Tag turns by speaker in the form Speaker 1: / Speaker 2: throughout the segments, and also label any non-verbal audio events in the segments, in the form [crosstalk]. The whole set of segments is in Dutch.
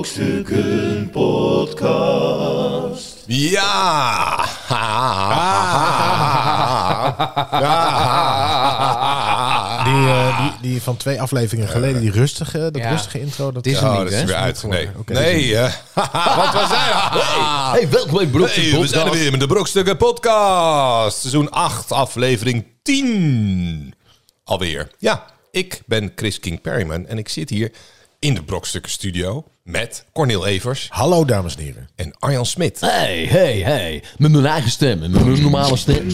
Speaker 1: Brokstukken Podcast.
Speaker 2: Ja!
Speaker 3: Die, eh,
Speaker 2: Ah.
Speaker 3: die, die van twee afleveringen geleden, die rustige, dat
Speaker 4: Ja.
Speaker 3: rustige intro. Dat
Speaker 4: Dit is hem
Speaker 2: Oh,
Speaker 4: niet,
Speaker 2: dat is
Speaker 4: hè?
Speaker 2: er weer uit. Nee,
Speaker 3: geworden. Oké.
Speaker 2: nee. eh, Want we zijn er.
Speaker 4: Hey, welkom bij Broekje
Speaker 2: Hey, we zijn er weer met de Brokstukken Podcast. Seizoen 8, aflevering 10. Alweer. Ja, ik ben Chris King Perryman en ik zit hier in de Brokstukken Studio met Cornel Evers
Speaker 3: Hallo dames en heren.
Speaker 2: en Arjan Smit.
Speaker 4: Hey, hey, hey. Met mijn eigen stem en met mijn normale stem.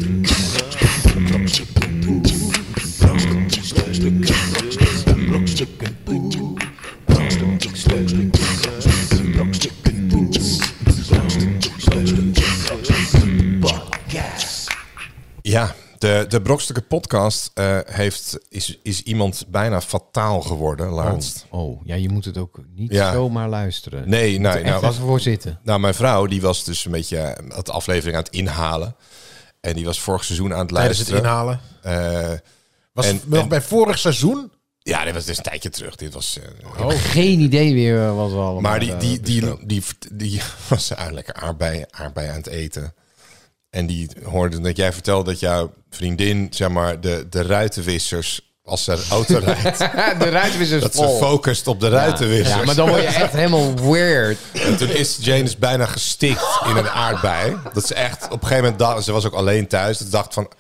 Speaker 2: Ja, de, de Brokstukken Podcast eh, heeft, is, is iemand bijna fataal geworden laatst.
Speaker 4: Oh, ja, je moet het ook niet
Speaker 2: Ja.
Speaker 4: zomaar luisteren.
Speaker 2: Nee, nee.
Speaker 4: Echt
Speaker 2: Nou,
Speaker 4: even voor zitten.
Speaker 2: Nou, mijn vrouw die was dus een beetje eh, had de aflevering aan het inhalen. En die was vorig seizoen aan het
Speaker 3: Tijdens het
Speaker 2: luisteren.
Speaker 3: inhalen.
Speaker 2: Eh,
Speaker 3: Was
Speaker 2: En-
Speaker 3: het nog
Speaker 2: en-
Speaker 3: bij vorig seizoen?
Speaker 2: ja, dit was dus een tijdje terug. Dit was, eh,
Speaker 4: Oh, Geen idee weer eh, wat we allemaal...
Speaker 2: maar die,
Speaker 4: eh,
Speaker 2: die, die, die, die, [laughs] was eigenlijk lekker aardbei, aardbei aan het eten. En die hoorde dat jij vertelde dat jouw vriendin, zeg maar, de, de ruitenwissers, als ze
Speaker 4: [laughs]
Speaker 2: auto rijdt,
Speaker 4: [laughs] de ruitwissers
Speaker 2: dat ze focust op de ruitenwissers.
Speaker 4: Oh. Ja, maar dan word je echt helemaal weird.
Speaker 2: En toen is James bijna gestikt in een aardbei. Dat ze echt op een gegeven moment dacht, ze was ook alleen thuis. Ze dacht van,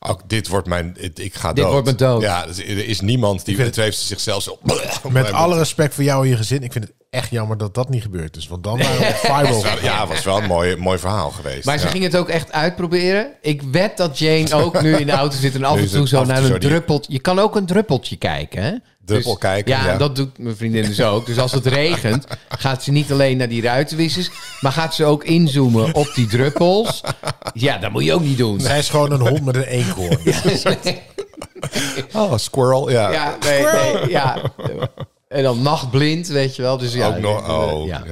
Speaker 2: oh, dit wordt mijn, ik ik ga dood.
Speaker 4: Dit wordt mijn dood.
Speaker 2: Ja, dus er is niemand die, het heeft ze zichzelf zo... [laughs]
Speaker 3: Met alle respect voor jou en je gezin. Ik vind het echt jammer dat dat niet gebeurd is. Want dan waren
Speaker 4: [laughs]
Speaker 3: we viral.
Speaker 2: Ja, was wel een mooi, mooi verhaal geweest.
Speaker 4: Maar ze
Speaker 2: Ja.
Speaker 4: ging het ook echt uitproberen. Ik weet dat Jane ook nu in de auto zit en af
Speaker 2: Nu
Speaker 4: en
Speaker 2: is
Speaker 4: toe
Speaker 2: het
Speaker 4: zo
Speaker 2: af en
Speaker 4: naar
Speaker 2: toe
Speaker 4: een
Speaker 2: zo die-
Speaker 4: druppeltje... Je kan ook een druppeltje kijken, hè? Dus-
Speaker 2: Druppel kijken,
Speaker 4: Ja,
Speaker 2: ja.
Speaker 4: dat doet mijn vriendin dus ook. Dus als het regent, gaat ze niet alleen naar die ruitenwissers... maar gaat ze ook inzoomen op die druppels. Ja, dat moet je ook niet doen.
Speaker 3: Zij is gewoon een hond met een eekhoorn.
Speaker 2: Oh, squirrel, ja.
Speaker 4: Ja, nee, nee, ja. En dan nachtblind, weet je wel. Dus ja,
Speaker 2: ook nog,
Speaker 4: eh,
Speaker 2: oh,
Speaker 4: ja.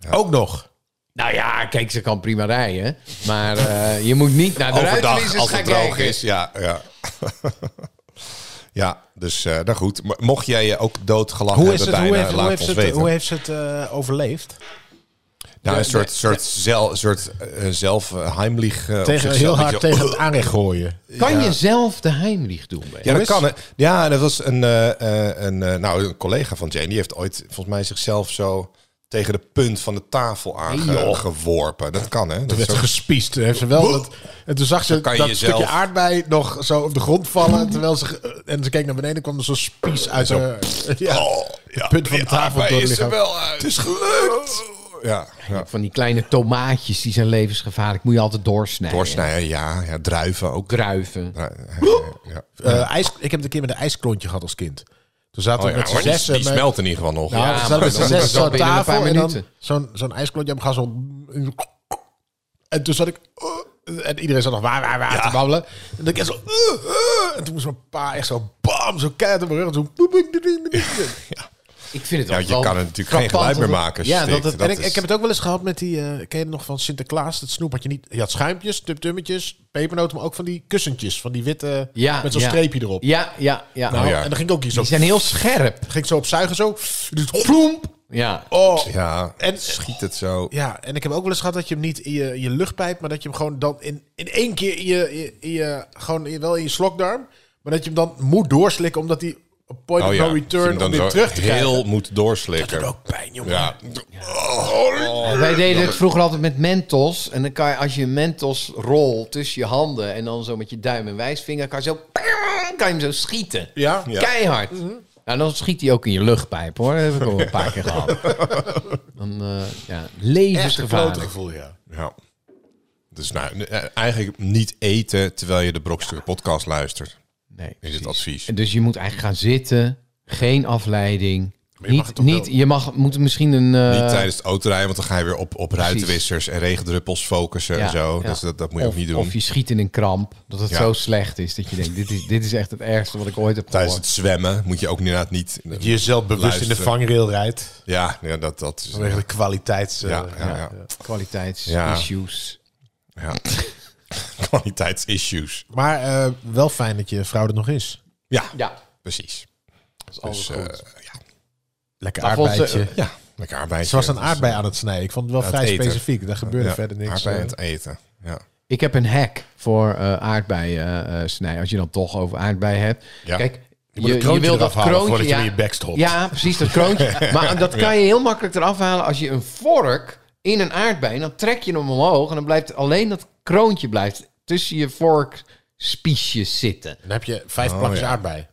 Speaker 2: ja.
Speaker 3: Ook nog.
Speaker 4: Nou ja, kijk, ze kan prima rijden. Maar eh, je moet niet naar de
Speaker 2: Overdag,
Speaker 4: ruitenwissers
Speaker 2: als
Speaker 4: gaan
Speaker 2: het droog
Speaker 4: kijken.
Speaker 2: is, ja, ja. [laughs] Ja, dus eh nou goed. Maar Mocht jij je ook doodgelachen
Speaker 3: Hoe,
Speaker 2: hebben
Speaker 3: is het,
Speaker 2: bijna,
Speaker 3: hoe, heeft,
Speaker 2: laat
Speaker 3: hoe, heeft
Speaker 2: ons
Speaker 3: ze het,
Speaker 2: weten.
Speaker 3: hoe heeft ze het eh, overleefd?
Speaker 2: Nou, een soort, soort, zel, soort eh, zelf eh, heimlich... eh, op
Speaker 3: Tegen,
Speaker 2: zichzelf,
Speaker 3: heel
Speaker 2: weet
Speaker 3: hard
Speaker 2: je wel.
Speaker 3: tegen het aanrecht gooien.
Speaker 4: Kan je zelf de Heimlich doen? Ben?
Speaker 2: Ja,
Speaker 3: Hoe
Speaker 2: dat
Speaker 3: is-
Speaker 2: kan. hè. Ja, dat was een, eh, eh, een, eh, nou, een collega van Jane. Die heeft ooit volgens mij zichzelf zo tegen de punt van de tafel aangeworpen. Dat kan, hè?
Speaker 3: Toen
Speaker 2: Dat is
Speaker 3: werd ze
Speaker 2: ook-
Speaker 3: gespiest. Toen heeft ze wel dat, en toen zag ze
Speaker 2: kan
Speaker 3: dat
Speaker 2: je jezelf-
Speaker 3: stukje aardbei nog zo op de grond vallen. Terwijl ze, eh, en ze keek naar beneden en kwam er zo'n spies uit haar... Ja.
Speaker 2: Oh, ja.
Speaker 3: punt van de
Speaker 2: Ja,
Speaker 3: tafel
Speaker 2: maar
Speaker 3: door
Speaker 2: is
Speaker 3: het
Speaker 2: er
Speaker 3: lichaam.
Speaker 2: wel uit. Oh. Het is gelukt! Ja, ja.
Speaker 4: Van die kleine tomaatjes, die zijn levensgevaarlijk. Moet je altijd doorsnijden.
Speaker 2: Doorsnijden, nou ja. ja. Druiven ook.
Speaker 4: Druiven.
Speaker 2: Ja, ja.
Speaker 3: Eh, ijs, ik heb het een keer met een ijsklontje gehad als kind. Toen zaten
Speaker 2: Oh,
Speaker 3: we
Speaker 2: ja,
Speaker 3: met
Speaker 2: maar
Speaker 3: z'n
Speaker 2: die,
Speaker 3: zessen...
Speaker 2: die
Speaker 3: met-
Speaker 2: smelt in ieder geval nog.
Speaker 3: Nou,
Speaker 2: Ja,
Speaker 3: we
Speaker 4: maar
Speaker 2: [laughs]
Speaker 3: zaten met z'n
Speaker 4: dan
Speaker 3: zessen
Speaker 4: is dat
Speaker 3: zo'n
Speaker 4: binnen een
Speaker 3: tafel
Speaker 4: paar
Speaker 3: en dan
Speaker 4: minuten.
Speaker 3: zo'n zo'n ijsklontje op gaan zo'n... En toen zat ik... eh, En iedereen zat nog waar, waar, waar te babbelen. En dan keer zo... eh, En toen moest mijn pa echt zo... Bam! Zo keihard op mijn rug. en Zo...
Speaker 4: Ik vind het
Speaker 2: Ja,
Speaker 4: ook
Speaker 2: je
Speaker 4: wel
Speaker 2: kan er natuurlijk geen
Speaker 4: frappant
Speaker 2: geluid meer
Speaker 4: dat-
Speaker 2: maken. als je
Speaker 3: Ja, dat,
Speaker 2: stikt.
Speaker 3: dat, en ik,
Speaker 2: is-
Speaker 3: ik heb het ook wel eens gehad met die... eh, ken je nog van Sinterklaas? Dat snoep had je niet... Je had schuimpjes, tuptummetjes, pepernoten... maar ook van die kussentjes. Van die witte...
Speaker 4: Ja,
Speaker 3: met zo'n
Speaker 4: ja.
Speaker 3: streepje erop.
Speaker 4: Ja, ja, ja.
Speaker 3: Nou,
Speaker 2: Oh, ja.
Speaker 3: En dan ging ik ook hier zo...
Speaker 4: Die zijn heel scherp.
Speaker 3: ging ik zo opzuigen zo. Dus ploemp.
Speaker 4: Ja.
Speaker 3: Oh.
Speaker 2: Ja,
Speaker 3: En-
Speaker 2: schiet het zo.
Speaker 3: Ja, en ik heb ook wel eens gehad dat je hem niet in je, in je luchtpijp, maar dat je hem gewoon dan in, in één keer in je, in je- in je, gewoon in- wel in je slokdarm, maar dat je hem dan moet doorslikken omdat hij op point
Speaker 2: Oh
Speaker 3: of
Speaker 2: ja,
Speaker 3: no
Speaker 2: als je hem
Speaker 3: return om
Speaker 2: zo
Speaker 3: weer terug te krijgen.
Speaker 2: heel moet doorslikken.
Speaker 3: Ook pijn, jongen.
Speaker 2: Ja.
Speaker 4: Wij deden het vroeger altijd met mentos. En dan kan je, als je een mentos rol tussen je handen en dan zo met je duim en wijsvinger, kan je, zo, kan je hem zo schieten.
Speaker 3: Ja?
Speaker 2: Ja.
Speaker 4: Keihard. Nou, dan schiet hij ook in je luchtpijp hoor. Dat heb ik al een paar keer gehad.
Speaker 2: [laughs]
Speaker 4: Dan, eh ja,
Speaker 3: Echt een klote
Speaker 4: levensgevaarlijk.
Speaker 3: gevoel, ja.
Speaker 2: Ja. Dus nou, eh, eigenlijk niet eten terwijl je de Brokstukken podcast luistert,
Speaker 4: Nee,
Speaker 2: is het
Speaker 4: precies.
Speaker 2: advies.
Speaker 4: En Dus je moet eigenlijk gaan zitten, geen afleiding.
Speaker 3: je mag
Speaker 4: niet,
Speaker 3: het toch
Speaker 4: niet,
Speaker 3: wel-
Speaker 4: je mag, moet misschien een. eh,
Speaker 2: niet tijdens het autorijden, want dan ga je weer op, op ruitenwissers en regendruppels focussen en
Speaker 4: Ja,
Speaker 2: zo.
Speaker 4: ja.
Speaker 2: Dus dat, dat moet je
Speaker 4: of,
Speaker 2: ook niet doen.
Speaker 4: Of je schiet in een kramp. Dat het
Speaker 2: Ja.
Speaker 4: zo slecht is dat je denkt: dit is, dit is echt het ergste wat ik ooit heb
Speaker 2: Tijdens
Speaker 4: gehoord.
Speaker 2: het zwemmen moet je ook inderdaad niet...
Speaker 3: jezelf bewust
Speaker 2: Luisteren. in de
Speaker 3: vangrail rijdt.
Speaker 2: Ja, ja dat, dat is...
Speaker 3: Vanwege de kwaliteits... eh,
Speaker 2: Ja, ja, ja. Ja.
Speaker 4: kwaliteitsissues.
Speaker 2: ja. [laughs] Kwaliteitsissues.
Speaker 3: Maar eh, wel fijn dat je vrouw er nog is.
Speaker 2: Ja,
Speaker 4: Ja,
Speaker 2: precies.
Speaker 4: dat is
Speaker 2: Dus,
Speaker 4: altijd goed.
Speaker 2: eh, ja.
Speaker 3: Lekker
Speaker 4: Maar volgens-
Speaker 3: arbeidje.
Speaker 2: ja, Lekker aardbeidje.
Speaker 3: Ze was een
Speaker 2: Dat is,
Speaker 3: aardbei aan het snijden. Ik vond het wel
Speaker 2: Ja, het
Speaker 3: vrij
Speaker 2: eten.
Speaker 3: specifiek. Daar
Speaker 2: eh,
Speaker 3: gebeurde
Speaker 2: ja,
Speaker 3: verder niks.
Speaker 2: Aardbei aan het
Speaker 3: eh.
Speaker 2: eten. Ja.
Speaker 4: Ik heb een hack voor eh aardbeien eh, eh, snijden. Als je dan toch over aardbeien hebt.
Speaker 2: Ja.
Speaker 4: Kijk, je,
Speaker 3: moet een kroontje
Speaker 4: wil dat
Speaker 3: eraf halen
Speaker 4: kroontje...
Speaker 3: voordat je
Speaker 4: ja,
Speaker 3: hem in je bek stopt.
Speaker 4: Ja, precies, dat
Speaker 3: [laughs]
Speaker 4: kroontje. maar dat kan je heel makkelijk eraf halen als je een vork in een aardbei... dan trek je hem omhoog en dan blijft alleen dat kroontje blijft tussen je vorkspiesjes zitten.
Speaker 3: Dan heb je vijf
Speaker 2: Oh,
Speaker 3: plakjes
Speaker 2: ja.
Speaker 3: aardbei.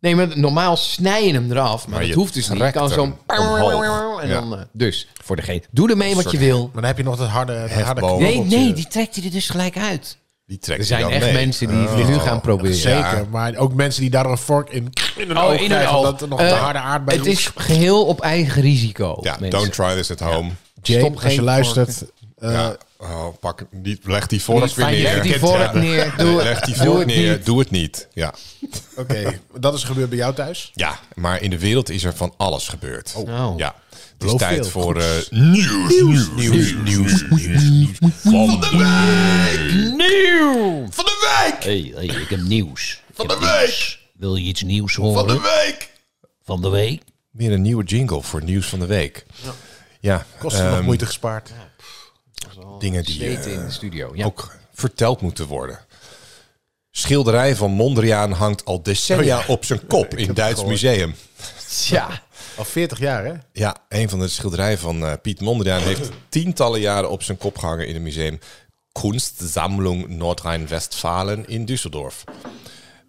Speaker 4: Nee, maar normaal snij je hem eraf, maar,
Speaker 2: Maar
Speaker 4: dat
Speaker 2: je
Speaker 4: hoeft dus niet. Je
Speaker 2: trekt
Speaker 4: kan zo'n...
Speaker 2: hem omhoog.
Speaker 4: En
Speaker 2: Ja.
Speaker 4: dan, eh, dus, voor degene... Doe ermee wat je wil.
Speaker 3: Maar dan heb je nog dat harde... dat harde
Speaker 2: Hefboom.
Speaker 4: Nee,
Speaker 3: knobbeltje.
Speaker 4: nee, die trekt hij er dus gelijk uit.
Speaker 2: Die trekt
Speaker 4: Er zijn
Speaker 2: dan
Speaker 4: echt
Speaker 2: mee.
Speaker 4: mensen die
Speaker 2: Oh.
Speaker 4: het nu gaan proberen.
Speaker 3: Zeker, maar ook mensen die daar een vork in, Oh, in hun oog krijgen, omdat er nog
Speaker 4: Eh,
Speaker 3: te harde aardbei
Speaker 4: Het is geheel op eigen risico.
Speaker 2: Ja,
Speaker 4: mensen.
Speaker 2: don't try this at home.
Speaker 3: Jane,
Speaker 4: stop
Speaker 3: als
Speaker 4: geen
Speaker 3: je luistert, eh,
Speaker 2: Ja. Oh, pak, niet, leg die vork weer
Speaker 3: fijn,
Speaker 2: neer.
Speaker 3: leg
Speaker 4: Leg die
Speaker 2: Ja.
Speaker 4: vork neer. Doe
Speaker 2: Leg die
Speaker 4: het, doe
Speaker 2: vork
Speaker 4: het
Speaker 2: neer.
Speaker 4: niet.
Speaker 2: Doe het niet. Ja.
Speaker 3: oké, dat is gebeurd bij jou thuis.
Speaker 2: ja, maar in de wereld is er van alles gebeurd.
Speaker 4: Nou.
Speaker 2: Ja. Het is
Speaker 3: Beloof
Speaker 2: tijd
Speaker 3: veel.
Speaker 2: voor eh, nieuws, nieuws, nieuws, nieuws, nieuws. Van de week!
Speaker 4: Nieuw!
Speaker 2: Van de week!
Speaker 5: Hey, hey, ik heb nieuws.
Speaker 2: Van de week!
Speaker 5: Wil je iets nieuws horen?
Speaker 2: Van de week!
Speaker 5: Van de week?
Speaker 2: Weer een nieuwe jingle voor nieuws van de week. Ja,
Speaker 3: Kosten nog
Speaker 2: ehm,
Speaker 3: moeite gespaard.
Speaker 2: dingen die eh,
Speaker 4: Eten in de studio. Ja.
Speaker 2: ook verteld moeten worden. Schilderij van Mondriaan hangt al decennia
Speaker 4: Oh
Speaker 2: op zijn
Speaker 4: [laughs]
Speaker 2: kop in Duits museum.
Speaker 4: ja.
Speaker 3: Al 40 jaar, hè?
Speaker 2: Ja, een van de schilderijen van eh, Piet Mondriaan
Speaker 4: [laughs]
Speaker 2: heeft tientallen jaren op zijn kop gehangen in het museum Kunstsammlung Noordrijn-Westfalen in Düsseldorf.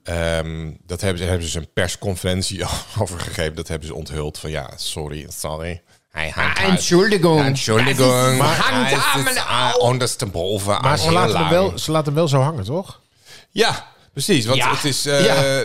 Speaker 2: Ehm, dat hebben ze, daar hebben ze een persconferentie [laughs] over gegeven. Dat hebben ze onthuld van ja, sorry, sorry. Hij hangt
Speaker 4: Ah,
Speaker 2: uit.
Speaker 4: Entschuldigung. Dat
Speaker 2: Entschuldigung.
Speaker 4: is- hangt
Speaker 2: hij
Speaker 4: aan
Speaker 2: is
Speaker 4: mijn
Speaker 2: aan- ondersteboven.
Speaker 3: Maar
Speaker 2: aan
Speaker 3: ze
Speaker 2: heel
Speaker 3: laten, hem
Speaker 2: lang.
Speaker 3: wel, ze laten hem wel zo hangen, toch?
Speaker 2: Ja, precies. Want
Speaker 5: Ja.
Speaker 2: het is. eh,
Speaker 3: Ja.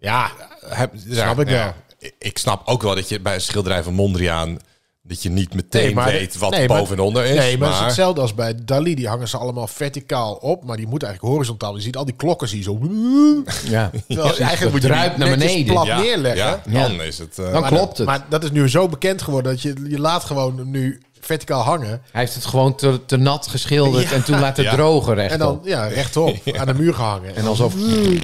Speaker 3: Ja,
Speaker 2: heb,
Speaker 3: Snap ik
Speaker 2: nou,
Speaker 3: wel.
Speaker 2: ik- Ik snap ook wel dat je bij een schilderij van Mondriaan. dat je niet meteen weet wat
Speaker 3: nee, maar-
Speaker 2: boven en onder is.
Speaker 3: Nee, maar, het is
Speaker 2: maar-
Speaker 3: hetzelfde als bij Dali. Die hangen ze allemaal verticaal op, maar die moet eigenlijk horizontaal. Je ziet al die klokken zie je zo...
Speaker 4: Ja.
Speaker 3: Terwijl
Speaker 4: Precies, dat
Speaker 3: eigenlijk moet je
Speaker 4: druipt
Speaker 3: die
Speaker 4: naar
Speaker 3: netjes
Speaker 4: beneden.
Speaker 3: plat
Speaker 2: ja,
Speaker 3: neerleggen.
Speaker 2: ja, dan
Speaker 4: Ja.
Speaker 2: is het. eh,
Speaker 4: Dan
Speaker 2: maar-
Speaker 4: klopt het.
Speaker 3: Maar dat is nu zo bekend geworden dat je, je laat gewoon nu verticaal hangen.
Speaker 4: Hij heeft het gewoon te, te nat geschilderd en toen laten
Speaker 2: Ja.
Speaker 4: drogen
Speaker 3: En
Speaker 4: rechtop.
Speaker 3: dan ja,
Speaker 4: [laughs]
Speaker 3: rechtop aan de muur gehangen.
Speaker 4: en alsof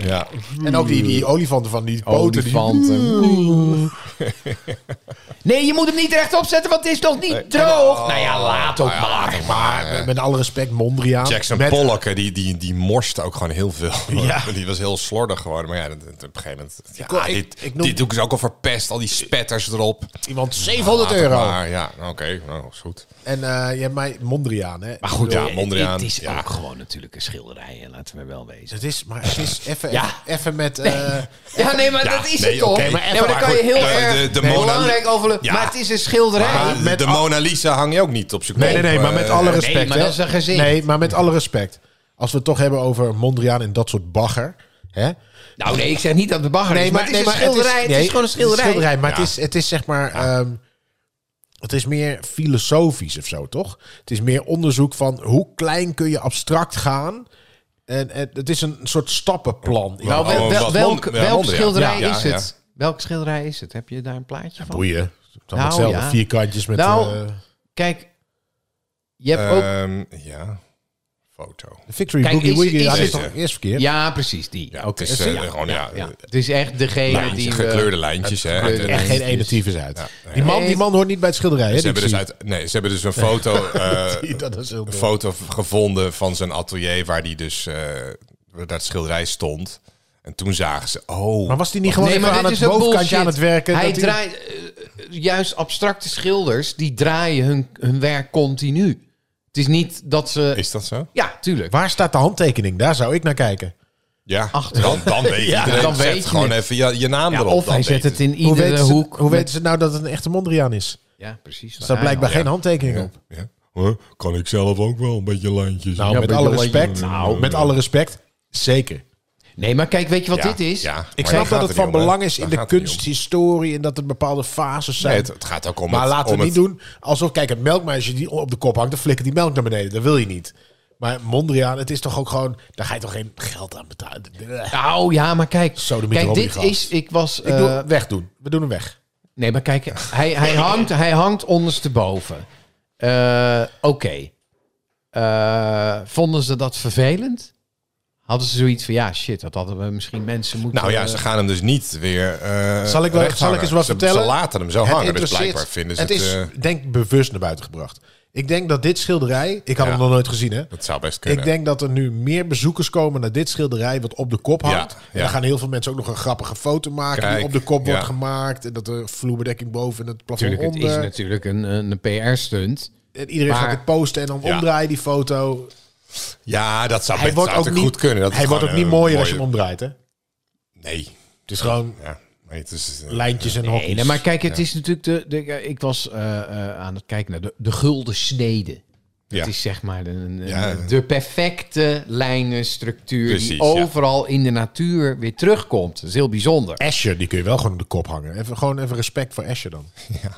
Speaker 2: Ja.
Speaker 3: En ook die, die olifanten van die poten. die-
Speaker 4: olifanten. nee, je moet hem niet rechtop zetten, want het is nog niet droog. nou ja, laat ook maar.
Speaker 3: maar Eh, met- met alle respect, Mondriaan.
Speaker 2: Jackson
Speaker 3: met,
Speaker 2: Pollock, eh, die, die, die morste ook gewoon heel veel.
Speaker 3: Ja.
Speaker 2: [laughs] Die was heel slordig geworden. Maar ja, dat- dat- op een gegeven moment... Ja,
Speaker 3: kon- ik-
Speaker 2: dit,
Speaker 3: ik noem-
Speaker 2: dit doe ik ze ook al verpest. Al die spetters erop.
Speaker 3: Iemand 700
Speaker 2: Laat het
Speaker 3: euro.
Speaker 2: maar. Ja, oké. nou, is goed.
Speaker 3: En eh, je hebt mij Mondriaan, hè?
Speaker 5: Maar goed,
Speaker 2: Ja,
Speaker 5: eh,
Speaker 2: Mondriaan,
Speaker 5: het is
Speaker 2: ja.
Speaker 5: ook gewoon natuurlijk een schilderij. En laten we wel wezen.
Speaker 3: Het is, maar het is even
Speaker 5: Ja.
Speaker 3: even met... eh,
Speaker 4: Ja, nee, maar dat is
Speaker 2: nee,
Speaker 4: het toch?
Speaker 2: oké, maar
Speaker 4: maar,
Speaker 2: even-
Speaker 4: nee, maar dan
Speaker 2: maar
Speaker 4: kan je
Speaker 2: goed,
Speaker 4: heel
Speaker 2: eh,
Speaker 4: erg
Speaker 2: de- de Mona-
Speaker 4: belangrijk over...
Speaker 2: Ja.
Speaker 4: Maar het is een schilderij.
Speaker 2: Maar
Speaker 3: met
Speaker 2: de
Speaker 3: al-
Speaker 2: Mona Lisa hang je ook niet op zijn eh,
Speaker 3: Nee, nee, nee, maar met alle respect.
Speaker 4: eh, maar
Speaker 3: hè.
Speaker 4: dat is een gezicht.
Speaker 3: Nee, maar met alle respect. Als we het toch hebben over Mondriaan en dat soort bagger. Hè?
Speaker 4: Nou nee, ik zeg niet dat de bagger is, maar het is een schilderij. Het is,
Speaker 3: nee,
Speaker 4: gewoon een
Speaker 3: het is
Speaker 4: schilderij.
Speaker 3: maar
Speaker 2: Ja.
Speaker 3: het, is, het is zeg maar. ehm, het is meer filosofisch of zo, toch? Het is meer onderzoek van hoe klein kun je abstract gaan. En, en het is een soort stappenplan.
Speaker 2: Ja.
Speaker 4: Nou, wel-
Speaker 2: Oh,
Speaker 4: wel-
Speaker 2: wat
Speaker 4: welk,
Speaker 2: Mond- ja,
Speaker 4: welk
Speaker 2: Mondriaan.
Speaker 4: schilderij
Speaker 2: Ja, ja,
Speaker 4: is
Speaker 2: ja.
Speaker 4: het? Welk schilderij is het? Heb je daar een plaatje van?
Speaker 3: boeien. Dan
Speaker 4: Nou,
Speaker 3: hetzelfde.
Speaker 4: ja.
Speaker 3: Vierkantjes met.
Speaker 4: Nou,
Speaker 3: eh,
Speaker 4: Kijk, je hebt ook...
Speaker 2: eh, ehm, ja, foto.
Speaker 3: Victory
Speaker 4: kijk,
Speaker 3: Boogie
Speaker 4: is-
Speaker 3: Woogie.
Speaker 4: is
Speaker 3: Ja, die is
Speaker 2: het-
Speaker 3: toch eerst verkeerd?
Speaker 4: Ja, Nou, precies, die.
Speaker 2: Ja,
Speaker 4: Oké.
Speaker 2: het is eh, gewoon, ja,
Speaker 4: Ja,
Speaker 2: eh,
Speaker 4: het is echt degene
Speaker 2: lijntje,
Speaker 4: die... we-
Speaker 2: gekleurde lijntjes. Hè.
Speaker 4: gekleurde
Speaker 2: En-
Speaker 3: Echt
Speaker 2: en-
Speaker 3: geen
Speaker 4: Nee,
Speaker 3: ene
Speaker 4: dus-
Speaker 3: tyfus uit.
Speaker 2: ja.
Speaker 3: Die, man, die man hoort niet bij het schilderij. Hè,
Speaker 2: Ze hebben,
Speaker 3: die
Speaker 2: dus
Speaker 3: ik
Speaker 2: uit, nee, ze hebben dus een foto,
Speaker 3: [laughs]
Speaker 2: eh,
Speaker 3: zie. Dat is heel
Speaker 2: een
Speaker 3: dom.
Speaker 2: foto gevonden van zijn atelier waar die dus eh, waar dat schilderij stond. En toen zagen ze, oh,
Speaker 3: Maar was die niet gewoon
Speaker 4: Nee,
Speaker 3: even
Speaker 4: maar
Speaker 3: aan
Speaker 4: dit
Speaker 3: het
Speaker 4: is ook
Speaker 3: bovenkantje
Speaker 4: bullshit.
Speaker 3: aan het werken?
Speaker 4: Hij
Speaker 3: dat die-
Speaker 4: draait... eh, juist abstracte schilders, die draaien hun, hun werk continu. Het is niet dat ze...
Speaker 2: is dat zo?
Speaker 4: Ja, tuurlijk.
Speaker 3: Waar staat de handtekening? Daar zou ik naar kijken.
Speaker 2: Ja,
Speaker 4: Achter.
Speaker 2: dan, dan weet
Speaker 4: Ja,
Speaker 2: iedereen,
Speaker 4: dan
Speaker 2: zet
Speaker 4: weet je
Speaker 2: gewoon
Speaker 4: het.
Speaker 2: even je, je naam
Speaker 4: Ja,
Speaker 2: erop.
Speaker 4: of
Speaker 2: dan
Speaker 4: hij
Speaker 2: weet
Speaker 4: zet het in
Speaker 3: Hoe,
Speaker 4: iedere
Speaker 3: weten ze,
Speaker 4: hoek.
Speaker 3: hoe
Speaker 4: met-
Speaker 3: weten ze nou dat het een echte Mondriaan is?
Speaker 4: Ja, precies.
Speaker 3: Er staat blijkbaar geen handtekening op.
Speaker 2: Ja. Nou, Huh? Kan ik zelf ook wel een beetje lijntjes?
Speaker 3: Nou,
Speaker 2: Ja,
Speaker 3: met
Speaker 4: maar
Speaker 3: alle
Speaker 4: joh,
Speaker 3: respect.
Speaker 4: joh.
Speaker 3: Nou, met alle respect. Zeker.
Speaker 4: Nee, maar kijk, weet je wat
Speaker 2: ja,
Speaker 4: dit is?
Speaker 2: ja, maar
Speaker 3: Ik
Speaker 2: daar
Speaker 3: snap
Speaker 2: gaat
Speaker 3: dat het
Speaker 2: niet
Speaker 3: van
Speaker 2: om, hè.
Speaker 3: belang is in
Speaker 2: Daar
Speaker 3: de
Speaker 2: gaat het niet om.
Speaker 3: kunsthistorie en dat er bepaalde fases zijn.
Speaker 2: Nee, het, het gaat ook om
Speaker 3: maar
Speaker 2: het,
Speaker 3: laten
Speaker 2: om
Speaker 3: we niet
Speaker 2: het-
Speaker 3: doen alsof, kijk, het melkmeisje die op de kop hangt, dan flikkert die melk naar beneden. Dat wil je niet. Maar Mondriaan, het is toch ook gewoon, daar ga je toch geen geld aan betalen.
Speaker 4: Nou ja, maar kijk.
Speaker 3: Zo de
Speaker 4: kijk,
Speaker 3: mythologie
Speaker 4: dit
Speaker 3: gehad.
Speaker 4: is. Ik was.
Speaker 3: Ik doe
Speaker 4: eh,
Speaker 3: wegdoen. We doen hem weg.
Speaker 4: nee, maar kijk, hij,
Speaker 2: [laughs]
Speaker 4: hij, hangt, hij hangt ondersteboven. Eh Oké. Eh, vonden ze dat vervelend? hadden ze zoiets van, ja shit, dat hadden we misschien mensen moeten...
Speaker 2: Nou ja,
Speaker 4: eh,
Speaker 2: ze gaan hem dus niet weer. eh,
Speaker 3: Zal ik, wel,
Speaker 2: recht
Speaker 3: zal ik
Speaker 2: hangen.
Speaker 3: eens wat
Speaker 2: ze,
Speaker 3: vertellen?
Speaker 2: Ze laten hem zo hangen. Dus
Speaker 3: interesseert-
Speaker 2: blijkbaar vinden ze
Speaker 3: het
Speaker 2: het.
Speaker 3: is,
Speaker 2: eh,
Speaker 3: denk bewust naar buiten gebracht. Ik denk dat dit schilderij... Ik had
Speaker 2: Ja.
Speaker 3: hem nog nooit gezien, hè?
Speaker 2: dat zou best kunnen.
Speaker 3: Ik denk dat er nu meer bezoekers komen naar dit schilderij... wat op de kop
Speaker 2: Ja,
Speaker 3: hangt. En
Speaker 2: ja.
Speaker 3: dan gaan heel veel mensen ook nog een grappige foto maken...
Speaker 2: Kijk,
Speaker 3: die op de kop
Speaker 2: ja.
Speaker 3: wordt gemaakt. En dat er vloerbedekking boven en het plafond
Speaker 4: Natuurlijk, het is
Speaker 3: onder.
Speaker 4: natuurlijk een, een PR-stunt.
Speaker 3: en iedereen
Speaker 4: maar-
Speaker 3: gaat het posten en dan
Speaker 2: Ja.
Speaker 3: omdraaien die foto.
Speaker 2: ja, dat zou
Speaker 3: Hij
Speaker 2: best
Speaker 3: wordt
Speaker 2: zou
Speaker 3: ook niet,
Speaker 2: natuurlijk goed kunnen. Dat het
Speaker 3: hij wordt ook
Speaker 2: gewoon
Speaker 3: niet
Speaker 2: een
Speaker 3: mooier als je
Speaker 2: mooie-
Speaker 3: hem omdraait, hè? Het
Speaker 2: Nee.
Speaker 3: is gewoon
Speaker 2: Ja. Nee, het is, eh,
Speaker 3: lijntjes en
Speaker 4: Nee,
Speaker 3: hokjes.
Speaker 4: nee, maar kijk, het is natuurlijk de... de ik was eh, eh, aan het kijken naar de, de gulden snede.
Speaker 2: ja.
Speaker 4: Het is zeg maar de, de-
Speaker 2: Ja.
Speaker 4: de perfecte lijnenstructuur
Speaker 2: Precies,
Speaker 4: die
Speaker 2: ja.
Speaker 4: overal in de natuur weer terugkomt. Dat is heel bijzonder.
Speaker 3: Asher, die kun je wel gewoon op de kop hangen. Even, gewoon even respect voor Asher dan.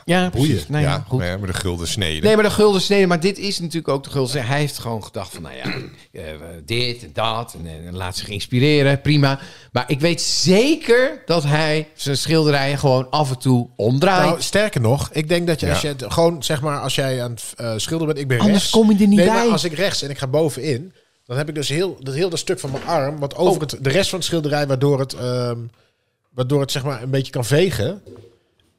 Speaker 4: Ja,
Speaker 3: boeien.
Speaker 4: Nou ja,
Speaker 2: ja,
Speaker 4: goed.
Speaker 2: maar ja, maar de gulden snede.
Speaker 4: Nee, maar de gulden snede, maar dit is natuurlijk ook de gulden snede. Hij heeft gewoon gedacht van, nou ja, eh, dit en dat. En, eh, laat zich inspireren, prima. Maar ik weet zeker dat hij zijn schilderijen gewoon af en toe omdraait.
Speaker 3: Nou, sterker nog, ik denk dat je als
Speaker 2: Ja.
Speaker 3: je het gewoon zeg maar als jij aan het eh, schilderen bent, ik ben
Speaker 4: Anders
Speaker 3: rechts.
Speaker 4: kom je er niet
Speaker 3: nee,
Speaker 4: bij.
Speaker 3: Maar als ik rechts en ik ga bovenin, dan heb ik dus heel dat heel dat stuk van mijn arm wat
Speaker 4: Oh.
Speaker 3: over het, de rest van het schilderij waardoor het ehm, waardoor het zeg maar een beetje kan vegen.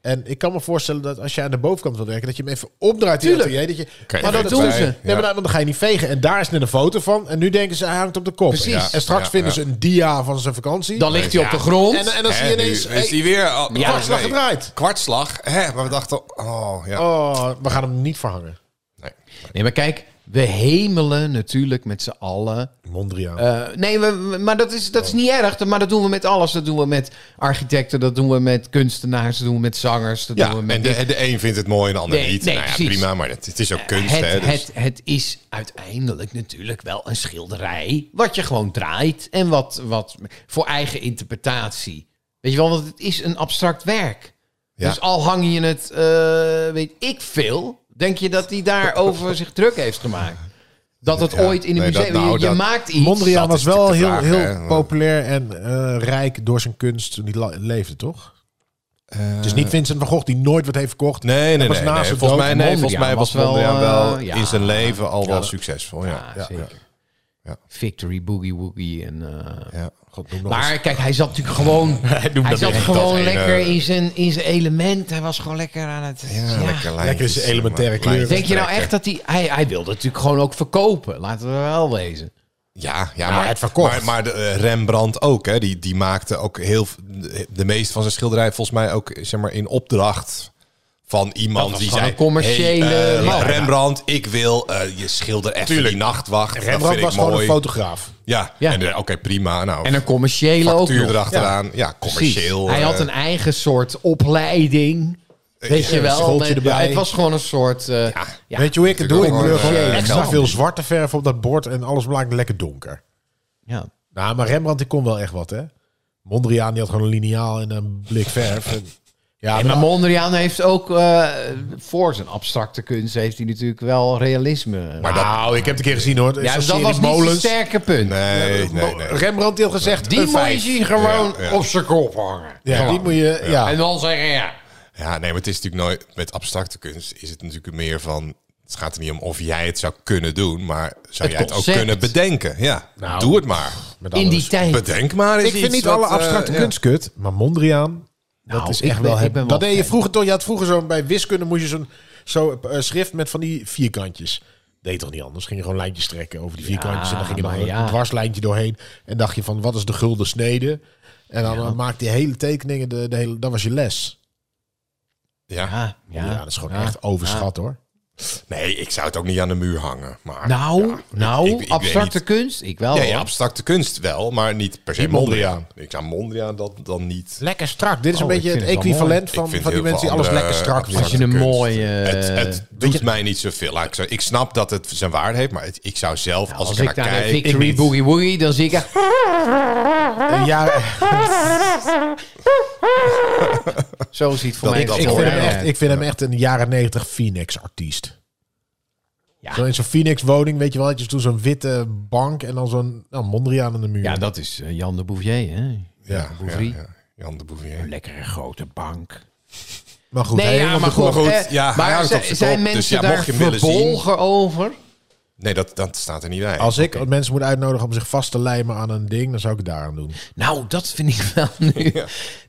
Speaker 3: En ik kan me voorstellen dat als jij aan de bovenkant wil werken, dat je hem even opdraait. in het
Speaker 4: Tuurlijk.
Speaker 3: atelier, dat je,
Speaker 2: Kijk,
Speaker 3: maar dat
Speaker 2: dat
Speaker 3: doen
Speaker 2: wij-
Speaker 3: ze. Nee,
Speaker 2: ja.
Speaker 3: maar dan, dan ga je niet vegen. En daar is net een foto van. En nu denken ze, hij hangt op de kop.
Speaker 4: Precies. Ja,
Speaker 3: En straks
Speaker 2: ja,
Speaker 3: vinden
Speaker 2: ja.
Speaker 3: ze een dia van zijn vakantie.
Speaker 4: Dan ligt hij op de
Speaker 2: Ja.
Speaker 4: grond.
Speaker 3: en, en dan zie je
Speaker 2: Hè,
Speaker 3: ineens...
Speaker 2: nu
Speaker 3: hey,
Speaker 2: is hij weer al,
Speaker 4: Ja.
Speaker 3: Kwartslag gedraaid.
Speaker 2: Kwartslag. Hè, maar we dachten, oh ja.
Speaker 3: Oh, we gaan hem niet verhangen.
Speaker 2: Nee.
Speaker 4: Nee, maar kijk, we hemelen natuurlijk met z'n allen
Speaker 3: Mondriaan.
Speaker 4: Eh, nee, we, we- maar dat is, dat is niet erg. Maar dat doen we met alles. Dat doen we met architecten, dat doen we met kunstenaars, dat doen we met zangers, dat
Speaker 2: Ja,
Speaker 4: doen we
Speaker 2: en
Speaker 4: met dit.
Speaker 2: de, de een vindt het mooi en de ander
Speaker 4: Nee,
Speaker 2: niet.
Speaker 4: nee,
Speaker 2: nou ja,
Speaker 4: precies.
Speaker 2: prima, maar het, het is ook
Speaker 3: Eh,
Speaker 2: kunst.
Speaker 4: het,
Speaker 2: hè, dus-
Speaker 4: het, het is uiteindelijk natuurlijk wel een schilderij wat je gewoon draait en wat, wat voor eigen interpretatie. Weet je wel, want het is een abstract werk.
Speaker 2: Ja.
Speaker 4: Dus al hang je het, eh, weet ik veel, denk je dat hij
Speaker 2: [laughs]
Speaker 4: daarover zich druk heeft gemaakt? Dat het
Speaker 2: Ja,
Speaker 4: ooit in een
Speaker 2: nee, dat-
Speaker 4: museum... je
Speaker 2: nou,
Speaker 4: je
Speaker 2: dat-
Speaker 4: maakt iets...
Speaker 3: Mondriaan
Speaker 2: dat
Speaker 3: was
Speaker 2: is
Speaker 3: wel heel,
Speaker 2: natuurlijk de vraag,
Speaker 3: heel
Speaker 2: hè.
Speaker 3: populair en eh, rijk door zijn kunst toen hij la- leefde, toch? het is niet Vincent van Gogh die nooit wat heeft verkocht.
Speaker 2: Nee, nee,
Speaker 3: was
Speaker 2: nee.
Speaker 3: naast
Speaker 2: nee.
Speaker 3: zijn
Speaker 2: Volgens,
Speaker 3: dood.
Speaker 2: mij, nee, volgens
Speaker 4: Mondriaan
Speaker 2: mij was
Speaker 4: was wel,
Speaker 2: Mondriaan wel
Speaker 4: eh, ja.
Speaker 2: in zijn leven al wel
Speaker 4: dat-
Speaker 2: succesvol. Ja.
Speaker 4: Ja,
Speaker 2: Ja.
Speaker 4: zeker.
Speaker 2: Ja.
Speaker 4: Victory, Boogie Woogie en... eh,
Speaker 2: Ja.
Speaker 3: God, noem nog eens.
Speaker 4: Maar kijk, hij zat natuurlijk gewoon... hij
Speaker 2: noemde
Speaker 4: zat
Speaker 2: weer dat
Speaker 4: gewoon
Speaker 2: ene-
Speaker 4: lekker in zijn, in zijn element. Hij was gewoon lekker aan het... ja.
Speaker 2: lekker lijntjes, eh,
Speaker 3: Lekker is elementaire
Speaker 2: maar- lijntjes
Speaker 4: Denk je nou
Speaker 2: trekken.
Speaker 4: echt dat hij... Hij, hij wilde natuurlijk gewoon ook verkopen. Laten we wel wezen.
Speaker 2: Ja, ja
Speaker 3: Nou,
Speaker 2: maar,
Speaker 3: het verkocht.
Speaker 2: maar, maar de, eh, Rembrandt ook. Hè, die, die maakte ook heel v- de meeste van zijn schilderij volgens mij ook zeg maar, in opdracht van
Speaker 4: Dat
Speaker 2: iemand
Speaker 4: was
Speaker 2: die
Speaker 4: gewoon
Speaker 2: zei...
Speaker 4: een commerciële
Speaker 2: hey, eh,
Speaker 4: man."
Speaker 2: Rembrandt, ik wil eh, je schilder even die nachtwacht. dat
Speaker 3: Rembrandt
Speaker 2: vind
Speaker 3: was
Speaker 2: ik
Speaker 3: gewoon
Speaker 2: mooi.
Speaker 3: een fotograaf.
Speaker 2: Ja,
Speaker 4: Ja.
Speaker 2: en, eh, oké, prima. Nou,
Speaker 4: En een commerciële ook
Speaker 2: factuur
Speaker 4: nog.
Speaker 2: erachteraan. Ja,
Speaker 4: Precies.
Speaker 2: commercieel.
Speaker 4: Hij had
Speaker 2: eh,
Speaker 4: een eigen soort opleiding. Weet je wel?
Speaker 3: schooltje
Speaker 4: Met-
Speaker 3: erbij.
Speaker 4: Het was gewoon een soort... eh, ja,
Speaker 3: Weet je hoe ik het doe?
Speaker 2: Natuurlijk
Speaker 3: Ik kleur
Speaker 2: ook
Speaker 3: gewoon
Speaker 2: gewoon, eh,
Speaker 3: extra
Speaker 2: geld.
Speaker 3: veel zwarte verf op dat bord en alles maakt lekker donker.
Speaker 4: ja.
Speaker 3: Nou, maar Rembrandt die kon wel echt wat, hè? Mondriaan die had gewoon een liniaal en een blik verf. En- ja,
Speaker 4: En maar Mondriaan heeft ook... eh, voor zijn abstracte kunst heeft hij natuurlijk wel realisme.
Speaker 2: Maar dat-
Speaker 3: nou, ik heb het een keer gezien, hoor.
Speaker 4: ja,
Speaker 3: Zo'n
Speaker 4: dat
Speaker 3: serie
Speaker 4: was niet zijn
Speaker 3: molens.
Speaker 4: sterke punt.
Speaker 2: Nee, nee, nee.
Speaker 3: Rembrandt die had gezegd,
Speaker 4: Die
Speaker 3: een
Speaker 4: moet je
Speaker 3: vijf.
Speaker 4: zien gewoon
Speaker 2: Ja, ja.
Speaker 4: op zijn kop hangen.
Speaker 3: Ja, die moet je... Ja.
Speaker 4: En dan zeggen ja.
Speaker 2: Ja, nee, maar het is natuurlijk nooit... Met abstracte kunst is het natuurlijk meer van... Het gaat er niet om of jij het zou kunnen doen, maar zou jij het ook
Speaker 4: concept.
Speaker 2: kunnen bedenken? Ja, doe het maar.
Speaker 3: Met
Speaker 4: In
Speaker 3: alle
Speaker 4: die tijd.
Speaker 2: Bedenk maar eens
Speaker 3: Ik vind
Speaker 2: iets
Speaker 3: niet
Speaker 2: wat,
Speaker 3: alle
Speaker 2: eh,
Speaker 3: abstracte
Speaker 2: ja.
Speaker 3: kunst kut, maar Mondriaan, dat
Speaker 4: Nou,
Speaker 3: is
Speaker 4: ik
Speaker 3: echt
Speaker 4: ben-
Speaker 3: wel...
Speaker 4: ik
Speaker 3: het-
Speaker 4: ben wel
Speaker 3: dat deed je
Speaker 4: fan.
Speaker 3: vroeger toch? Je had vroeger zo'n bij wiskunde moest je zo'n zo, eh, schrift met van die vierkantjes. Deed toch niet anders? Ging je gewoon lijntjes trekken over die vierkantjes en dan ging je nog
Speaker 4: maar
Speaker 3: een
Speaker 4: ja.
Speaker 3: dwarslijntje doorheen en dacht je van wat is de gulden snede? En dan eh, maakte je hele tekeningen, de, de hele, dat was je les.
Speaker 2: Ja.
Speaker 4: Ja,
Speaker 3: Ja,
Speaker 4: ja.
Speaker 3: dat is gewoon
Speaker 4: Ja.
Speaker 3: echt overschat hoor.
Speaker 2: Nee, ik zou het ook niet aan de muur hangen. Maar
Speaker 4: Nou, nou
Speaker 2: ik- ik weet
Speaker 4: abstracte
Speaker 2: niet.
Speaker 4: kunst. Ik wel.
Speaker 2: ja,
Speaker 4: hoor.
Speaker 2: ja, abstracte kunst wel, maar niet per se
Speaker 3: Niet Mondriaan.
Speaker 2: Mondriaan. Ik zou Mondriaan dat dan niet.
Speaker 3: Lekker strak. Dit is een
Speaker 4: Oh, ik
Speaker 3: beetje het
Speaker 4: vind het wel
Speaker 3: equivalent van,
Speaker 2: Ik vind
Speaker 3: van die
Speaker 2: heel
Speaker 3: mensen die
Speaker 2: veel
Speaker 3: alles
Speaker 2: andere
Speaker 3: lekker strak
Speaker 2: abstracte
Speaker 4: Als
Speaker 3: willen.
Speaker 4: je een
Speaker 2: kunst.
Speaker 4: mooie...
Speaker 2: het het doet
Speaker 4: Eh, je-
Speaker 2: mij niet zoveel. Laat Ik, zou, ik snap dat het zijn waarde heeft, maar het- ik zou zelf, als,
Speaker 4: Nou, Als,
Speaker 2: ik
Speaker 4: ik
Speaker 2: ernaar
Speaker 4: daar naar
Speaker 2: kijk...
Speaker 4: Victory
Speaker 3: niet.
Speaker 4: Boogie Woogie, dan zie ik...
Speaker 2: [laughs]
Speaker 4: echt-
Speaker 3: Ja,
Speaker 4: Zo ziet het voor
Speaker 2: Dat
Speaker 4: mij
Speaker 2: ik-
Speaker 4: dat
Speaker 3: ik
Speaker 2: hoor
Speaker 3: vind,
Speaker 2: je
Speaker 3: hem
Speaker 2: wel.
Speaker 3: echt, ik vind hem echt een jaren negentig Phoenix-artiest.
Speaker 4: Ja.
Speaker 3: Zo in zo'n Phoenix-woning, weet je wel, had je toen zo'n witte bank en dan zo'n nou, Mondriaan aan de muur.
Speaker 4: Ja, dat is eh, Jan de Bouvier, hè?
Speaker 2: Ja, ja,
Speaker 4: Bouvier.
Speaker 2: ja. Jan de Bouvier.
Speaker 4: Lekkere grote bank.
Speaker 3: maar goed,
Speaker 4: Nee,
Speaker 3: helemaal
Speaker 4: ja, maar
Speaker 3: op de
Speaker 4: goed.
Speaker 3: kop.
Speaker 2: goed,
Speaker 4: eh,
Speaker 2: ja, hij
Speaker 4: maar
Speaker 2: houdt
Speaker 4: zi-
Speaker 2: op zijn
Speaker 4: zijn
Speaker 2: kop, dus
Speaker 4: mensen
Speaker 2: ja, mocht
Speaker 4: daar
Speaker 2: je hem willen zien.
Speaker 4: verbolgen over?
Speaker 2: Nee, dat, dat staat er niet bij.
Speaker 3: Als ik mensen moet uitnodigen om zich vast te lijmen aan een ding, dan zou ik het daaraan doen.
Speaker 4: Nou, dat vind ik wel nu.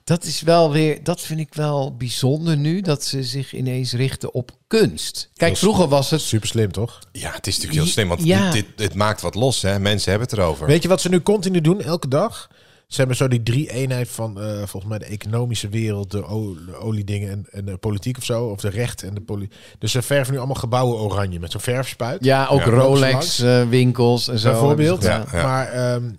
Speaker 4: Dat is wel weer, dat vind ik wel bijzonder nu, dat ze zich ineens richten op kunst. Kijk, vroeger was het.
Speaker 3: Super slim, toch?
Speaker 2: Ja, het is natuurlijk heel slim, want
Speaker 4: Ja.
Speaker 2: dit, dit, dit maakt wat los. Hè? Mensen hebben het erover.
Speaker 3: Weet je wat ze nu continu doen, elke dag? Ze hebben zo die drie eenheid van eh, volgens mij de economische wereld, de, o- de oliedingen en, en de politiek of zo. Of de recht en de politiek. Dus ze verven nu allemaal gebouwen oranje met zo'n verfspuit.
Speaker 4: Ja, ook
Speaker 2: Ja.
Speaker 3: Langs.
Speaker 4: Rolex-winkels en zo. Dus, eh,
Speaker 3: bijvoorbeeld.
Speaker 4: hebben ze
Speaker 2: Ja,
Speaker 4: gedaan.
Speaker 2: ja.
Speaker 3: Maar ehm,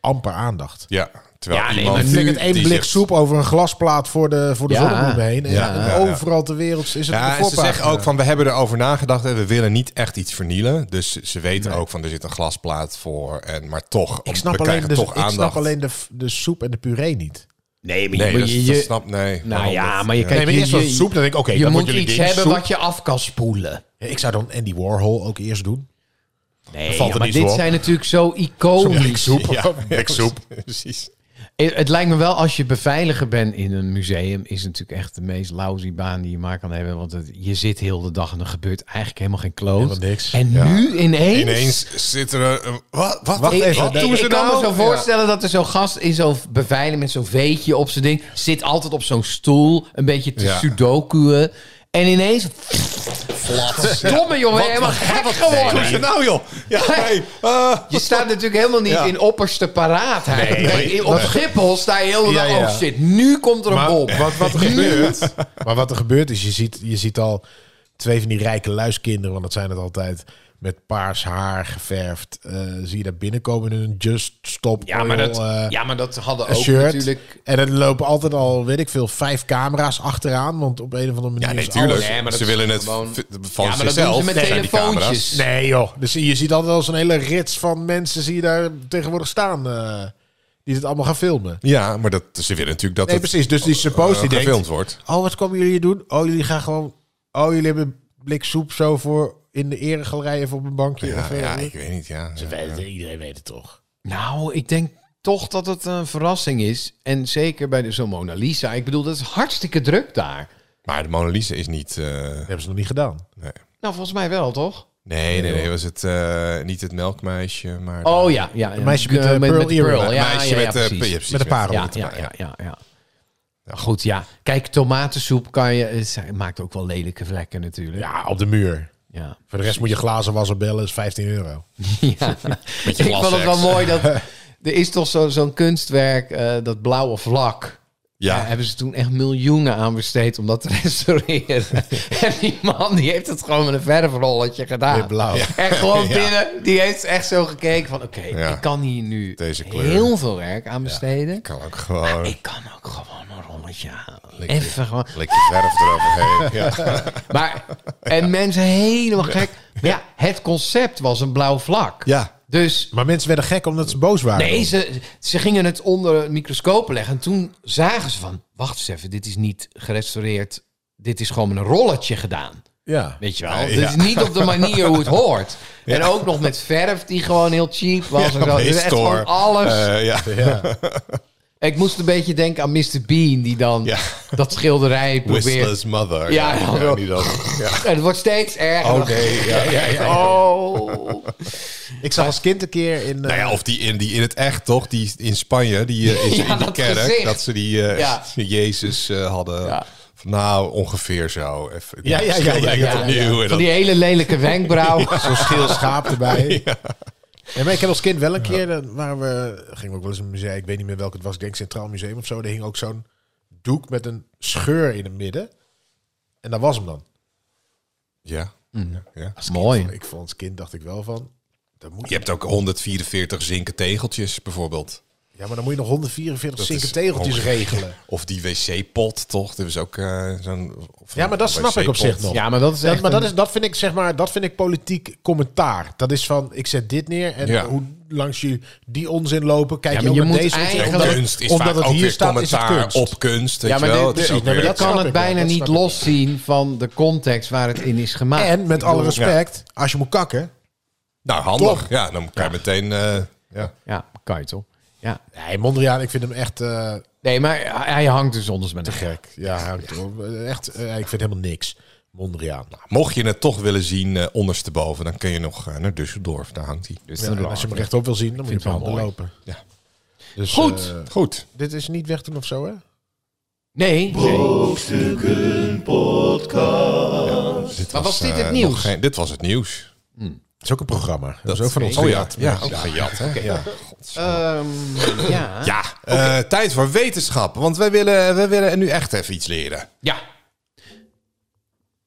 Speaker 3: amper aandacht.
Speaker 2: Ja, terwijl
Speaker 4: Ja, nee,
Speaker 2: iemand
Speaker 4: maar
Speaker 3: Nu het
Speaker 2: die
Speaker 3: één blik
Speaker 2: zegt-
Speaker 3: soep over een glasplaat voor de, voor de
Speaker 4: Ja.
Speaker 3: zonnebloem heen. En
Speaker 4: Ja.
Speaker 3: en overal ter wereld is het
Speaker 2: Ja,
Speaker 3: op
Speaker 2: en
Speaker 3: de
Speaker 2: ze zeggen
Speaker 3: voorpagina.
Speaker 2: ook van we hebben erover nagedacht en we willen niet echt iets vernielen. Dus ze- ze weten ook van er zit een glasplaat voor. En, maar toch,
Speaker 3: Ik
Speaker 2: om-
Speaker 3: snap
Speaker 2: we
Speaker 3: alleen,
Speaker 2: krijgen
Speaker 3: de,
Speaker 2: toch
Speaker 3: ik
Speaker 2: aandacht.
Speaker 3: snap alleen de, de soep en de puree niet.
Speaker 5: Nee, maar
Speaker 2: Nee,
Speaker 5: je,
Speaker 2: dat,
Speaker 5: je,
Speaker 2: dat
Speaker 5: je-
Speaker 2: snap nee.
Speaker 5: nou ja, maar
Speaker 3: Nee,
Speaker 5: je kijkt...
Speaker 3: maar
Speaker 5: je-
Speaker 3: eerst was
Speaker 5: je-
Speaker 3: het soep, dan denk ik, oké,
Speaker 4: je
Speaker 3: dan
Speaker 4: moet
Speaker 3: wordt jullie
Speaker 4: iets
Speaker 3: ding,
Speaker 4: hebben
Speaker 3: soep.
Speaker 4: wat je af kan spoelen.
Speaker 3: Ja, ik zou dan Andy Warhol ook eerst doen. [laughs]
Speaker 5: Nee,
Speaker 3: valt
Speaker 5: ja,
Speaker 3: er
Speaker 5: maar
Speaker 3: niet
Speaker 4: Dit
Speaker 3: zo op.
Speaker 4: zijn natuurlijk zo iconisch.
Speaker 2: [laughs] Ja, ik soep. Precies.
Speaker 4: Eh, Het lijkt me wel, als je beveiliger bent in een museum, is het natuurlijk echt de meest lousy baan die je maar kan hebben. Want het- je zit heel de dag en er gebeurt eigenlijk helemaal geen kloot.
Speaker 3: Helemaal niks.
Speaker 4: En nu ineens...
Speaker 2: Ineens zit er een... een- Wat? Wat?
Speaker 3: Wacht
Speaker 2: wat-
Speaker 3: even,
Speaker 2: Wat
Speaker 3: nee,
Speaker 2: doen
Speaker 4: ik
Speaker 2: ze
Speaker 4: kan
Speaker 2: nou?
Speaker 4: me zo voorstellen dat er zo'n gast in zo'n beveiliging met zo'n veetje op zijn ding zit altijd op zo'n stoel, een beetje te
Speaker 2: Ja.
Speaker 4: sudokuën. En ineens... Domme jongen, helemaal
Speaker 2: Wat
Speaker 4: gek
Speaker 2: doen
Speaker 4: geworden.
Speaker 2: ze nou, joh? Ja, hey, eh,
Speaker 4: Je staat natuurlijk helemaal niet
Speaker 2: Ja.
Speaker 4: in opperste paraatheid.
Speaker 2: Nee,
Speaker 4: Nee,
Speaker 2: nee.
Speaker 4: Op Schiphol sta je heel de
Speaker 3: Ja,
Speaker 4: dag,
Speaker 3: ja.
Speaker 4: oh shit, nu komt er een
Speaker 3: Maar
Speaker 4: bom.
Speaker 3: wat, wat er gebeurt. Maar wat er gebeurt is, je ziet, je ziet al twee van die rijke luiskinderen, want dat zijn het altijd. Met paars haar geverfd. eh, zie je daar binnenkomen in een Just Stop
Speaker 4: [laughs] Ja, maar
Speaker 3: Oil,
Speaker 4: dat,
Speaker 3: eh,
Speaker 4: ja, maar dat hadden
Speaker 3: een
Speaker 4: ook
Speaker 3: shirt.
Speaker 4: natuurlijk...
Speaker 3: En er lopen altijd al, weet ik veel, vijf camera's achteraan. Want op een of andere manier
Speaker 2: Ja, nee,
Speaker 3: is
Speaker 2: tuurlijk.
Speaker 3: alles-
Speaker 4: Nee, maar dat
Speaker 2: ze
Speaker 4: is
Speaker 2: willen het
Speaker 4: gewoon-
Speaker 2: v- van
Speaker 4: Ja, maar dat doen
Speaker 2: zichzelf.
Speaker 4: ze met
Speaker 2: zijn die camera's.
Speaker 4: telefoontjes.
Speaker 3: Nee joh, dus je ziet altijd wel zo'n hele rits van mensen zie je daar tegenwoordig staan. eh, die dit allemaal gaan filmen.
Speaker 2: Ja, maar dat, ze willen natuurlijk dat
Speaker 3: Nee,
Speaker 2: het
Speaker 3: precies. Dus die suppose
Speaker 2: eh,
Speaker 3: die denkt,
Speaker 2: gefilmd wordt.
Speaker 3: Oh, wat komen jullie hier doen? Oh, jullie gaan gewoon. Oh, jullie hebben een blik soep zo voor in de eregalerij even op een bankje.
Speaker 2: Ja,
Speaker 3: of, eh,
Speaker 2: ja, ik weet niet, ja. ja.
Speaker 3: iedereen weet het toch?
Speaker 4: Nou, ik denk toch dat het een verrassing is. En zeker bij de- zo'n Mona Lisa. Ik bedoel, dat is hartstikke druk daar.
Speaker 2: Maar de Mona Lisa is niet... eh,
Speaker 3: Dat hebben ze nog niet gedaan.
Speaker 2: nee.
Speaker 4: Nou, volgens mij wel, toch?
Speaker 2: Nee, nee, nee, was het eh, niet het melkmeisje, maar...
Speaker 4: Oh ja, ja. ja.
Speaker 3: meisje met de
Speaker 4: Eh,
Speaker 3: pearl earring.
Speaker 2: Het
Speaker 4: pearl, Ja,
Speaker 2: meisje
Speaker 4: ja, ja,
Speaker 2: met, eh,
Speaker 4: precies.
Speaker 2: ja, precies,
Speaker 3: Met de parel.
Speaker 4: Ja, ja, ja, ja, ja. Goed, ja. Kijk, tomatensoep kan je... Het maakt ook wel lelijke vlekken natuurlijk.
Speaker 3: Ja, Nou, op de muur.
Speaker 4: ja.
Speaker 3: Voor de rest moet je glazen wassen bellen, is 15 euro.
Speaker 4: [laughs] Ja. ik vond het wel
Speaker 2: glassex. [laughs]
Speaker 4: mooi dat... Er is toch zo- zo'n kunstwerk, eh, dat blauwe vlak. Ja.
Speaker 2: Ja,
Speaker 4: hebben ze toen echt miljoenen aan besteed om dat te
Speaker 2: [laughs]
Speaker 4: [laughs] restaureren. en die man die heeft het gewoon met een verfrolletje gedaan.
Speaker 3: Weer blauw.
Speaker 4: Ja. [laughs] En gewoon binnen, die heeft echt zo gekeken van... Oké,
Speaker 2: Ja.
Speaker 4: ik kan hier nu
Speaker 2: Deze kleur.
Speaker 4: heel veel werk aan besteden.
Speaker 2: kan ook gewoon...
Speaker 4: Ik kan ook gewoon een rolletje halen. Even gewoon.
Speaker 2: Likje verf eroverheen. Ja. [laughs]
Speaker 4: Maar, en mensen helemaal gek. Maar ja, het concept was een blauw vlak.
Speaker 2: ja.
Speaker 4: Dus
Speaker 3: Maar mensen werden gek omdat ze boos waren.
Speaker 4: Nee, ze, ze gingen het onder het microscoop leggen. En toen zagen ze van, wacht eens even, dit is niet gerestaureerd. Dit is gewoon met een rolletje gedaan.
Speaker 3: Ja.
Speaker 4: Weet je wel? Dit is niet op de manier hoe het hoort. En ook nog met verf die gewoon heel cheap was. en zo. Dus echt gewoon alles.
Speaker 2: Eh, ja.
Speaker 3: ja.
Speaker 4: Ik moest een beetje denken aan Mr. Bean, die dan
Speaker 2: Ja.
Speaker 4: dat schilderij probeert.
Speaker 2: Whistler's mother.
Speaker 4: Ja, ja, wel.
Speaker 2: niet dat. Ja.
Speaker 4: En het wordt steeds erger.
Speaker 2: Oh nee, ja, ja, ja.
Speaker 4: Oh.
Speaker 3: Ik zag als kind een keer in... eh,
Speaker 2: Nou ja, of die in, die in het echt, toch? Die in Spanje, die eh, is
Speaker 4: [laughs] Ja,
Speaker 2: in die
Speaker 4: dat
Speaker 2: kerk,
Speaker 4: gezicht.
Speaker 2: dat ze die eh,
Speaker 4: Ja.
Speaker 2: Jezus eh, hadden.
Speaker 4: Ja.
Speaker 2: Van, nou, ongeveer zo. Even,
Speaker 3: Ja, ja, ja,
Speaker 2: schilder
Speaker 3: ja,
Speaker 2: ik
Speaker 3: ja,
Speaker 2: het
Speaker 3: ja,
Speaker 2: opnieuw en
Speaker 4: Van
Speaker 2: dat-
Speaker 4: die hele lelijke wenkbrauw.
Speaker 3: Zo'n scheel schaap erbij. [laughs] Ja. maar ik heb als kind wel een keer, dan waren we, gingen we ook wel eens in een museum, ik weet niet meer welk het was, ik denk Centraal Museum of zo. Daar hing ook zo'n doek met een scheur in het midden. En dat was hem dan.
Speaker 2: ja.
Speaker 3: Mm.
Speaker 2: Ja, ja.
Speaker 3: Als kind
Speaker 4: Mooi.
Speaker 3: vond- Ik vond als kind dacht ik wel van, dat moet
Speaker 2: Je hebt ook 144 zinken tegeltjes bijvoorbeeld.
Speaker 3: Ja, maar dan moet je nog 144
Speaker 2: Dat is
Speaker 3: zinken tegeltjes
Speaker 2: honger.
Speaker 3: [laughs] regelen.
Speaker 2: Of die wc-pot, toch? Dat was ook eh, zo'n... of
Speaker 3: Ja, maar dat
Speaker 2: een
Speaker 3: snap ik op
Speaker 2: wc-pot.
Speaker 3: zich nog.
Speaker 4: Ja, maar dat is echt
Speaker 3: Dat, maar dat,
Speaker 4: een-
Speaker 3: is, dat vind ik zeg maar, dat vind ik politiek commentaar. Dat is van, ik zet dit neer en
Speaker 2: Ja.
Speaker 3: hoe langs je die onzin lopen, kijk
Speaker 4: Ja,
Speaker 3: je
Speaker 4: maar
Speaker 3: ook
Speaker 4: je
Speaker 3: met
Speaker 4: moet
Speaker 3: deze onzin.
Speaker 4: eigenlijk-
Speaker 2: En
Speaker 3: Omdat-
Speaker 2: kunst is
Speaker 3: omdat
Speaker 2: vaak
Speaker 3: het
Speaker 2: ook
Speaker 3: hier
Speaker 2: weer
Speaker 3: staat, is het
Speaker 2: commentaar
Speaker 3: kunst.
Speaker 2: op kunst, weet
Speaker 4: Ja, maar
Speaker 2: je wel?
Speaker 4: dit-
Speaker 2: Het is
Speaker 4: dit-
Speaker 2: ook
Speaker 3: nee, maar
Speaker 2: weer-
Speaker 3: dat-
Speaker 4: kan
Speaker 3: snap
Speaker 4: het
Speaker 3: ik wel,
Speaker 4: bijna
Speaker 3: dat
Speaker 4: niet
Speaker 3: snap ik wel.
Speaker 4: loszien van de context waar het in is gemaakt.
Speaker 3: En met alle respect, als je moet kakken,
Speaker 2: Nou, handig.
Speaker 3: Toch?
Speaker 2: Ja, dan kan je meteen... eh, ja.
Speaker 4: Ja, kan je toch? Ja.
Speaker 3: Nee, Mondriaan, ik vind hem echt eh,
Speaker 4: Nee, maar hij hangt dus onder zijn
Speaker 3: te gek. Ja, hij hangt erop. Eh, echt, eh, ik vind helemaal niks. Mondriaan.
Speaker 2: Mocht je het toch willen zien eh, ondersteboven, dan kun je nog eh, naar Düsseldorf. Daar hangt hij.
Speaker 4: Dus
Speaker 3: Ja,
Speaker 4: dan-
Speaker 3: en als je hem rechtop wil zien, dan moet je
Speaker 4: Vind
Speaker 3: hem
Speaker 4: ik wel mooi.
Speaker 3: onderlopen.
Speaker 2: Ja.
Speaker 3: Dus,
Speaker 4: Goed.
Speaker 3: eh,
Speaker 2: Goed.
Speaker 3: dit is niet weg doen of zo, hè?
Speaker 4: Nee,
Speaker 1: Brokstukken podcast.
Speaker 2: Dit
Speaker 4: Maar was dit
Speaker 2: eh,
Speaker 4: het nieuws?
Speaker 2: nog geen- dit was het
Speaker 4: Oh
Speaker 2: nieuws.
Speaker 3: Het is ook een programma. Dat is ook van ons.
Speaker 2: Oh ja,
Speaker 3: gejat.
Speaker 2: ja ook gejat. Hè? Ja.
Speaker 4: ehm, ja. ja.
Speaker 2: Ja, eh, tijd voor wetenschap. Want wij willen, wij willen nu echt even iets leren.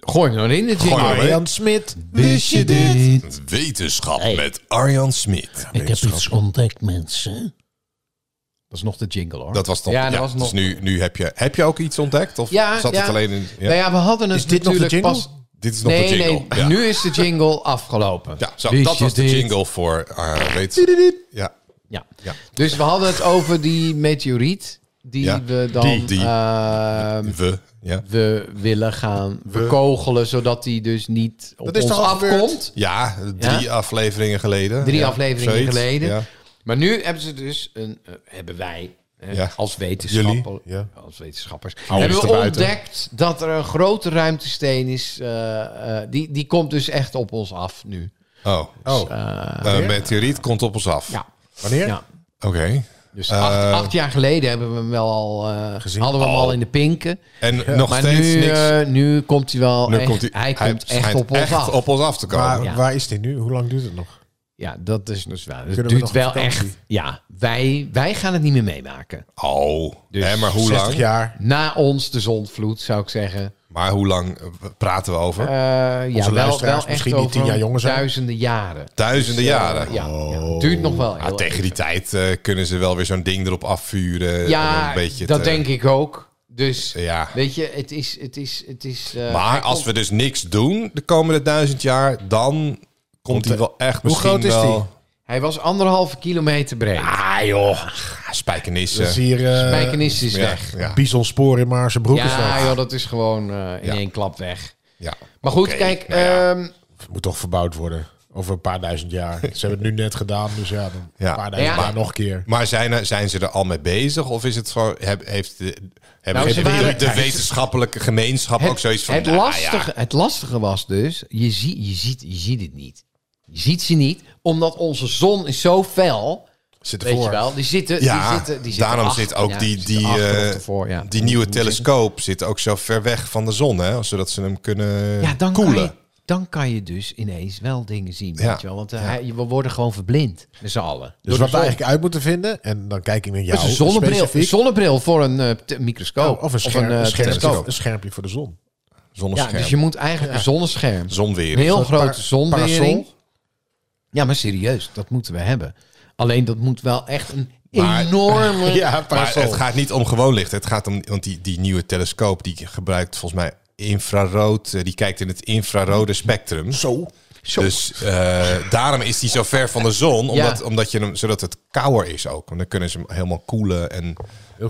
Speaker 4: Gooi hem erin, de jingle.
Speaker 2: Gooi hem
Speaker 3: Jan Smit.
Speaker 5: Wist je dit?
Speaker 2: Wetenschap
Speaker 5: Hey.
Speaker 2: met Arjan Smit.
Speaker 5: Ik heb iets ontdekt, mensen.
Speaker 4: Dat is nog de jingle, hoor.
Speaker 2: Dat was toch...
Speaker 4: Ja, dat was nog-
Speaker 2: Dus nu, nu heb je... Heb je ook iets ontdekt? Of
Speaker 4: Ja,
Speaker 2: zat
Speaker 4: ja.
Speaker 2: het alleen in... Ja.
Speaker 4: Nou ja, we hadden het
Speaker 3: Is dit nog de
Speaker 4: natuurlijk
Speaker 3: jingle?
Speaker 4: pas...
Speaker 2: Dit is nog
Speaker 4: nee,
Speaker 2: de jingle.
Speaker 4: nee,
Speaker 2: ja.
Speaker 4: nu is de jingle afgelopen.
Speaker 2: Ja, zo,
Speaker 4: Wist
Speaker 2: dat
Speaker 4: je
Speaker 2: was de
Speaker 4: dit?
Speaker 2: jingle voor eh wetenschap. Ja.
Speaker 4: Ja.
Speaker 2: Ja.
Speaker 4: Dus we hadden het over die meteoriet die
Speaker 2: Ja,
Speaker 4: we dan
Speaker 2: die, die.
Speaker 4: ehm,
Speaker 2: We. Ja.
Speaker 4: we willen gaan bekogelen, zodat die dus niet op
Speaker 3: Dat is
Speaker 4: ons
Speaker 3: toch al gebeurd?
Speaker 4: afkomt.
Speaker 2: Ja, drie
Speaker 4: Ja?
Speaker 2: afleveringen geleden.
Speaker 4: Drie
Speaker 2: Ja,
Speaker 4: afleveringen
Speaker 2: zoiets.
Speaker 4: geleden.
Speaker 2: Ja.
Speaker 4: Maar nu hebben ze dus een, eh, hebben wij hè,
Speaker 2: Ja.
Speaker 4: als, wetenschapper,
Speaker 2: Jullie, ja.
Speaker 4: als wetenschappers
Speaker 2: Houden
Speaker 4: hebben
Speaker 2: ons
Speaker 4: we
Speaker 2: erbuiten.
Speaker 4: ontdekt dat er een grote ruimtesteen is. eh, eh, die, die komt dus echt op ons af nu.
Speaker 2: Oh,
Speaker 3: Oh,
Speaker 2: Eh, meteoriet komt op ons af.
Speaker 4: Ja.
Speaker 3: wanneer?
Speaker 4: Ja.
Speaker 2: Oké.
Speaker 4: Dus acht, acht jaar geleden hebben we hem wel al eh,
Speaker 3: Gezien.
Speaker 4: Hadden we hem
Speaker 2: Eh. Oh.
Speaker 4: al in de pinken.
Speaker 2: En nog
Speaker 4: maar
Speaker 2: steeds
Speaker 4: nu,
Speaker 2: niks.
Speaker 4: eh, nu komt hij wel. echt, hij, komt echt
Speaker 2: schijnt
Speaker 4: op ons
Speaker 2: echt
Speaker 4: af.
Speaker 2: op ons af te komen.
Speaker 3: Waar,
Speaker 4: Ja.
Speaker 3: waar is dit nu? Hoe lang duurt het nog?
Speaker 4: Ja, dat is dus wel. Het
Speaker 3: Kunnen we
Speaker 4: duurt
Speaker 3: nog
Speaker 4: wel
Speaker 3: op vakantie?
Speaker 4: echt. Ja, wij, wij gaan het niet meer meemaken.
Speaker 2: Oh, hè, maar hoe
Speaker 3: 60
Speaker 2: lang?
Speaker 3: Dus jaar.
Speaker 4: Na ons de zondvloed, zou ik zeggen.
Speaker 2: Maar hoe lang eh, praten we over?
Speaker 4: Eh, ja, wel,
Speaker 3: luisteraars
Speaker 4: wel echt
Speaker 3: misschien die
Speaker 4: over
Speaker 3: tien jaar jonger zijn.
Speaker 4: duizenden jaren.
Speaker 2: Duizenden jaren.
Speaker 4: dus, eh, Ja, ja, duurt nog wel.
Speaker 2: Ah,
Speaker 4: heel
Speaker 2: tegen
Speaker 4: even.
Speaker 2: die tijd eh, kunnen ze wel weer zo'n ding erop afvuren. om
Speaker 4: Ja,
Speaker 2: een beetje
Speaker 4: dat
Speaker 2: te-
Speaker 4: denk ik ook. Dus
Speaker 2: Ja.
Speaker 4: weet je, het is. Het is, het is eh,
Speaker 2: Maar
Speaker 4: hij
Speaker 2: als
Speaker 4: komt-
Speaker 2: we dus niks doen de komende duizend jaar, dan komt hij wel echt
Speaker 3: Hoe
Speaker 2: misschien
Speaker 3: groot is
Speaker 2: wel...
Speaker 3: die?
Speaker 4: Hij was anderhalve kilometer breed.
Speaker 2: Ah joh, Ah, spijkenissen.
Speaker 3: Dat is hier eh
Speaker 4: Spijkenis is
Speaker 2: ja,
Speaker 4: weg.
Speaker 2: Ja,
Speaker 3: bisonspoor in Maarse broek. is
Speaker 4: Ja,
Speaker 3: weg.
Speaker 4: joh, dat is gewoon eh, in
Speaker 2: Ja.
Speaker 4: één klap weg.
Speaker 2: ja.
Speaker 4: Maar goed,
Speaker 2: Oké,
Speaker 4: kijk,
Speaker 2: nou ja.
Speaker 4: ehm,
Speaker 3: Moet toch verbouwd worden. Over een paar duizend jaar. Ze hebben het nu net gedaan, dus ja, Dus dan
Speaker 2: Ja.
Speaker 3: een paar duizend
Speaker 4: Ja.
Speaker 3: jaar nog een keer.
Speaker 2: Maar zijn, er- zijn ze er al mee bezig? Of is het zo, heb, heeft de, hebben
Speaker 4: Nou, ze
Speaker 2: de,
Speaker 4: waren-
Speaker 2: de wetenschappelijke gemeenschap ook zoiets van...
Speaker 4: het,
Speaker 2: nou ja,
Speaker 4: lastige, het lastige was dus, je, zie, je, ziet, je ziet het niet. Je ziet ze niet, omdat onze zon is zo fel.
Speaker 3: Zit
Speaker 4: Weet
Speaker 3: ervoor.
Speaker 4: je wel, die zitten...
Speaker 2: Ja,
Speaker 4: die zitten, die zitten
Speaker 2: daarom
Speaker 4: achter,
Speaker 2: zit ook
Speaker 4: ja,
Speaker 2: die,
Speaker 4: die
Speaker 2: die,
Speaker 4: zitten achter of
Speaker 2: eh,
Speaker 4: ervoor, ja.
Speaker 2: die nieuwe telescoop zit ook zo ver weg van de zon, hè? zodat ze hem kunnen
Speaker 4: Ja, dan
Speaker 2: eh, koelen.
Speaker 4: kan, je, dan kan je dus ineens wel dingen zien,
Speaker 2: Ja.
Speaker 4: weet je wel. Want eh, hij- we worden gewoon verblind, met z'n allen.
Speaker 3: Dus wat
Speaker 4: Door de
Speaker 3: we
Speaker 4: zon.
Speaker 3: eigenlijk uit moeten vinden, en dan kijk ik naar jou.
Speaker 4: Dat is een
Speaker 2: Nou,
Speaker 4: zonnebril, een
Speaker 3: specifiek. Oh,
Speaker 4: zonnebril voor een eh, te- microscoop.
Speaker 2: Oh,
Speaker 3: of een, scherm,
Speaker 4: eh,
Speaker 3: een, scherm-
Speaker 4: telescoop.
Speaker 3: een schermpje voor de zon.
Speaker 4: Ja,
Speaker 2: Zonnescherm,
Speaker 4: dus je moet eigenlijk een zonnescherm.
Speaker 2: zonwering.
Speaker 4: Een heel
Speaker 3: soort
Speaker 4: grote
Speaker 3: par-
Speaker 4: zonwering.
Speaker 3: parasol.
Speaker 4: Ja, maar serieus, dat moeten we hebben. Alleen dat moet wel echt een
Speaker 2: Maar- [laughs]
Speaker 4: enorme...
Speaker 3: Ja,
Speaker 2: Maar
Speaker 3: parasol.
Speaker 2: het gaat niet om gewoon licht. Het gaat om, want die, die nieuwe telescoop die gebruikt volgens mij infrarood. eh, Die kijkt in het infrarode spectrum.
Speaker 3: Zo.
Speaker 2: Dus eh, daarom is die zo ver van de zon, omdat,
Speaker 4: Ja.
Speaker 2: omdat je hem, zodat het kouder is ook. Want dan kunnen ze hem helemaal koelen en eh,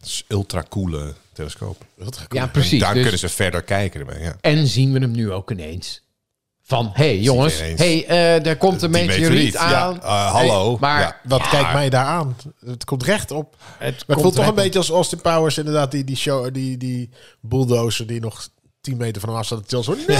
Speaker 2: het is ultra coole telescoop.
Speaker 4: Ja, precies.
Speaker 2: Daar
Speaker 4: Dus-
Speaker 2: kunnen ze verder kijken. ermee, Ja.
Speaker 4: En zien we hem nu ook ineens. Van, hé hey, jongens,
Speaker 2: Ziet ineens.
Speaker 4: hey, eh, daar komt een
Speaker 2: Die meteoriet,
Speaker 4: meteoriet
Speaker 2: ja.
Speaker 4: aan.
Speaker 2: Eh, hallo.
Speaker 4: Hey, maar
Speaker 2: Ja.
Speaker 3: Wat
Speaker 4: Ja,
Speaker 3: kijkt mij daar aan? Het komt recht op.
Speaker 4: het
Speaker 3: Maar
Speaker 4: komt
Speaker 3: het voelt toch
Speaker 4: er
Speaker 3: een
Speaker 4: echt
Speaker 3: beetje als Austin Powers inderdaad. Die, die, show, die, die bulldozer die nog 10 meter van hem af staat. te tillen. Zo, nee.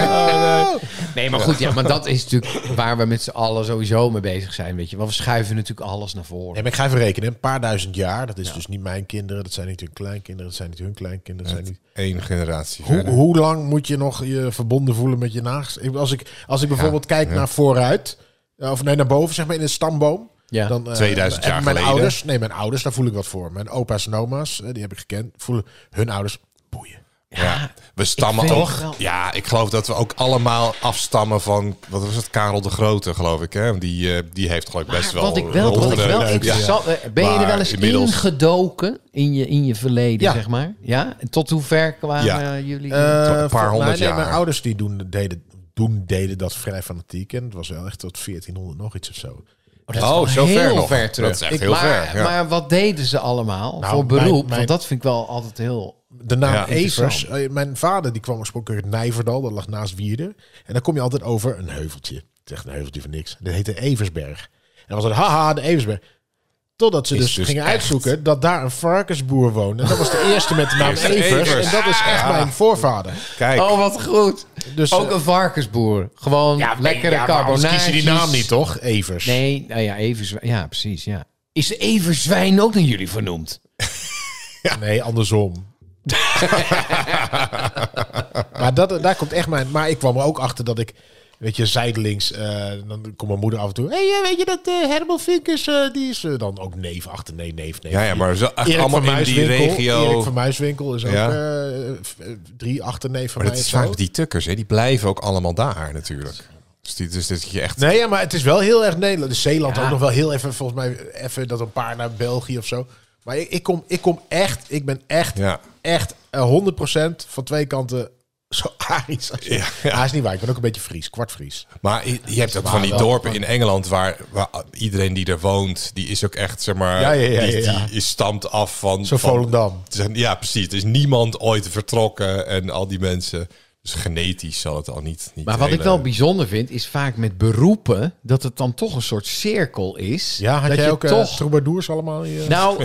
Speaker 4: op. Nee, maar goed, ja, maar dat is natuurlijk waar we met z'n allen sowieso mee bezig zijn, weet je. Want we schuiven natuurlijk alles naar voren.
Speaker 3: Nee, maar ik ga even rekenen. Een paar duizend jaar. Dat is dus niet mijn kinderen. Dat zijn niet hun kleinkinderen. Dat zijn niet hun kleinkinderen. Dat zijn niet...
Speaker 2: Eén generatie
Speaker 3: Hoe,
Speaker 2: verder.
Speaker 3: hoe lang moet je nog je verbonden voelen met je naast? Ik- Als ik, als ik bijvoorbeeld kijk naar vooruit. eh, Of nee, naar boven zeg maar in een stamboom.
Speaker 4: Ja.
Speaker 3: Dan, eh,
Speaker 2: 2000 jaar
Speaker 3: hebben mijn
Speaker 2: geleden.
Speaker 3: Ouders, nee, mijn ouders, daar voel ik wat voor. Mijn opa's en oma's, eh, die heb ik gekend. Voelen hun ouders boeien.
Speaker 2: Ja. We stammen
Speaker 4: vind
Speaker 2: toch?
Speaker 4: het wel.
Speaker 2: Ja, ik geloof dat we ook allemaal afstammen van. Wat was het? Karel de Grote, geloof ik. Hè? Die, eh, die heeft geloof ik best
Speaker 4: Maar
Speaker 2: wel.
Speaker 4: wat ik wel, wat ik
Speaker 2: honderden-
Speaker 4: wel
Speaker 2: Ja.
Speaker 4: interessant- eh, Ben je er
Speaker 2: Maar
Speaker 4: wel eens
Speaker 2: inmiddels-
Speaker 4: ingedoken in je, in je verleden,
Speaker 3: Ja.
Speaker 4: zeg maar? Ja? En tot hoe ver kwamen
Speaker 2: Ja.
Speaker 4: eh, jullie?
Speaker 3: Eh,
Speaker 2: een paar
Speaker 3: voor-
Speaker 2: honderd
Speaker 3: nee, nee,
Speaker 2: jaar.
Speaker 3: Mijn ouders die doen, deden, doen, deden dat vrij fanatiek. En het was wel echt tot 1400 nog iets of zo.
Speaker 4: dat is
Speaker 2: Oh,
Speaker 4: wel
Speaker 2: zo
Speaker 4: heel
Speaker 2: ver nog.
Speaker 4: ver terug.
Speaker 2: Dat is echt
Speaker 4: Ik-
Speaker 2: heel
Speaker 4: maar,
Speaker 2: ver, ja.
Speaker 4: maar wat deden ze allemaal
Speaker 3: Nou,
Speaker 4: voor beroep?
Speaker 3: mijn- mijn-
Speaker 4: Want dat vind ik wel altijd heel...
Speaker 3: De naam
Speaker 2: Ja,
Speaker 3: Evers. eh, Mijn vader die kwam oorspronkelijk uit Nijverdal. Dat lag naast Wierden. En dan kom je altijd over een heuveltje. Het is echt een heuveltje van niks. Dit heette Eversberg. En dan was het, haha, de Eversberg. Totdat ze
Speaker 2: Is
Speaker 3: dus,
Speaker 2: dus
Speaker 3: gingen
Speaker 2: echt.
Speaker 3: uitzoeken dat daar een varkensboer woonde. En dat was de eerste met de naam
Speaker 2: Eerste Evers.
Speaker 3: Evers. En dat is echt mijn voorvader.
Speaker 2: Kijk,
Speaker 4: Oh, wat goed.
Speaker 3: Dus,
Speaker 4: Ook
Speaker 3: eh,
Speaker 4: een varkensboer. Gewoon lekkere ja, carbonaatjes.
Speaker 3: kies je die naam niet, toch? Evers.
Speaker 4: Nee, nou ja, Everzwijn. Ja, precies, ja. Is Everzwijn ook naar jullie vernoemd?
Speaker 3: Nee, andersom. [laughs] maar dat, daar komt echt mijn... Maar ik kwam er ook achter dat ik... Weet je, zijdelings... eh, dan komt mijn moeder af en toe... hey, eh, weet je dat eh Herman Vinkers... eh, die is eh, dan ook neef achter. Nee, neef, neef.
Speaker 2: ja, ja, maar zo, echt
Speaker 3: Erik van
Speaker 2: allemaal in die
Speaker 3: Muiswinkel. Erik
Speaker 2: regio.
Speaker 3: van Muiswinkel is ook
Speaker 2: Ja.
Speaker 3: eh, v- eh, drie achterneef van
Speaker 2: Maar dat
Speaker 3: mij.
Speaker 2: is
Speaker 3: of zo.
Speaker 2: vaak die tukkers, hè? die blijven ook allemaal daar natuurlijk. Dus, die, dus dat je echt...
Speaker 3: Nee, ja, maar het is wel heel erg Nederland. Dus Zeeland ook nog wel heel even, volgens mij, even dat een paar naar België of zo. Maar ik, ik, kom, ik kom echt, ik ben echt,
Speaker 2: Ja.
Speaker 3: echt eh, 100% van twee kanten [laughs] zo Arisch. als je-
Speaker 2: Ja, ja.
Speaker 3: Ah, is niet waar. Ik ben ook een beetje Fries, kwart Fries.
Speaker 2: Maar je, je hebt ook van die
Speaker 3: wel.
Speaker 2: dorpen in Engeland waar, waar iedereen die er woont, die is ook echt, zeg maar,
Speaker 3: Ja, ja, ja,
Speaker 2: die,
Speaker 3: ja, ja.
Speaker 2: die is- stamt af van...
Speaker 3: Zo
Speaker 2: van-
Speaker 3: Volendam.
Speaker 2: Het is- Ja, precies. Er is niemand ooit vertrokken en al die mensen... Dus genetisch zal het al niet... niet
Speaker 4: Maar wat ik
Speaker 2: hele-
Speaker 4: wel bijzonder vind, is vaak met beroepen dat het dan toch een soort cirkel is.
Speaker 3: Ja, had
Speaker 4: dat
Speaker 3: jij
Speaker 4: je
Speaker 3: ook eh, [laughs]
Speaker 4: toch.
Speaker 3: troubadours allemaal? hier?
Speaker 4: nou,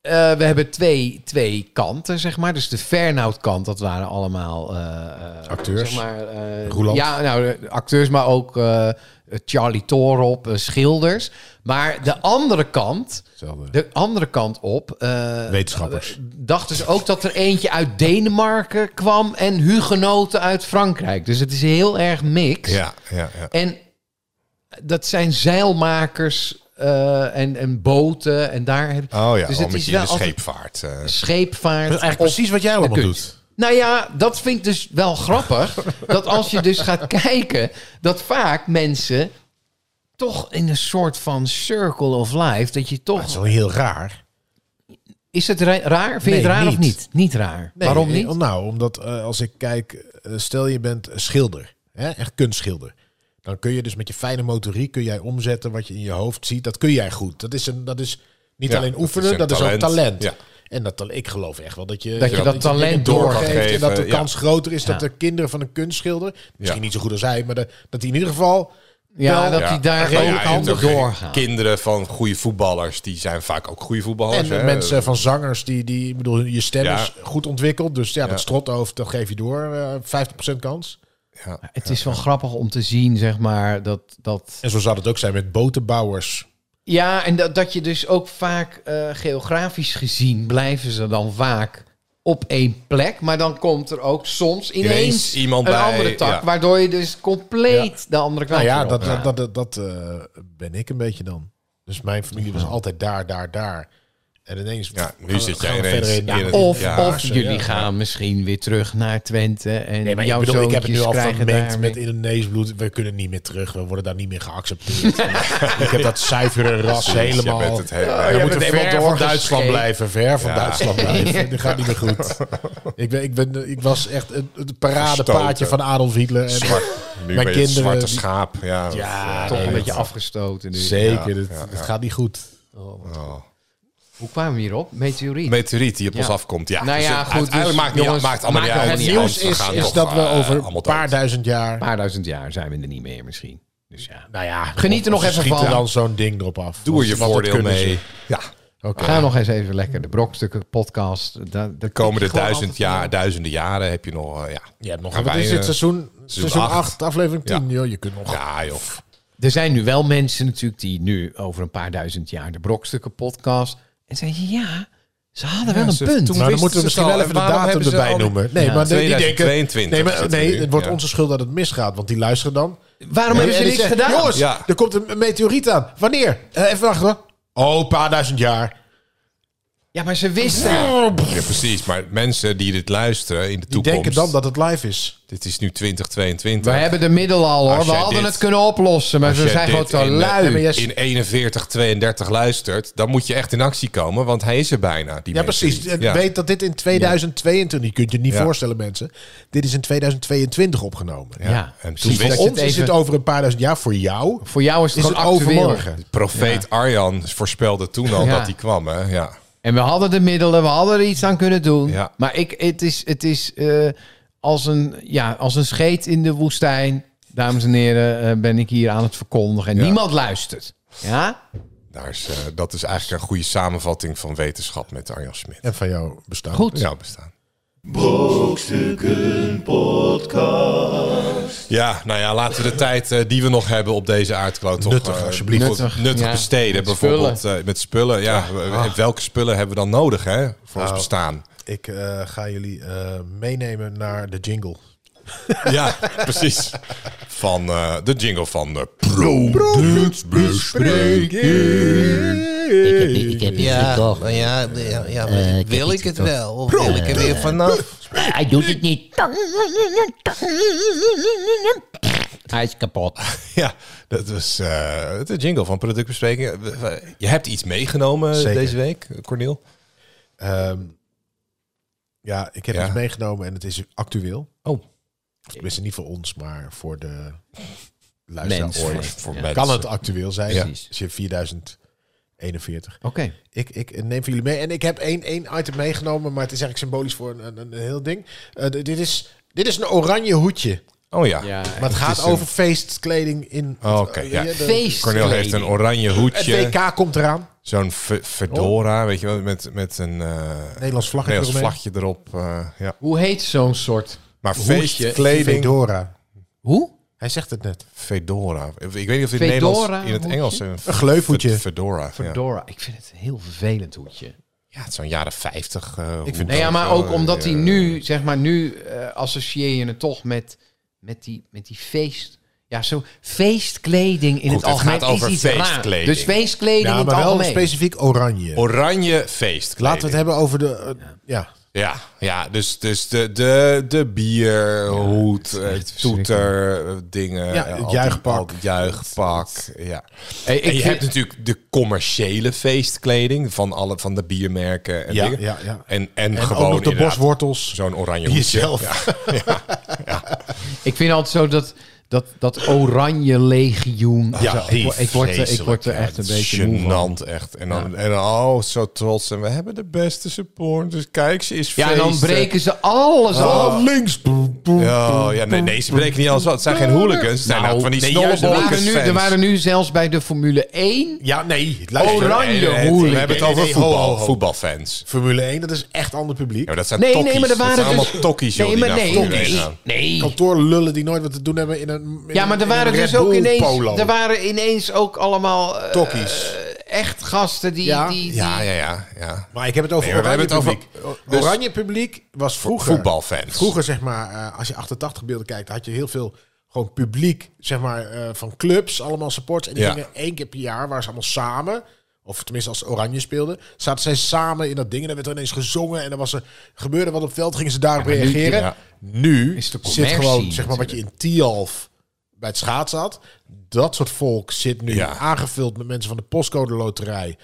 Speaker 4: eh, we hebben twee, twee kanten, zeg maar. Dus de Fernhout-kant, dat waren allemaal eh, eh,
Speaker 3: Acteurs.
Speaker 4: Zeg maar, eh,
Speaker 3: Roeland.
Speaker 4: Ja, nou, de acteurs, maar ook eh, Charlie Torop, eh, schilders. Maar de andere kant,
Speaker 3: Hetzelfde.
Speaker 4: de andere kant op. eh,
Speaker 3: Wetenschappers.
Speaker 4: dachten ze dus ook dat er eentje uit Denemarken kwam en hugenoten uit Frankrijk. Dus het is heel erg mix.
Speaker 2: Ja, ja, ja.
Speaker 4: En dat zijn zeilmakers eh, en, en boten en daar heb
Speaker 2: Oh ja,
Speaker 4: Dus
Speaker 2: al
Speaker 4: het
Speaker 2: met
Speaker 4: is
Speaker 2: je
Speaker 4: wel
Speaker 2: de
Speaker 4: altijd-
Speaker 2: scheepvaart. eh.
Speaker 4: scheepvaart.
Speaker 3: Dat is
Speaker 4: of-
Speaker 3: eigenlijk precies wat jij allemaal
Speaker 4: kunst.
Speaker 3: doet.
Speaker 4: nou ja, dat vind ik dus wel
Speaker 2: [laughs]
Speaker 4: grappig. dat als je dus gaat kijken, dat vaak mensen toch in een soort van circle of life, dat je
Speaker 3: Dat is
Speaker 4: toch...
Speaker 3: wel heel raar.
Speaker 4: Is het ra- raar? Vind je
Speaker 3: Nee,
Speaker 4: het raar of
Speaker 3: niet.
Speaker 4: niet? Niet raar.
Speaker 3: Nee,
Speaker 4: Waarom
Speaker 3: eh,
Speaker 4: niet?
Speaker 3: Nou, omdat eh, als ik kijk, eh, stel je bent schilder, hè, echt kunstschilder. Dan kun je dus met je fijne motoriek kun jij omzetten wat je in je hoofd ziet. Dat kun jij goed. Dat is, een, dat is niet
Speaker 2: Ja,
Speaker 3: alleen
Speaker 2: dat
Speaker 3: oefenen,
Speaker 2: is een
Speaker 3: dat is ook
Speaker 2: talent.
Speaker 3: talent.
Speaker 2: Ja.
Speaker 3: En dat, tal- ik geloof echt wel dat je
Speaker 4: Dat je dat
Speaker 3: dingen
Speaker 4: talent
Speaker 2: door kan
Speaker 3: doorgeeft En dat de
Speaker 2: geven, ja.
Speaker 3: kans groter is dat
Speaker 4: Ja.
Speaker 3: de kinderen van een kunstschilder, misschien
Speaker 2: Ja.
Speaker 3: niet zo goed als hij, maar de- dat die in ieder geval
Speaker 4: Ja,
Speaker 3: wel-
Speaker 4: dat hij daar
Speaker 2: maar
Speaker 4: ook
Speaker 2: je hebt
Speaker 4: handen
Speaker 2: ook
Speaker 4: doorgaan.
Speaker 2: Kinderen van goede voetballers, die zijn vaak ook goede voetballers.
Speaker 3: En
Speaker 2: hè.
Speaker 3: de
Speaker 2: Dus
Speaker 3: mensen van zangers, die, die, ik bedoel, je stem
Speaker 2: Ja.
Speaker 3: is goed ontwikkeld. Dus ja,
Speaker 2: Ja.
Speaker 3: dat strothoofd, dat geef je door. eh 50% kans.
Speaker 2: Ja.
Speaker 4: Het is wel grappig om te zien, zeg maar, dat... dat...
Speaker 3: En zo zou het ook zijn met botenbouwers.
Speaker 4: Ja, en dat, dat je dus ook vaak eh, geografisch gezien blijven ze dan vaak op één plek. Maar dan komt er ook soms ineens,
Speaker 2: Ineens iemand
Speaker 4: een
Speaker 2: bij,
Speaker 4: andere tak,
Speaker 2: ja.
Speaker 4: waardoor je dus compleet de andere kant
Speaker 3: Nou ja,
Speaker 4: op
Speaker 3: dat,
Speaker 4: gaat.
Speaker 3: dat, dat, dat eh, ben ik een beetje dan. Dus mijn familie was altijd daar, daar, daar. En ineens...
Speaker 2: Ja, nu
Speaker 3: gaan we-
Speaker 2: zit jij
Speaker 3: gaan we
Speaker 2: ineens
Speaker 3: verder in.
Speaker 2: in het-
Speaker 4: Of,
Speaker 2: Ja,
Speaker 4: of
Speaker 3: zo,
Speaker 4: jullie
Speaker 3: ja.
Speaker 4: gaan misschien weer terug naar Twente en
Speaker 3: Nee, maar ik
Speaker 4: jouw
Speaker 3: bedoel, ik heb het nu
Speaker 4: zoontjes
Speaker 3: al
Speaker 4: krijgen
Speaker 3: vermengd
Speaker 4: daar
Speaker 3: met
Speaker 4: mee.
Speaker 3: Indonesisch bloed. We kunnen niet meer terug. We worden daar niet meer
Speaker 2: [laughs]
Speaker 3: geaccepteerd. ik heb dat zuivere ras helemaal...
Speaker 2: Je bent het hele-
Speaker 3: We
Speaker 4: jij
Speaker 3: moeten
Speaker 4: bent
Speaker 3: ver
Speaker 4: ver
Speaker 3: van
Speaker 4: van
Speaker 3: Duitsland
Speaker 4: gescheept.
Speaker 3: blijven. Ver van
Speaker 2: Ja.
Speaker 3: Duitsland blijven. Dit gaat niet meer
Speaker 2: [laughs]
Speaker 3: goed. Ik, ben, ik, ben, ik was echt het het paradepaardje
Speaker 2: Gestoten.
Speaker 3: van Adolf Hitler. En
Speaker 2: Zwart, nu ben
Speaker 3: Mijn
Speaker 2: je het
Speaker 3: kinderen,
Speaker 2: zwarte
Speaker 3: die-
Speaker 2: schaap. Ja, eh,
Speaker 3: Ja,
Speaker 4: Toch een
Speaker 3: nee,
Speaker 4: beetje
Speaker 3: dat-
Speaker 4: afgestoten nu.
Speaker 3: Zeker,
Speaker 2: Ja,
Speaker 3: het,
Speaker 2: ja,
Speaker 3: het
Speaker 2: ja.
Speaker 3: gaat niet goed.
Speaker 2: Oh.
Speaker 4: Hoe kwamen we hierop? Meteoriet.
Speaker 2: Meteoriet die op
Speaker 4: Ja.
Speaker 2: ons afkomt. Ja,
Speaker 4: Nou
Speaker 2: Dus
Speaker 4: ja,
Speaker 2: het-
Speaker 4: goed,
Speaker 2: Uiteindelijk
Speaker 4: dus
Speaker 2: maakt niet
Speaker 4: jongens,
Speaker 2: uit. Maakt allemaal niet
Speaker 4: maakt
Speaker 2: uit.
Speaker 4: het
Speaker 3: Het
Speaker 4: niet
Speaker 2: want
Speaker 3: nieuws
Speaker 2: we
Speaker 3: is,
Speaker 2: gaan
Speaker 3: is
Speaker 2: toch,
Speaker 3: dat we
Speaker 2: eh,
Speaker 3: over
Speaker 2: allemaal
Speaker 3: een
Speaker 2: dood.
Speaker 3: paar duizend jaar...
Speaker 4: Een paar duizend jaar zijn we er niet meer misschien. Dus ja.
Speaker 3: Nou ja,
Speaker 4: Geniet er nog
Speaker 3: ze
Speaker 4: even
Speaker 3: schieten
Speaker 4: van.
Speaker 3: dan zo'n ding erop af.
Speaker 2: Doe er
Speaker 3: Want-
Speaker 2: je
Speaker 3: want dat
Speaker 2: voordeel
Speaker 3: kunnen ze.
Speaker 2: mee. Ja,
Speaker 3: Oké.
Speaker 4: Ga nog eens even lekker de brokstukken podcast. Da, de
Speaker 2: komende duizend jaar, duizenden jaren heb je nog... eh, Ja,
Speaker 3: Je hebt nog
Speaker 2: Gaan
Speaker 3: wat
Speaker 2: wij,
Speaker 3: is dit
Speaker 2: eh,
Speaker 3: seizoen, seizoen
Speaker 2: acht.
Speaker 3: 8, aflevering 10.
Speaker 2: Ja.
Speaker 3: Joh, je kunt nog...
Speaker 2: ja joh.
Speaker 4: Er zijn nu wel mensen natuurlijk die nu over een paar duizend jaar de brokstukken podcast. En zeiden ja, ze hadden wel een
Speaker 2: ze-
Speaker 4: punt.
Speaker 2: toen-
Speaker 3: Nou, dan
Speaker 2: wisten
Speaker 3: moeten
Speaker 2: ze
Speaker 3: we misschien
Speaker 2: het al.
Speaker 3: wel even de
Speaker 2: En waarom
Speaker 3: datum
Speaker 2: hebben ze
Speaker 3: erbij
Speaker 2: al die-
Speaker 3: noemen. Nee,
Speaker 4: Ja.
Speaker 3: maar die- die denken...
Speaker 2: 2022
Speaker 3: Nee, maar,
Speaker 2: zitten we
Speaker 3: nee
Speaker 2: nu,
Speaker 3: het wordt
Speaker 2: ja.
Speaker 3: onze schuld dat het misgaat, want die luisteren dan.
Speaker 4: Waarom hebben ze
Speaker 3: En die
Speaker 4: niks
Speaker 3: zeggen,
Speaker 4: gedaan?
Speaker 3: Jongens,
Speaker 2: Ja.
Speaker 3: er komt een meteoriet aan. Wanneer? Eh, even wachten hoor. Oh, een paar duizend jaar.
Speaker 4: Ja, maar ze wisten.
Speaker 2: Ja, precies. Maar mensen die dit luisteren in de
Speaker 3: Die
Speaker 2: toekomst...
Speaker 3: denken dan dat het live is.
Speaker 2: Dit is nu
Speaker 4: We
Speaker 2: 2022.
Speaker 4: hebben de middel al hoor.
Speaker 2: Als
Speaker 4: We
Speaker 2: jij
Speaker 4: hadden
Speaker 2: dit-
Speaker 4: het kunnen oplossen, maar
Speaker 2: Als
Speaker 4: ze
Speaker 2: jij
Speaker 4: zijn gewoon
Speaker 2: dit
Speaker 4: te
Speaker 2: in, eh,
Speaker 4: lui.
Speaker 3: nee, maar jij-
Speaker 2: in 41, 32 luistert, dan moet je echt in actie komen, want hij is er bijna. Die
Speaker 3: Ja,
Speaker 2: mensen
Speaker 3: precies.
Speaker 2: niet. Ja.
Speaker 3: Weet dat dit in 2022, je kunt je het niet
Speaker 2: Ja.
Speaker 3: voorstellen mensen, dit is in 2022 opgenomen.
Speaker 4: Ja,
Speaker 2: en toen
Speaker 4: precies.
Speaker 3: Voor
Speaker 2: wist
Speaker 4: Dat je
Speaker 3: ons
Speaker 4: het
Speaker 3: is
Speaker 4: even-
Speaker 3: dit over een paar duizend jaar, voor jou
Speaker 4: Voor jou is het
Speaker 3: is het
Speaker 4: gewoon actueel.
Speaker 3: overmorgen.
Speaker 2: Profeet Arjan voorspelde toen al
Speaker 4: Ja.
Speaker 2: dat hij kwam, hè? Ja.
Speaker 4: En we hadden de middelen, we hadden er iets aan kunnen doen.
Speaker 2: Ja.
Speaker 4: Maar ik, het is, het is eh, als, een, ja, als een scheet in de woestijn. Dames en heren, eh, ben ik hier aan het verkondigen. En
Speaker 2: Ja.
Speaker 4: niemand luistert. Ja?
Speaker 2: Daar is, eh, dat is eigenlijk een goede samenvatting van wetenschap met Arjan Smit.
Speaker 3: En van jou bestaan.
Speaker 4: Goed.
Speaker 2: Ja, bestaan.
Speaker 1: Brokstukken Podcast.
Speaker 2: Ja, nou ja, laten we de tijd eh, die we nog hebben op deze aardkloot toch
Speaker 3: Nuttig,
Speaker 2: eh,
Speaker 3: alsjeblieft.
Speaker 2: bijvoorbeeld
Speaker 4: Nuttig,
Speaker 2: nuttig
Speaker 4: ja.
Speaker 2: besteden.
Speaker 4: Met Ah.
Speaker 2: bijvoorbeeld eh, met spullen. Ja, we- we- welke spullen hebben we dan nodig hè, voor ons
Speaker 3: Nou. [laughs]
Speaker 2: bestaan?
Speaker 3: Ik eh, ga jullie eh, meenemen naar de jingle.
Speaker 2: Ja, precies. Van eh, de jingle van de productbespreking.
Speaker 5: Ik heb, ik heb ja. gekocht.
Speaker 6: Ja, ja, ja, maar
Speaker 5: Eh, ik
Speaker 6: wil
Speaker 5: heb
Speaker 6: ik
Speaker 5: iets
Speaker 6: het
Speaker 5: gekocht.
Speaker 6: wel? Of wil ik er weer vanaf?
Speaker 5: Hij doet het niet. Hij is kapot.
Speaker 2: [laughs] Ja, dat was eh, de jingle van productbespreking. We- we- Je hebt iets meegenomen
Speaker 3: Zeker.
Speaker 2: deze week, Cornel.
Speaker 3: Ehm, ja, ik heb
Speaker 2: Ja.
Speaker 3: iets meegenomen en het is actueel.
Speaker 2: Oh,
Speaker 3: Tenminste, niet voor ons, maar voor de
Speaker 4: Mensen.
Speaker 3: luisteraar. ooit.
Speaker 2: voor
Speaker 4: Ja.
Speaker 2: mensen.
Speaker 3: Kan het actueel zijn?
Speaker 2: Ja.
Speaker 3: Precies. Als je 4041.
Speaker 4: Oké.
Speaker 3: Ik, ik neem voor jullie mee. En ik heb één, één item meegenomen, maar het is eigenlijk symbolisch voor een, een, een heel ding. Eh, d- dit, is, dit is een oranje hoedje.
Speaker 2: Oh ja.
Speaker 4: Ja.
Speaker 3: Maar het gaat
Speaker 2: is een-
Speaker 3: over feestkleding in...
Speaker 2: Oh, Oké, ja.
Speaker 3: Ja, de-
Speaker 4: Feest.
Speaker 2: Cornel heeft een oranje
Speaker 3: Het
Speaker 2: hoedje.
Speaker 3: WK komt eraan.
Speaker 2: Zo'n fe- fedora, weet je wel, met, met een eh,
Speaker 3: Nederlands vlaggetje
Speaker 2: Nederlands vlagje
Speaker 3: eromheen.
Speaker 2: erop. eh, ja.
Speaker 4: Hoe heet zo'n soort?
Speaker 2: Maar feestkleding,
Speaker 3: Fedora.
Speaker 4: Hoe?
Speaker 3: Hij zegt het net.
Speaker 2: fedora. Ik weet niet of het in,
Speaker 4: Fedora,
Speaker 2: Nederlands, in het
Speaker 4: hoedje?
Speaker 2: Engels... Een
Speaker 3: Een gleufhoedje.
Speaker 2: Fedora, ja.
Speaker 4: Fedora. Ik vind het een heel vervelend hoedje.
Speaker 2: Ja, het is zo'n jaren 50 eh, hoed
Speaker 4: Nee, ja,
Speaker 2: of
Speaker 4: maar
Speaker 2: zo.
Speaker 4: ook omdat hij
Speaker 2: Ja.
Speaker 4: nu, zeg maar, nu eh, associeer je het toch met, met, die, met die feest. Ja, zo feestkleding in
Speaker 2: Goed,
Speaker 4: het
Speaker 2: het
Speaker 4: algemeen
Speaker 2: gaat over
Speaker 4: is iets raar.
Speaker 2: feestkleding.
Speaker 4: Dus feestkleding
Speaker 3: Ja,
Speaker 4: in het
Speaker 3: maar wel
Speaker 4: algemeen.
Speaker 3: specifiek oranje.
Speaker 2: Oranje feest.
Speaker 3: Laten we het hebben over de... eh, ja.
Speaker 2: Ja, ja dus, dus de, de, de bierhoed, eh, toeter, eh, dingen.
Speaker 3: Ja,
Speaker 2: eh,
Speaker 3: het
Speaker 2: al die-
Speaker 3: juichpak.
Speaker 2: al die Juichpak, ja.
Speaker 4: Hey, ik
Speaker 2: en je
Speaker 4: vind-
Speaker 2: hebt natuurlijk de commerciële feestkleding van, alle, van de biermerken en
Speaker 3: Ja,
Speaker 2: dingen.
Speaker 3: ja, ja.
Speaker 2: En, en,
Speaker 3: En
Speaker 2: gewoon
Speaker 3: ook nog de
Speaker 2: inderdaad
Speaker 3: boswortels.
Speaker 2: Zo'n oranje hoedje.
Speaker 3: Jezelf.
Speaker 4: [laughs] Ik vind altijd zo dat, dat, dat oranje legioen.
Speaker 2: Ja,
Speaker 4: Zo, ik, word- ik, word, er- ik
Speaker 2: vreselijk,
Speaker 4: word er echt
Speaker 2: ja.
Speaker 4: een
Speaker 2: Het is
Speaker 4: beetje moe van.
Speaker 2: gênant, echt. En dan, en dan, oh, zo trots. En we hebben de beste support. Dus kijk, ze is
Speaker 4: Ja, en dan
Speaker 2: feesten.
Speaker 4: breken ze alles
Speaker 3: Oh,
Speaker 4: af.
Speaker 3: links.
Speaker 2: Ah. Ja, ja, nee, nee, ze breken niet alles wat. Het zijn geen hooligans. Het zijn ook van die
Speaker 4: Nou, nee, juist, er, waren nu, er waren nu zelfs bij de Formule 1...
Speaker 3: Ja, nee. Luister.
Speaker 4: Oranje.
Speaker 2: We
Speaker 4: hooligans.
Speaker 2: hebben het over
Speaker 3: Nee, nee, nee,
Speaker 2: voetbal,
Speaker 3: ho, ho, ho.
Speaker 2: voetbalfans.
Speaker 3: Formule 1, dat is echt ander publiek.
Speaker 2: Ja, maar dat zijn
Speaker 4: Nee,
Speaker 2: tokkies.
Speaker 4: nee, maar er waren
Speaker 2: dat zijn
Speaker 4: dus...
Speaker 2: allemaal tokkies, joh,
Speaker 4: nee, maar
Speaker 2: die
Speaker 4: nee,
Speaker 2: naar Formule 1
Speaker 4: nee,
Speaker 2: gaan.
Speaker 4: nee.
Speaker 3: Kantoorlullen die nooit wat te doen hebben in een. in
Speaker 4: Ja,
Speaker 3: een-
Speaker 4: maar er
Speaker 3: in een
Speaker 4: waren
Speaker 3: Red
Speaker 4: dus ook
Speaker 3: Bull
Speaker 4: ineens,
Speaker 3: Polo.
Speaker 4: er waren ineens ook allemaal eh,
Speaker 3: Tokkies.
Speaker 4: echt gasten die...
Speaker 3: Ja.
Speaker 4: die, die-
Speaker 2: Ja, ja, ja. ja.
Speaker 3: Maar ik heb het over
Speaker 2: Nee, maar we
Speaker 3: oranje
Speaker 2: hebben het
Speaker 3: publiek.
Speaker 2: over- Dus
Speaker 3: O- oranje publiek was vroeger.
Speaker 2: voetbalfans.
Speaker 3: Vroeger, zeg maar, eh, als je 88 beelden kijkt, had je heel veel gewoon publiek, zeg maar, eh, van clubs, allemaal supports. En die
Speaker 2: Ja.
Speaker 3: gingen één keer per jaar, waren ze allemaal samen. Of tenminste, als Oranje speelde, zaten zij samen in dat ding. En dan werd er ineens gezongen. En dan was er, gebeurde wat op het veld, gingen ze daarop
Speaker 4: maar nu-
Speaker 3: reageren.
Speaker 2: ja.
Speaker 3: Nu
Speaker 4: Is de
Speaker 3: zit
Speaker 4: commercie
Speaker 3: gewoon, zeg maar, wat je in
Speaker 4: natuurlijk.
Speaker 3: Tialf bij het schaatsen had. Dat soort volk zit nu
Speaker 2: Ja.
Speaker 3: aangevuld met mensen van de postcode loterij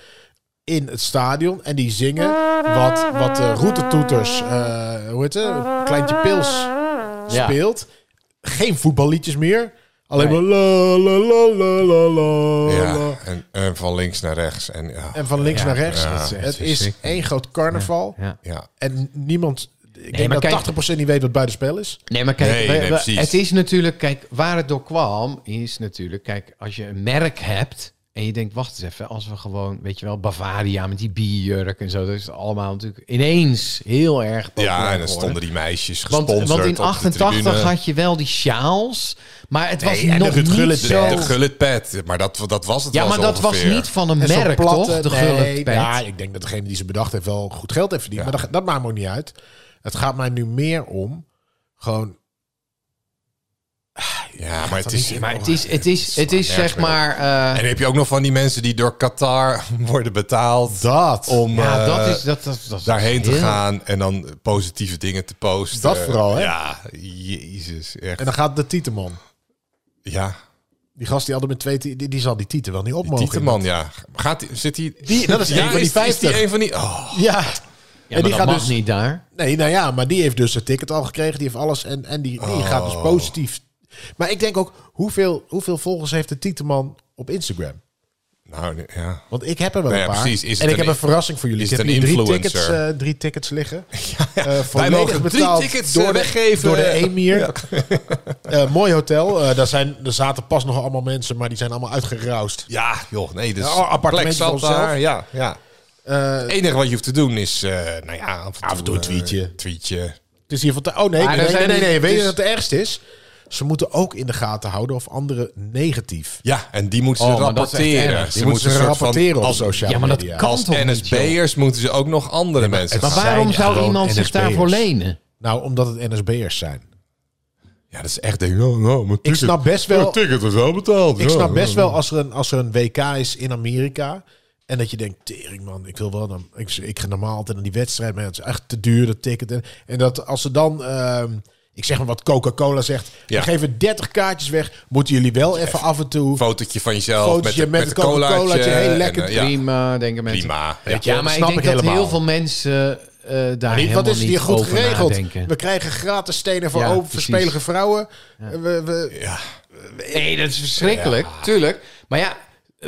Speaker 3: in het stadion. En die zingen wat, wat de routetoeters, eh hoe heet het, Kleintje Pils
Speaker 4: Ja.
Speaker 3: speelt. Geen voetballiedjes meer. Alleen
Speaker 4: Nee.
Speaker 3: maar la la la la la la. la.
Speaker 2: Ja, en, en van links naar rechts. En, ja.
Speaker 3: En van links
Speaker 4: Ja.
Speaker 3: naar rechts.
Speaker 2: Ja.
Speaker 3: Het is één groot carnaval.
Speaker 4: Ja.
Speaker 2: ja.
Speaker 3: En niemand... Ik denk
Speaker 4: maar
Speaker 3: dat
Speaker 4: kijk-
Speaker 3: 80% niet weet wat buitenspel is.
Speaker 4: Nee, maar kijk,
Speaker 2: Nee,
Speaker 4: we-
Speaker 2: nee,
Speaker 4: we-
Speaker 2: precies.
Speaker 4: het is natuurlijk, kijk, waar het door kwam, is natuurlijk, kijk, als je een merk hebt en je denkt, wacht eens even, als we gewoon, weet je wel, Bavaria met die bierjurk en zo, dat is allemaal natuurlijk ineens heel erg
Speaker 2: ja,
Speaker 4: populair
Speaker 2: en dan
Speaker 4: geworden.
Speaker 2: stonden die meisjes
Speaker 4: want,
Speaker 2: gesponsord
Speaker 4: want in
Speaker 2: op de tribune.
Speaker 4: 88 had je wel die sjaals, maar het was
Speaker 2: Nee, en
Speaker 4: nog
Speaker 2: de
Speaker 4: niet
Speaker 2: Gullit,
Speaker 4: zo...
Speaker 2: de Gullit pet. Maar dat, dat was het
Speaker 4: ja,
Speaker 2: wel
Speaker 4: maar
Speaker 2: zo
Speaker 4: dat was
Speaker 2: ongeveer.
Speaker 4: niet van een
Speaker 3: En zo'n
Speaker 4: merk,
Speaker 3: platte-
Speaker 4: toch? De
Speaker 3: nee,
Speaker 4: Gullit pet.
Speaker 3: Ja, ik denk dat degene die ze bedacht heeft wel goed geld heeft verdiend.
Speaker 2: Ja.
Speaker 3: Maar dat, dat maakt me ook niet uit. Het gaat mij nu meer om gewoon...
Speaker 2: Ja, maar het is...
Speaker 4: Maar het is, het is, het is
Speaker 2: nergens
Speaker 4: zeg
Speaker 2: meer op.
Speaker 4: maar... eh,
Speaker 2: En heb je ook nog van die mensen die door Qatar [laughs] worden betaald
Speaker 3: Dat.
Speaker 2: om
Speaker 4: ja, dat
Speaker 2: eh,
Speaker 4: is, dat, dat, dat is
Speaker 2: daarheen te
Speaker 4: heel-
Speaker 2: gaan en dan positieve dingen te posten.
Speaker 3: Dat vooral, hè?
Speaker 2: Ja, jezus, echt.
Speaker 3: En dan gaat de Tieteman.
Speaker 2: ja,
Speaker 3: Die gast die altijd met twee... ti- Die, die zal die tieten wel niet op
Speaker 2: die
Speaker 3: mogen.
Speaker 2: Tieteman, ja. Gaat die, zit die,
Speaker 3: Die- dat is
Speaker 2: ja,
Speaker 3: een van die
Speaker 2: Is die
Speaker 3: 50.
Speaker 2: een van die... Oh,
Speaker 3: Ja.
Speaker 4: Ja, maar
Speaker 3: die
Speaker 4: dat
Speaker 3: gaat
Speaker 4: mag
Speaker 3: dus-
Speaker 4: niet daar.
Speaker 3: Nee, nou ja, maar die heeft dus het ticket al gekregen. Die heeft alles. En, en die, die
Speaker 2: Oh.
Speaker 3: gaat dus positief. Maar ik denk ook, hoeveel, hoeveel volgers heeft de Tieteman op Instagram?
Speaker 2: Nou, ja.
Speaker 3: Want ik heb er wel
Speaker 2: Nou
Speaker 3: een
Speaker 2: ja,
Speaker 3: paar.
Speaker 2: precies. Is het
Speaker 3: en ik
Speaker 2: een-
Speaker 3: heb een verrassing voor jullie.
Speaker 2: is
Speaker 3: ik heb
Speaker 2: het een
Speaker 3: hier drie
Speaker 2: influencer?
Speaker 3: tickets, eh, drie tickets liggen.
Speaker 2: [laughs]
Speaker 3: Eh,
Speaker 2: Wij
Speaker 3: volledig
Speaker 2: mogen drie
Speaker 3: betaald
Speaker 2: tickets
Speaker 3: door
Speaker 2: eh,
Speaker 3: de-
Speaker 2: weggeven.
Speaker 3: Door de Emir. [laughs] Eh, mooi hotel. Eh, daar, zijn, er zaten pas nog allemaal mensen, maar die zijn allemaal uitgeroust.
Speaker 2: Ja, joh, nee, dus
Speaker 3: Ja, oh, appartement
Speaker 2: plek
Speaker 3: voor
Speaker 2: zat
Speaker 3: onszelf.
Speaker 2: daar. Ja, ja.
Speaker 3: Eh,
Speaker 2: Het enige wat je hoeft te doen is, eh, nou ja, af en toe,
Speaker 3: Af en toe een
Speaker 2: eh,
Speaker 3: tweetje.
Speaker 2: tweetje.
Speaker 3: Dus hier van te- oh nee, nee,
Speaker 4: Maar dan
Speaker 3: nee, nee,
Speaker 4: zijn
Speaker 3: nee,
Speaker 4: die-
Speaker 3: Weet je
Speaker 4: dus-
Speaker 3: wat het ergste is? Ze moeten ook in de gaten houden of anderen negatief.
Speaker 2: Ja, en die moeten ze
Speaker 4: Oh, maar dat is echt
Speaker 2: rapporteren.
Speaker 4: erg.
Speaker 2: Ze
Speaker 3: Die moeten ze
Speaker 2: een soort van-
Speaker 3: rapporteren op
Speaker 2: als,
Speaker 3: sociale
Speaker 4: Ja, maar dat
Speaker 3: media.
Speaker 4: kan
Speaker 2: als
Speaker 4: toch niet,
Speaker 2: NSB'ers moeten ze ook nog andere mensen
Speaker 3: het
Speaker 2: gaan.
Speaker 4: Maar
Speaker 3: zijn
Speaker 4: waarom zou
Speaker 3: gewoon
Speaker 4: iemand zich daarvoor
Speaker 3: NSB'ers.
Speaker 4: lenen?
Speaker 3: Nou, omdat het NSB'ers zijn.
Speaker 2: Ja, dat is echt denk ik, oh, nou, mijn
Speaker 3: Ik
Speaker 2: ticket-
Speaker 3: snap best
Speaker 2: mijn
Speaker 3: wel,
Speaker 2: ticket was wel betaald.
Speaker 3: ik
Speaker 2: ja.
Speaker 3: snap best wel als er een, als er een WK is in Amerika. En dat je denkt, tering man, ik wil wel dan. Ik, ik ga normaal altijd naar die wedstrijd, maar het is echt te duur, dat ticket. En, en dat als ze dan, ehm, ik zeg maar wat Coca-Cola zegt,
Speaker 2: Ja.
Speaker 3: we geven 30 kaartjes weg. Moeten jullie wel even af en toe.
Speaker 2: Fotootje van jezelf
Speaker 3: Fotootje
Speaker 2: met,
Speaker 3: met
Speaker 2: een
Speaker 3: het Coca-Colaatje, heel
Speaker 2: en,
Speaker 3: lekker
Speaker 2: eh, ja,
Speaker 4: Prima, denken mensen.
Speaker 2: prima. Ja.
Speaker 3: Weet je,
Speaker 4: Ja, maar
Speaker 3: dat
Speaker 4: ik
Speaker 3: snap
Speaker 4: denk
Speaker 3: ik
Speaker 4: dat
Speaker 3: helemaal.
Speaker 4: heel veel mensen eh daar
Speaker 3: Niet,
Speaker 4: helemaal
Speaker 3: wat is het
Speaker 4: niet
Speaker 3: hier goed
Speaker 4: over
Speaker 3: geregeld?
Speaker 4: nadenken.
Speaker 3: We krijgen gratis stenen voor
Speaker 4: Ja,
Speaker 3: open
Speaker 4: precies.
Speaker 3: verspelige vrouwen. We, we,
Speaker 4: Nee, dat is verschrikkelijk, tuurlijk. Maar ja,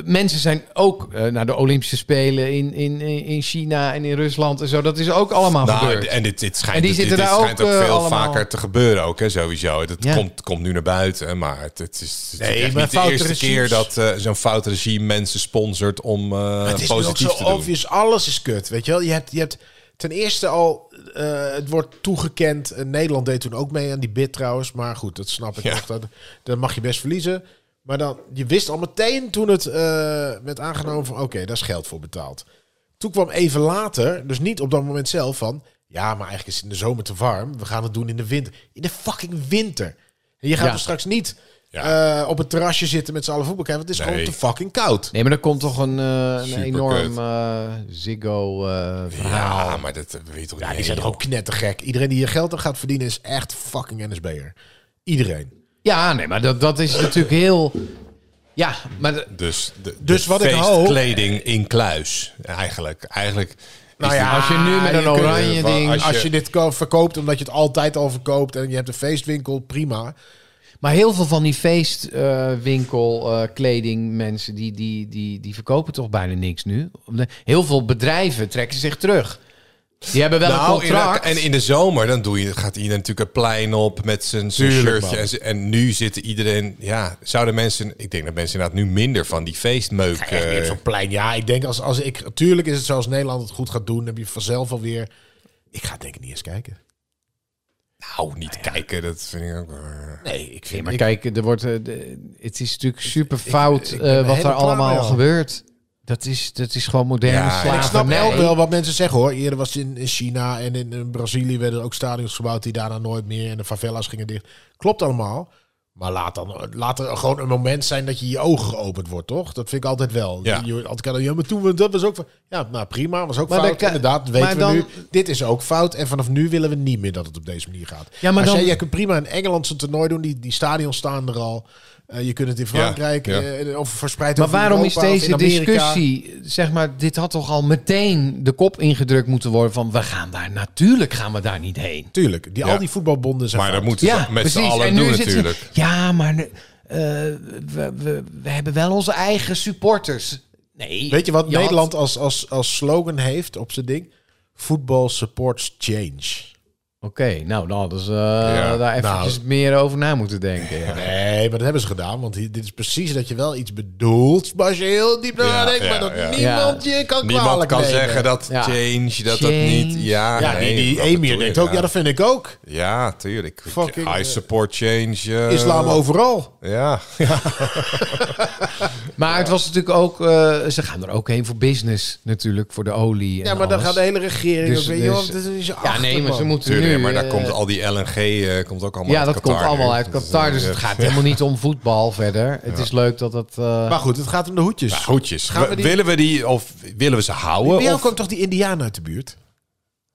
Speaker 4: mensen zijn ook eh, naar de Olympische Spelen in, in, in in China en in Rusland en zo. Dat is ook allemaal
Speaker 2: Nou,
Speaker 4: gebeurd.
Speaker 2: en dit, dit schijnt,
Speaker 4: En die
Speaker 2: dit- dit,
Speaker 4: zitten daar
Speaker 2: schijnt
Speaker 4: ook,
Speaker 2: ook
Speaker 4: eh,
Speaker 2: veel
Speaker 4: allemaal.
Speaker 2: vaker te gebeuren ook, hè, sowieso. Dat
Speaker 4: Ja.
Speaker 2: komt, komt nu naar buiten, hè, maar het, het is, het is
Speaker 3: Nee,
Speaker 2: echt
Speaker 3: maar
Speaker 2: niet de
Speaker 3: foute
Speaker 2: eerste
Speaker 3: regimes-
Speaker 2: keer dat eh, zo'n fout regime mensen sponsort om eh,
Speaker 3: het is nu ook
Speaker 2: positief
Speaker 3: zo
Speaker 2: te doen.
Speaker 3: obvious. Alles is kut, weet je wel. Je hebt, je hebt ten eerste al, eh, het wordt toegekend. Eh, Nederland deed toen ook mee aan die bid trouwens. Maar goed, dat snap ik
Speaker 2: Ja.
Speaker 3: nog. Dat, dat mag je best verliezen. Maar dan, je wist al meteen toen het eh, werd aangenomen van... oké, daar is geld voor betaald. Toen kwam even later, dus niet op dat moment zelf van... ja, maar eigenlijk is het in de zomer te warm. We gaan het doen in de winter. In de fucking winter. En je gaat
Speaker 4: Ja.
Speaker 3: er straks niet
Speaker 2: Ja.
Speaker 3: eh, op het terrasje zitten met z'n allen voetbal kijken... want het is
Speaker 2: Nee.
Speaker 3: gewoon te fucking koud.
Speaker 4: Nee, maar er komt toch een, eh, een
Speaker 2: Superkut.
Speaker 4: enorm eh, Ziggo-verhaal.
Speaker 2: Ja, maar dat eh, weet je toch
Speaker 3: Nou. Ja, die
Speaker 2: niet,
Speaker 3: zijn toch
Speaker 2: joh.
Speaker 3: ook knettergek. Iedereen die hier geld aan gaat verdienen is echt fucking NSB'er. Iedereen.
Speaker 4: ja, nee, maar dat, dat is natuurlijk heel... Ja, maar de-
Speaker 2: Dus, de,
Speaker 3: Dus
Speaker 2: de
Speaker 3: wat ik hoop-
Speaker 2: feestkleding in kluis, eigenlijk. Eigenlijk
Speaker 3: Nou
Speaker 2: is
Speaker 3: ja,
Speaker 4: als je nu met
Speaker 3: je
Speaker 4: een
Speaker 3: kunt-
Speaker 4: oranje
Speaker 2: wa-
Speaker 4: ding...
Speaker 2: als
Speaker 3: Als
Speaker 2: je-
Speaker 3: je, dit ko- verkoopt omdat je het altijd al verkoopt en je hebt een feestwinkel, prima.
Speaker 4: Maar heel veel van die feestwinkel, kleding, mensen, die, die, die, die verkopen toch bijna niks nu. Heel veel bedrijven trekken zich terug. Die hebben wel een
Speaker 2: Nou, in
Speaker 4: contract.
Speaker 2: en in de zomer dan doe je, gaat iedereen natuurlijk het plein op met zijn zijn
Speaker 3: Tuurlijk,
Speaker 2: shirtje.
Speaker 3: man.
Speaker 2: En, ze- en nu zitten iedereen, ja, zouden mensen, ik denk dat mensen inderdaad nu minder van die feestmeuk.
Speaker 3: Echt niet op
Speaker 2: eh,
Speaker 3: zo'n plein. Ja, ik denk als, als ik... Tuurlijk is het zo als Nederland het goed gaat doen, heb je vanzelf alweer... Ik ga het denk ik niet eens kijken.
Speaker 2: nou, niet kijken, dat vind ik ook. eh.
Speaker 3: Nee, ik
Speaker 4: Nee,
Speaker 3: vind...
Speaker 4: maar
Speaker 3: ik-
Speaker 4: kijk, er wordt, eh, de- het is natuurlijk super fout
Speaker 3: ik ben
Speaker 4: eh,
Speaker 3: er
Speaker 4: wat er
Speaker 3: helemaal klaar mee
Speaker 4: allemaal
Speaker 3: al.
Speaker 4: gebeurt. Dat is, dat is gewoon moderne
Speaker 2: Ja,
Speaker 4: slavernij.
Speaker 3: ik snap ook wel wat mensen zeggen hoor. Eerder was het in, in China en in, in Brazilië werden ook stadions gebouwd die daarna nooit meer. En de favelas gingen dicht. Klopt allemaal. Maar laat, dan, laat er gewoon een moment zijn dat je je ogen geopend wordt, toch? Dat vind ik altijd wel.
Speaker 2: Ja.
Speaker 3: Je, altijd kan je, ja, maar toen, we- dat was ook fout. Ja, nou prima, was ook
Speaker 4: Maar
Speaker 3: fout.
Speaker 4: dan kan-
Speaker 3: Inderdaad, dat weten
Speaker 4: maar
Speaker 3: we
Speaker 4: dan-
Speaker 3: nu. Dit is ook fout. En vanaf nu willen we niet meer dat het op deze manier gaat.
Speaker 4: Ja, maar
Speaker 3: Als
Speaker 4: dan-
Speaker 3: jij, jij kunt prima in Engeland zo'n toernooi doen. Die, die stadions staan er al. Eh, je kunt het in Frankrijk
Speaker 2: ja.
Speaker 3: eh, of verspreid
Speaker 4: Maar
Speaker 3: over
Speaker 4: waarom is
Speaker 3: Europa of in
Speaker 4: deze
Speaker 3: Amerika.
Speaker 4: discussie, zeg maar, dit had toch al meteen de kop ingedrukt moeten worden van we gaan daar, natuurlijk gaan we daar niet heen.
Speaker 3: Tuurlijk, die,
Speaker 2: Ja.
Speaker 3: al die voetbalbonden zijn
Speaker 2: Maar dat
Speaker 3: fout.
Speaker 2: moeten ze met z'n allen doen
Speaker 4: zitten
Speaker 2: natuurlijk.
Speaker 4: Ze, ja, maar eh, we, we, we hebben wel onze eigen supporters. Nee.
Speaker 3: Weet je wat
Speaker 4: had-
Speaker 3: Nederland als, als, als slogan heeft op zijn ding? Voetbal supports change.
Speaker 4: Oké, nou, dan hadden ze eh,
Speaker 2: Ja,
Speaker 4: daar
Speaker 3: nou.
Speaker 4: eventjes meer over na moeten
Speaker 3: [laughs]
Speaker 4: denken. Ja.
Speaker 3: Nee, maar dat hebben ze gedaan. Want hi- dit is precies dat je wel iets bedoelt. Maar als je heel diep
Speaker 2: Ja,
Speaker 3: nadenkt,
Speaker 2: ja,
Speaker 3: maar dat
Speaker 2: ja.
Speaker 3: niemand je kan
Speaker 2: Niemand
Speaker 3: kwalijk
Speaker 2: kan
Speaker 3: nemen.
Speaker 2: zeggen dat
Speaker 4: Ja.
Speaker 2: change, dat dat
Speaker 4: Change.
Speaker 2: niet. Ja,
Speaker 3: Ja,
Speaker 2: nee,
Speaker 3: die, die
Speaker 2: wat bedoel
Speaker 3: Emir
Speaker 2: je
Speaker 3: denkt ook,
Speaker 2: nou?
Speaker 3: ja, dat vind ik ook.
Speaker 2: Ja, tuurlijk.
Speaker 3: Fucking,
Speaker 2: I
Speaker 3: eh,
Speaker 2: support change. eh,
Speaker 3: Islam overal.
Speaker 2: Ja.
Speaker 4: Maar het was natuurlijk ook, eh, ze gaan er ook heen voor business natuurlijk, voor de olie. En
Speaker 3: Ja, maar dan
Speaker 4: alles.
Speaker 3: gaat de hele regering
Speaker 4: Dus-
Speaker 3: ook weer,
Speaker 4: dus-
Speaker 3: joh, dat is je
Speaker 4: Ja, nee, maar ze moeten
Speaker 2: Tuurlijk,
Speaker 4: nu,
Speaker 2: maar daar
Speaker 4: eh,
Speaker 2: komt al die LNG eh, komt ook allemaal
Speaker 4: Ja,
Speaker 2: uit
Speaker 4: dat
Speaker 2: Qatar
Speaker 4: komt allemaal
Speaker 2: nu.
Speaker 4: uit
Speaker 2: Dat is,
Speaker 4: Qatar, dus
Speaker 2: eh,
Speaker 4: het
Speaker 2: [laughs]
Speaker 4: gaat helemaal niet om voetbal verder. Het is leuk dat dat... eh,
Speaker 3: Maar goed, het gaat om de hoedjes.
Speaker 2: Ja, Groetjes.
Speaker 3: Gaan we die-
Speaker 2: Willen we die of willen we ze
Speaker 3: Bij
Speaker 2: houden?
Speaker 3: jou
Speaker 2: Of...
Speaker 3: kwam toch die Indiaan uit de buurt?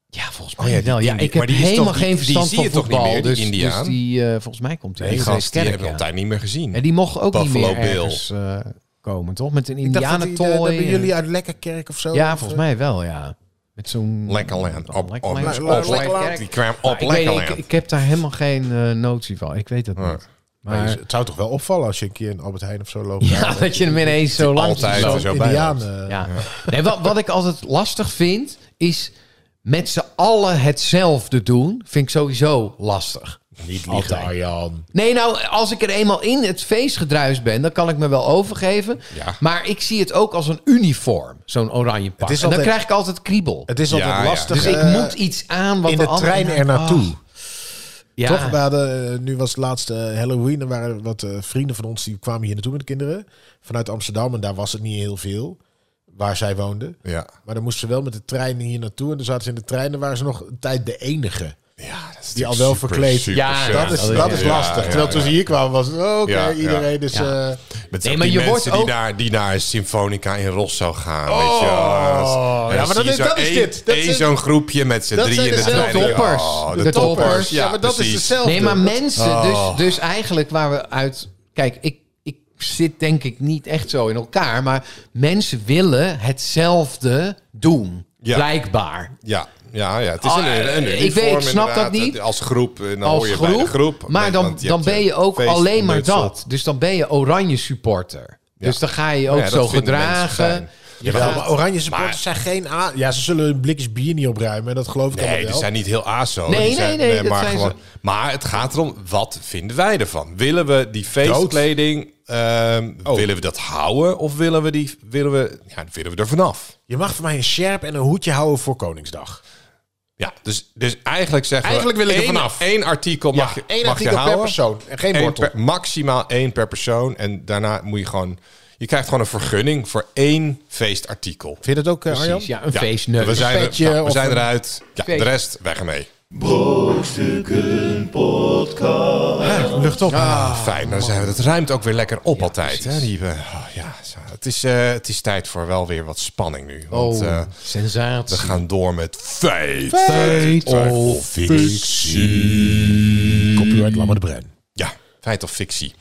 Speaker 4: Ja, volgens
Speaker 2: Oh
Speaker 4: mij
Speaker 2: ja, die
Speaker 4: wel. Ja,
Speaker 2: Indi-
Speaker 4: ik heb
Speaker 2: maar die is
Speaker 4: helemaal
Speaker 2: toch- die-
Speaker 4: geen
Speaker 2: die
Speaker 4: verstand
Speaker 2: zie
Speaker 4: van
Speaker 2: je toch niet
Speaker 4: voetbal.
Speaker 2: meer, die
Speaker 4: dus,
Speaker 2: Indiaan?
Speaker 4: dus die, eh, volgens mij komt hij
Speaker 2: die
Speaker 4: uit
Speaker 2: gast die
Speaker 4: Zeeskerk,
Speaker 2: hebben we
Speaker 4: ja.
Speaker 2: al tijd niet meer gezien.
Speaker 4: En die mocht ook
Speaker 2: Buffalo
Speaker 4: niet meer
Speaker 2: Bill.
Speaker 4: ergens eh, komen, toch? Met een
Speaker 3: Ik dacht dat die-
Speaker 2: eh,
Speaker 3: dat- dat
Speaker 4: indianentooi.
Speaker 3: bij jullie uit Lekkerkerk of zo.
Speaker 4: Ja,
Speaker 3: Of,
Speaker 4: volgens mij wel, ja. Met zo'n...
Speaker 2: Lekkerland. Op- op-
Speaker 4: Lekkerland.
Speaker 2: op-
Speaker 3: Lekkerland.
Speaker 2: op- Die kwam op
Speaker 4: Maar Nou, ik, weet,
Speaker 2: Lekkerland.
Speaker 4: ik, ik heb daar helemaal geen eh, notie van. Ik weet dat
Speaker 2: Ja.
Speaker 4: niet.
Speaker 3: Maar
Speaker 4: Maar [laughs]
Speaker 3: het zou toch wel opvallen als je een keer in Albert Heijn of zo loopt.
Speaker 4: ja, dat je hem ineens zo lang
Speaker 2: Altijd
Speaker 4: zo-
Speaker 2: er zo bij
Speaker 3: Indiaan,
Speaker 2: loopt.
Speaker 3: eh,
Speaker 4: Ja. Nee, wat, wat ik altijd lastig vind, is met z'n allen hetzelfde doen. Vind ik sowieso lastig.
Speaker 3: Niet liegen, Arjan.
Speaker 4: Nee, nou, als ik er eenmaal in het feestgedruis ben, dan kan ik me wel overgeven.
Speaker 2: Ja.
Speaker 4: Maar ik zie het ook als een uniform, zo'n oranje pak.
Speaker 3: is
Speaker 4: en dan
Speaker 3: altijd-
Speaker 4: krijg ik altijd kriebel.
Speaker 3: Het is altijd
Speaker 2: Ja, ja.
Speaker 3: lastig.
Speaker 4: Dus ik
Speaker 3: eh,
Speaker 4: moet iets aan wat
Speaker 3: in
Speaker 4: de
Speaker 3: de trein er naartoe.
Speaker 4: Ja.
Speaker 3: Toch? We hadden, eh, nu was het laatste eh, Halloween. Er waren wat eh, vrienden van ons die kwamen hier naartoe met de kinderen. Vanuit Amsterdam. En daar was het niet heel veel. Waar zij woonden.
Speaker 2: Ja.
Speaker 3: Maar dan moesten ze wel met de trein hier naartoe. En dan zaten ze in de trein. Dan waren ze nog een tijd de enige.
Speaker 2: Ja, dat is
Speaker 3: Die al wel
Speaker 2: super,
Speaker 3: verkleed.
Speaker 2: super
Speaker 4: Ja,
Speaker 2: saai.
Speaker 3: dat is, dat is
Speaker 2: Ja,
Speaker 3: lastig.
Speaker 2: ja,
Speaker 3: Terwijl
Speaker 2: ja.
Speaker 3: toen ze hier kwamen was het... oh, Oké,
Speaker 2: Ja, ja.
Speaker 3: iedereen is...
Speaker 4: Ja.
Speaker 3: eh,
Speaker 2: Met nee,
Speaker 4: Nee, maar
Speaker 2: maar die
Speaker 4: je wordt
Speaker 2: mensen die,
Speaker 4: ook-
Speaker 2: naar, die naar Symfonica in Rosso gaan. weet je,
Speaker 4: Oh.
Speaker 2: wel. Dat is- en dan
Speaker 3: maar dat
Speaker 2: zie je
Speaker 3: is-
Speaker 2: zo
Speaker 3: dat is
Speaker 2: één-
Speaker 3: dit. Dat
Speaker 2: één
Speaker 3: zijn-
Speaker 2: zo'n groepje met z'n
Speaker 3: dat
Speaker 2: drieën
Speaker 3: zijn
Speaker 2: in de
Speaker 3: dezelfde
Speaker 2: trein.
Speaker 4: toppers.
Speaker 2: Oh,
Speaker 4: De toppers.
Speaker 3: Ja, maar dat is
Speaker 2: precies.
Speaker 3: hetzelfde.
Speaker 4: Nee, maar mensen,
Speaker 2: Oh.
Speaker 4: dus, dus eigenlijk waar we uit. Kijk, ik, ik zit denk ik niet echt zo in elkaar, maar mensen willen hetzelfde doen.
Speaker 2: Ja.
Speaker 4: Blijkbaar.
Speaker 2: Ja, ja, ja. Het is een,
Speaker 4: Ah,
Speaker 2: een, een
Speaker 4: ik
Speaker 2: uniform
Speaker 4: weet, ik snap dat
Speaker 2: inderdaad.
Speaker 4: niet.
Speaker 2: Als groep, eh, dan hoor
Speaker 4: Als
Speaker 2: je bij de
Speaker 4: groep.
Speaker 2: groep.
Speaker 4: maar
Speaker 2: Nee,
Speaker 4: dan,
Speaker 2: want je
Speaker 4: dan
Speaker 2: hebt
Speaker 4: ben
Speaker 2: je
Speaker 4: je ook
Speaker 2: feest-
Speaker 4: alleen maar
Speaker 2: mutsel.
Speaker 4: dat. Dus dan ben je oranje supporter. Dus dan ga je ook
Speaker 2: Ja, dat
Speaker 4: zo
Speaker 2: vinden mensen
Speaker 4: gedragen.
Speaker 2: fijn.
Speaker 3: Jawel, maar oranje supporters zijn geen... a- Ja, ze zullen hun blikjes bier niet opruimen. Dat geloof ik allemaal
Speaker 2: Nee, die
Speaker 3: wel.
Speaker 2: zijn niet heel aso.
Speaker 4: Nee,
Speaker 2: Die
Speaker 4: nee,
Speaker 2: zijn,
Speaker 4: nee, dat
Speaker 2: maar,
Speaker 4: zijn ze.
Speaker 2: maar het gaat erom, wat vinden wij ervan? Willen we die feestkleding, ehm,
Speaker 3: Oh.
Speaker 2: willen we dat houden? Of willen we, die, willen we, ja, willen we er vanaf?
Speaker 3: Je mag voor mij een sjerp en een hoedje houden voor Koningsdag.
Speaker 2: Ja, dus, dus eigenlijk zeggen
Speaker 3: Eigenlijk
Speaker 2: we...
Speaker 3: wil ik er
Speaker 2: één-
Speaker 3: vanaf.
Speaker 2: één artikel mag, je, mag
Speaker 3: één
Speaker 2: je
Speaker 3: artikel per
Speaker 2: houden.
Speaker 3: persoon en geen
Speaker 2: Eén
Speaker 3: wortel.
Speaker 2: per- maximaal één per persoon. En daarna moet je gewoon... Je krijgt gewoon een vergunning voor één feestartikel.
Speaker 3: Vind je dat ook, eh, Arjan?
Speaker 4: Precies, Dus ja, een
Speaker 2: Ja,
Speaker 4: feestneus.
Speaker 2: We zijn, er-
Speaker 3: petje
Speaker 2: ja, we
Speaker 3: of
Speaker 2: zijn
Speaker 3: een-
Speaker 2: eruit. Ja, de
Speaker 4: Feest.
Speaker 2: rest, weg ermee.
Speaker 1: Brokstukken podcast.
Speaker 3: Lucht op.
Speaker 2: Ah, Fijn, dan zijn we. Dat ruimt ook weer lekker op altijd. Hè? Die, eh, oh, ja, zo. het, is, eh, het is tijd voor wel weer wat spanning nu. Want
Speaker 4: Oh,
Speaker 2: eh, we
Speaker 4: sensatie.
Speaker 2: gaan door met feit, of fictie.
Speaker 3: Copyright Lamme de Bruin.
Speaker 2: Ja, feit of fictie.